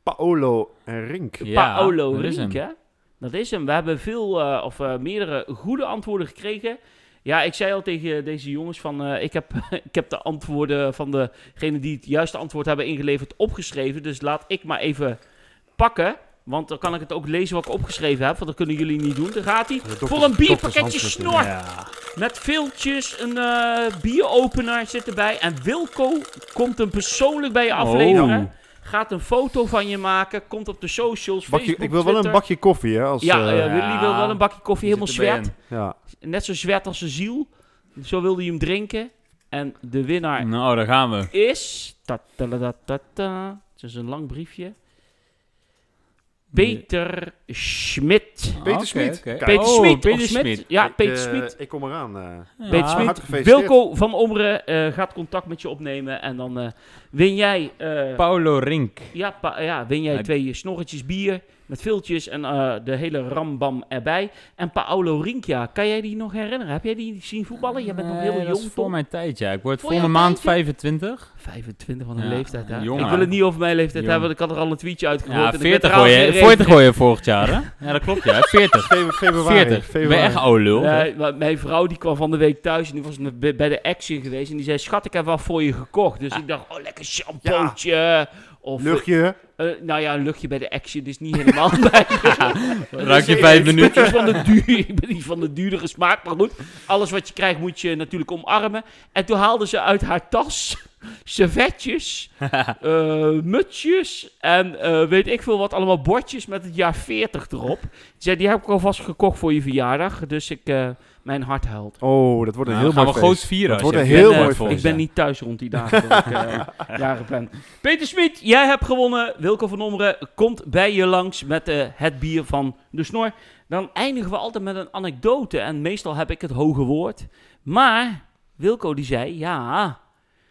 B: Paolo en Rink.
D: Ja,
C: Paolo
D: dat is hem.
C: Rieke. Dat is hem. We hebben veel eh, of eh, meerdere goede antwoorden gekregen. Ja, ik zei al tegen deze jongens van eh, ik, heb, ik heb de antwoorden van degenen die het juiste antwoord hebben ingeleverd opgeschreven. Dus laat ik maar even pakken. Want dan kan ik het ook lezen wat ik opgeschreven heb. Want dat kunnen jullie niet doen. Daar gaat hij.
B: dokters-
C: Voor een bierpakketje
B: doktershandschrift,
C: snor.
D: Ja.
C: Met viltjes, een eh, bieropener zit erbij. En Wilco komt hem persoonlijk bij je afleveren.
D: Oh.
C: Gaat een foto van je maken. Komt op de socials.
B: Bakje,
C: Facebook,
B: ik wil wel een
C: Twitter.
B: bakje koffie, hè. Als,
C: Ja,
B: eh,
C: eh, Willy wil wel een bakje koffie. Helemaal
D: Zit erbij
C: zwert.
B: ja.
C: Net zo zwert als zijn ziel. Zo wilde hij hem drinken. En de
B: Mm.
C: winnaar
D: Nou, daar gaan we.
C: is... Ta -ta -ta -ta -ta -ta. Het is een lang briefje. Peter Schmidt.
B: Peter
D: Oké,
B: Smit.
D: oké.
B: Kijk.
C: Peter
D: Oh,
C: Schmidt.
D: Peter
C: of Smit.
D: Smit.
C: Ja,
B: Ik,
C: Peter
B: eh,
C: Smit.
B: Ik kom eraan. eh.
C: Peter
D: Ja.
C: Smit.
B: hartelijk gefeliciteerd.
C: Wilco van Omre eh, gaat contact met je opnemen. En dan eh, win jij... eh,
D: Paulo Rink.
C: Ja, pa- ja, win jij
D: Hij-
C: twee snorretjes bier met viltjes en eh, de hele rambam erbij. En Paolo Rinkia, kan jij die nog herinneren? Heb jij die zien voetballen? Je bent nog
D: Nee,
C: heel
D: dat
C: jong,
D: is voor
C: Tom.
D: mijn tijd, ja. Ik word
C: Voor
D: volgende
C: jouw
D: maand
C: tijdje?
D: 25.
C: 25 van een
D: Ja,
C: leeftijd, hè?
D: jong,
C: Ik
D: hè?
C: wil het niet over mijn leeftijd
D: Jong.
C: hebben, want ik had er al een tweetje uitgegooid.
D: Ja,
C: en ik ben
D: 40 gooi
C: trouwens
D: je,
C: geen
D: 40
C: reden-
D: gooi je vorig jaar, hè? Ja, dat klopt, ja. 40.
B: Febru- Februari.
D: 40. Ik ben
B: Februari.
D: echt een oude lul.
C: Nee, maar mijn vrouw die kwam van de week thuis en die was met- bij bij de Action geweest. En die zei, schat, ik heb wat voor je gekocht. Dus ik dacht, oh, lekker shampootje. Of,
B: Luchtje.
C: eh, nou ja, een luchtje bij de Action, dus niet helemaal bij Dus, eh,
D: Ruik je 5
C: Ik ben
D: minuten.
C: niet van de, duur, ik ben niet van de duurdere smaak, maar goed. Alles wat je krijgt moet je natuurlijk omarmen. En toen haalde ze uit haar tas servetjes, eh, mutsjes en eh, weet ik veel wat, allemaal bordjes met het jaar 40 erop. Ze zei, die heb ik alvast gekocht voor je verjaardag, dus ik, eh, mijn hart huilt.
B: Oh, dat wordt een
D: Nou,
B: heel
D: gaan
B: mooi
D: we
B: feest.
D: groot vieren.
B: Dat
D: als
B: wordt
D: je
B: een heel
D: bent, eh,
B: mooi
D: volgens
C: Ik ben
D: mij.
C: niet thuis rond die dagen dat ik eh, jaren ben. Peter Smit, jij hebt gewonnen. Wilco van Omre komt bij je langs met eh, het bier van de snor. Dan eindigen we altijd met een anekdote. En meestal heb ik het hoge woord. Maar Wilco die zei, ja...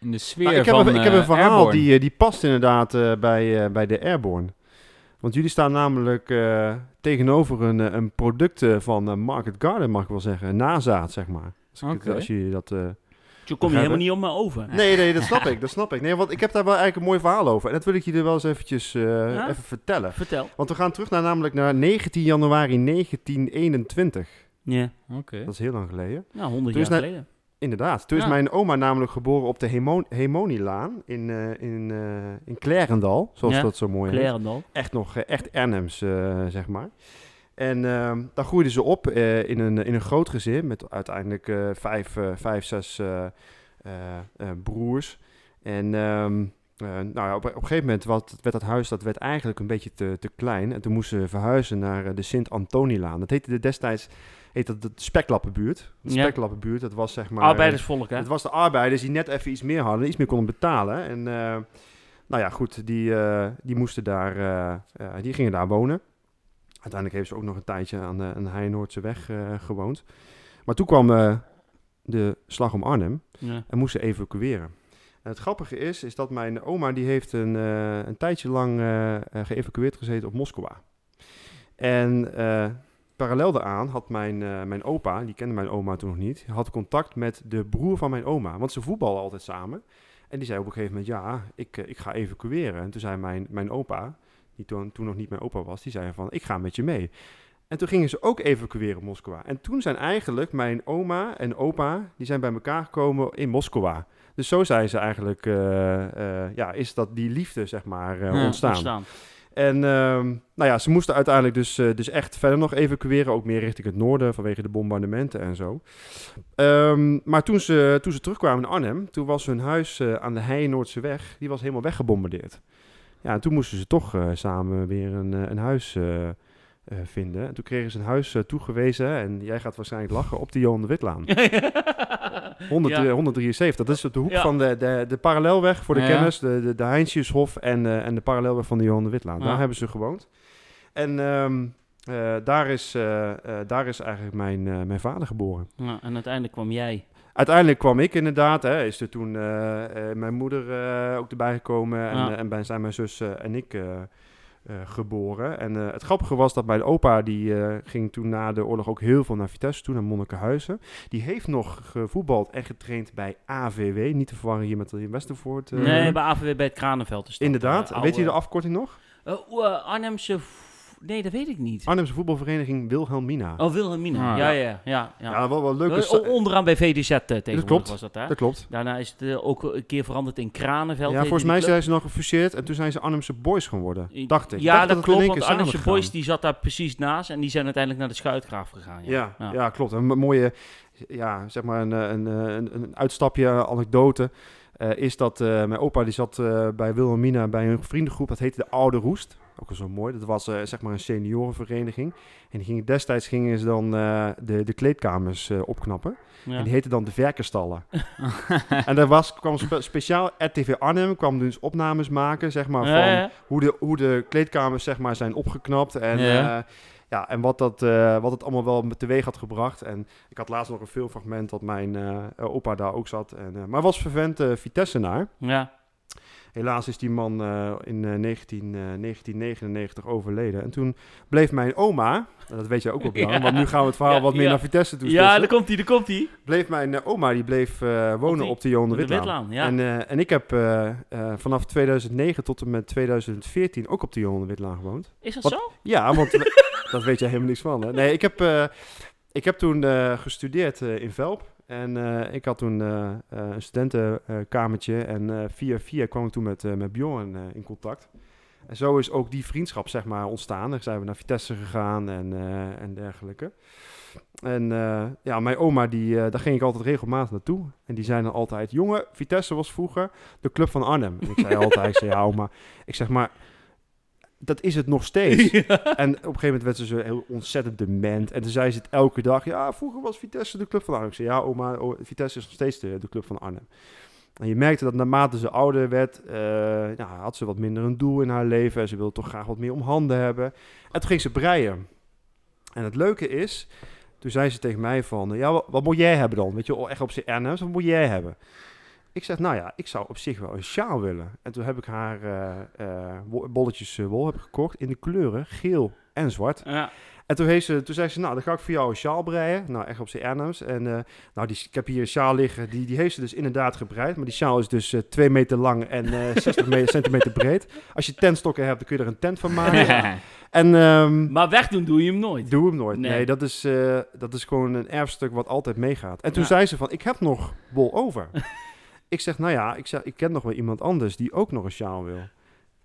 D: In de sfeer
B: Nou, ik, heb
D: van
B: een, ik heb een
D: eh,
B: verhaal
D: Airborne.
B: die, eh, die past inderdaad eh, bij, eh, bij de Airborne. Want jullie staan namelijk eh, tegenover een, eh, een product eh, van eh, Market Garden, mag ik wel zeggen. Een Nazaad, zeg maar. Als, ik het-
D: Oké.
B: als jullie dat... eh,
C: Je kom je helemaal niet op me over.
B: Nee, nee, dat snap ik. Dat snap ik. Nee, want ik heb daar wel eigenlijk een mooi verhaal over. En dat wil ik jullie wel eens eventjes eh,
C: Ja?
B: even vertellen.
C: Vertel.
B: Want we gaan terug naar namelijk naar 19 januari 1921.
C: Ja,
D: Oké.
B: Dat is heel lang geleden.
C: nou, 100
B: Dus
C: jaar
B: nou-
C: geleden.
B: Inderdaad. Toen is
D: Ja.
B: mijn oma namelijk geboren op de Hemo- Hemonielaan in, eh, in, eh, in Klerendal, zoals
C: Ja,
B: dat zo mooi heet.
C: Klerendal.
B: Echt nog, eh, echt Arnhems, eh, zeg maar. En ehm, daar groeiden ze op eh, in, een, in een groot gezin met uiteindelijk eh, vijf, eh, vijf, zes eh, eh, eh, broers. En ehm, eh, nou ja, op, op een gegeven moment wat, werd dat huis dat werd eigenlijk een beetje te, te klein. En toen moesten ze verhuizen naar eh, de Sint-Antonilaan. Dat heette de- destijds heet dat de Speklappenbuurt. De
C: Ja.
B: Speklappenbuurt, dat was zeg maar...
C: Arbeidersvolk, hè?
B: Het was de arbeiders die net even iets meer hadden, iets meer konden betalen. En eh, nou ja, goed, die, eh, die moesten daar, eh, eh, die gingen daar wonen. Uiteindelijk heeft ze ook nog een tijdje aan de aan de Heijnoordse weg eh, gewoond. Maar toen kwam eh, de slag om Arnhem
C: Ja.
B: en moest ze evacueren. En het grappige is, is dat mijn oma die heeft een, eh, een tijdje lang eh, eh, geëvacueerd gezeten op Moskou. En eh, parallel daaraan had mijn, eh, mijn opa, die kende mijn oma toen nog niet, had contact met de broer van mijn oma. Want ze voetballen altijd samen. En die zei op een gegeven moment, ja, ik, eh, ik ga evacueren. En toen zei mijn, mijn opa, die toen, toen nog niet mijn opa was, die zei van, ik ga met je mee. En toen gingen ze ook evacueren in Moskou. En toen zijn eigenlijk mijn oma en opa, die zijn bij elkaar gekomen in Moskou. Dus zo zijn ze eigenlijk, eh, eh, ja, is dat die liefde, zeg maar, eh,
D: Ja,
B: ontstaan. En ehm, nou ja, ze moesten uiteindelijk dus, eh, dus echt verder nog evacueren. Ook meer richting het noorden vanwege de bombardementen en zo. Ehm, maar toen ze, toen ze terugkwamen in Arnhem, toen was hun huis eh, aan de Heijenoordse weg, die was helemaal weggebombardeerd. Ja, en toen moesten ze toch eh, samen weer een, eh, een huis eh, eh, vinden. En toen kregen ze een huis eh, toegewezen. En jij gaat waarschijnlijk lachen op de Johan de Witlaan. 100,
C: Ja.
B: eh, 173, dat is op de hoek
C: Ja.
B: van de, de, de parallelweg voor de
D: Ja.
B: kennis, de, de, de Heinsiushof en, eh, en de parallelweg van de Johan de Witlaan. Daar
D: Ja.
B: hebben ze gewoond. En ehm, eh, daar, is, eh, eh, daar is eigenlijk mijn, eh, mijn vader geboren.
C: Ja, nou, en uiteindelijk kwam jij.
B: Uiteindelijk kwam ik inderdaad, hè, is er toen eh, eh, mijn moeder eh, ook erbij gekomen en,
C: Ja.
B: eh, en bij zijn mijn zus eh, en ik eh, eh, geboren. En eh, het grappige was dat mijn opa, die eh, ging toen na de oorlog ook heel veel naar Vitesse, toen naar Monnikenhuizen. Die heeft nog gevoetbald en getraind bij AVW, niet te verwarren hier met in Westervoort. eh.
C: Nee, bij AVW bij het Kranenveld. is dat,
B: Inderdaad,
C: eh, oude-
B: weet je de afkorting nog?
C: Eh, oeh, eh, Arnhemse... v- Nee, dat weet ik niet.
B: Arnhemse voetbalvereniging Wilhelmina.
C: Oh, Wilhelmina.
D: Ah,
C: ja,
D: ja.
C: ja, ja. ja.
B: ja, wel, wel leuk.
C: Eh, o- onderaan bij VDZ eh, tegenwoordig
B: klopt.
C: was dat, hè?
B: dat klopt.
C: Daarna is het eh, ook een keer veranderd in Kranenveld.
B: Ja,
C: heette
B: volgens
C: die
B: mij
C: club.
B: zijn ze nog gefuseerd en toen zijn ze Arnhemse Boys geworden,
C: I-
B: dacht ik.
C: Ja,
B: Dacht het
C: dat,
B: in
C: klopt,
B: één
C: want
B: keer samen
C: Arnhemse
B: gegaan.
C: Boys die zat daar precies naast en die zijn uiteindelijk naar de Schuitgraaf gegaan. Ja,
B: Ja, ja. klopt. Een mooie, ja, zeg maar een, eh, een, eh, een, een uitstapje, eh, anekdote. eh, is dat eh, mijn opa die zat eh, bij Wilhelmina bij een vriendengroep, dat heette de Oude Roest. ook al zo mooi. Dat was eh, zeg maar een seniorenvereniging. En die gingen, destijds gingen ze dan eh, de, de kleedkamers eh, opknappen. En
C: Ja.
B: die heette dan de Verkenstallen. en daar was, kwam spe- speciaal RTV Arnhem, kwam dus opnames maken, zeg maar,
C: Ja,
B: van
C: ja.
B: hoe de, hoe de kleedkamers zeg maar, zijn opgeknapt. En,
D: Ja.
B: eh, ja, en wat, dat, eh, wat het allemaal wel teweeg had gebracht. En ik had laatst nog een filmfragment dat mijn eh, opa daar ook zat. En, eh, maar was vervent eh Vitessenaar.
C: Ja.
B: Helaas is die man eh, in eh, 19, eh, 1999 overleden. En toen bleef mijn oma, en dat weet jij ook wel, Bjorn,
C: Ja.
B: want nu gaan we het verhaal
C: Ja,
B: wat meer
C: ja.
B: naar Vitesse toe
C: ja,
B: spitsen.
C: daar komt hij, daar komt hij.
B: Bleef mijn eh, oma, die bleef eh, wonen op,
C: die-
B: de Johan
C: De
B: de Witlaan.
C: Witlaan, ja.
B: En, eh, en ik heb eh, eh, vanaf 2009 tot en met 2014 ook op de Johan de Witlaan gewoond.
C: Is dat
B: Wat-
C: zo?
B: Ja, want we- dat weet jij helemaal niks van. Hè? Nee, ik heb, eh, ik heb toen eh, gestudeerd eh, in Velp. En eh, ik had toen eh, eh, een studentenkamertje. En eh, via via kwam ik toen met, eh, met Bjorn eh, in contact. En zo is ook die vriendschap zeg maar, ontstaan. Dan zijn we naar Vitesse gegaan en, eh, en dergelijke. En eh, ja, mijn oma, die, eh, daar ging ik altijd regelmatig naartoe. En die zei dan altijd... Jongen, Vitesse was vroeger de club van Arnhem. En ik zei altijd, ik zei, ja, oma. Ik zeg maar, dat is het nog steeds. En op een gegeven moment werd ze zo heel ontzettend dement. En toen zei ze het elke dag. Ja, vroeger was Vitesse de club van Arnhem. Ik zei, ja oma, o- Vitesse is nog steeds de, de club van Arnhem. En je merkte dat naarmate ze ouder werd, eh, nou, had ze wat minder een doel in haar leven. En ze wilde toch graag wat meer om handen hebben. En toen ging ze breien. En het leuke is, toen zei ze tegen mij van, ja, wat, wat moet jij hebben dan? Weet je, wel, echt op zijn ernst, wat moet jij hebben? Ik zeg, nou ja, ik zou op zich wel een sjaal willen. En toen heb ik haar eh, eh, wo- bolletjes eh, wol heb ik gekocht in de kleuren geel en zwart.
C: Ja.
B: En toen, heeft ze, toen zei ze, nou, dan ga ik voor jou een sjaal breien. Nou, echt op zijn ernst. En eh, nou, die, ik heb hier een sjaal liggen, die, die heeft ze dus inderdaad gebreid. Maar die sjaal is dus eh, 2 meter lang en eh, 60 me- centimeter breed. Als je tentstokken hebt, dan kun je er een tent van maken. En ehm,
C: Maar wegdoen doe je hem nooit.
B: Doe hem nooit.
C: Nee.
B: Nee, dat, is, eh, dat is gewoon een erfstuk wat altijd meegaat. En toen
C: Ja.
B: zei ze van, ik heb nog bol over. ik zeg, nou ja, ik, zeg, ik ken nog wel iemand anders die ook nog een sjaal wil.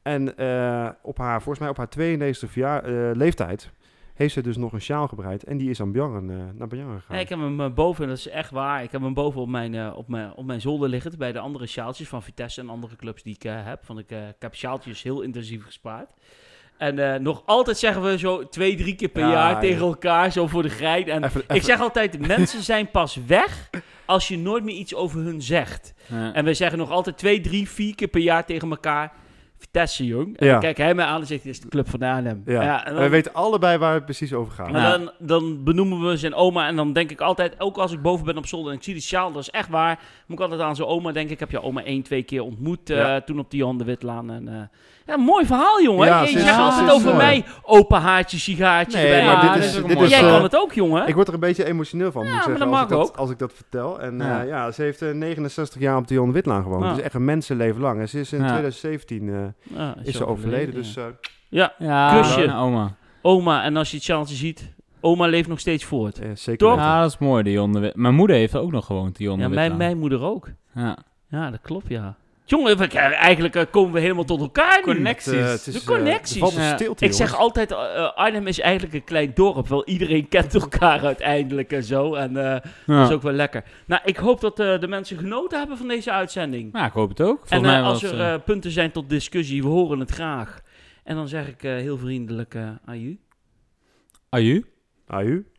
B: En eh, op haar, volgens mij op haar 92 jaar, eh, leeftijd heeft ze dus nog een sjaal gebreid. En die is aan Bjarren, eh, naar Bjarren gegaan.
C: Nee, ik heb hem eh, boven, dat is echt waar. Ik heb hem boven op mijn, eh, op mijn, op mijn zolder liggen. Bij de andere sjaaltjes van Vitesse en andere clubs die ik eh, heb. Want ik, eh, ik heb sjaaltjes heel intensief gespaard. En eh, nog altijd zeggen we zo twee, drie keer per
B: Ja,
C: jaar
B: ja.
C: tegen elkaar. Zo voor de gein. En
B: Even-
C: ik zeg altijd, mensen zijn pas weg als je nooit meer iets over hun zegt. En we zeggen nog altijd twee, drie, vier keer per jaar tegen elkaar... Vitesse, jong. En
B: Ja.
C: dan kijkt hij mij aan en zegt, dit is de club van Arnhem.
B: ja.
C: en
B: Wij
C: dan-
B: weten allebei waar het precies over gaat.
C: maar dan, dan benoemen we zijn oma en dan denk ik altijd, ook als ik boven ben op zolder en ik zie die sjaal, dat is echt waar, moet ik altijd aan zijn oma denken. Ik heb je oma één, twee keer ontmoet eh,
B: Ja.
C: toen op die Johan de Witlaan. En, eh, ja, mooi verhaal, jongen.
B: Ja,
C: je
B: sinds-
C: zegt
D: ja,
C: altijd
D: sinds
C: over
B: mooi.
C: mij, open haartje, sigaartje.
B: Nee,
C: erbij.
D: maar
C: Ja,
D: dit
C: dat
D: is-
C: ook
D: dit
C: mooi.
D: is,
C: Jij
D: eh,
C: kan het ook, jongen.
B: Ik word er een beetje emotioneel van, moet ik
C: Ja, maar
B: zeggen,
C: dat
B: als, ik
C: mag
B: dat,
C: ook.
B: als ik dat vertel. En
D: Ja.
B: ja, ja ze heeft eh, 69 jaar op de Jan Witlaan gewoond.
C: Ja.
B: Dus echt een mensenleven lang. En ze is in
D: Ja.
B: 2017 eh,
C: Ja,
B: is ze overleden. Dus eh,
C: Ja,
D: Ja,
C: Kusje.
D: nou, oma.
C: oma, en als je het sjaaltje ziet, oma leeft nog steeds voort.
B: eh, zeker.
C: Toch?
B: weten.
D: Ja, dat is mooi, Dion de Wit- Mijn moeder heeft ook nog gewoond, Dion de
C: Ja, mijn,
D: Witlaan.
C: mijn moeder ook.
D: Ja.
C: Ja, dat klopt, ja. Jongen, we- eigenlijk eh, komen we helemaal tot elkaar nu.
D: Connecties.
B: Eh, het is,
C: De
B: eh,
C: connecties.
B: er valt een
D: Ja.
B: stilte,
C: Ik
B: jongens.
C: zeg altijd, eh, eh, Arnhem is eigenlijk een klein dorp. Wel, iedereen kent elkaar uiteindelijk en zo. En eh, dat
D: Ja.
C: is ook wel lekker. Nou, ik hoop dat eh, de mensen genoten hebben van deze uitzending.
D: Ja, ik hoop het ook. Volgens
C: en eh,
D: mij
C: als
D: was,
C: er
D: eh,
C: eh, punten zijn tot discussie, we horen het graag. En dan zeg ik eh, heel vriendelijk eh aan u.
D: Aju?
B: Aju.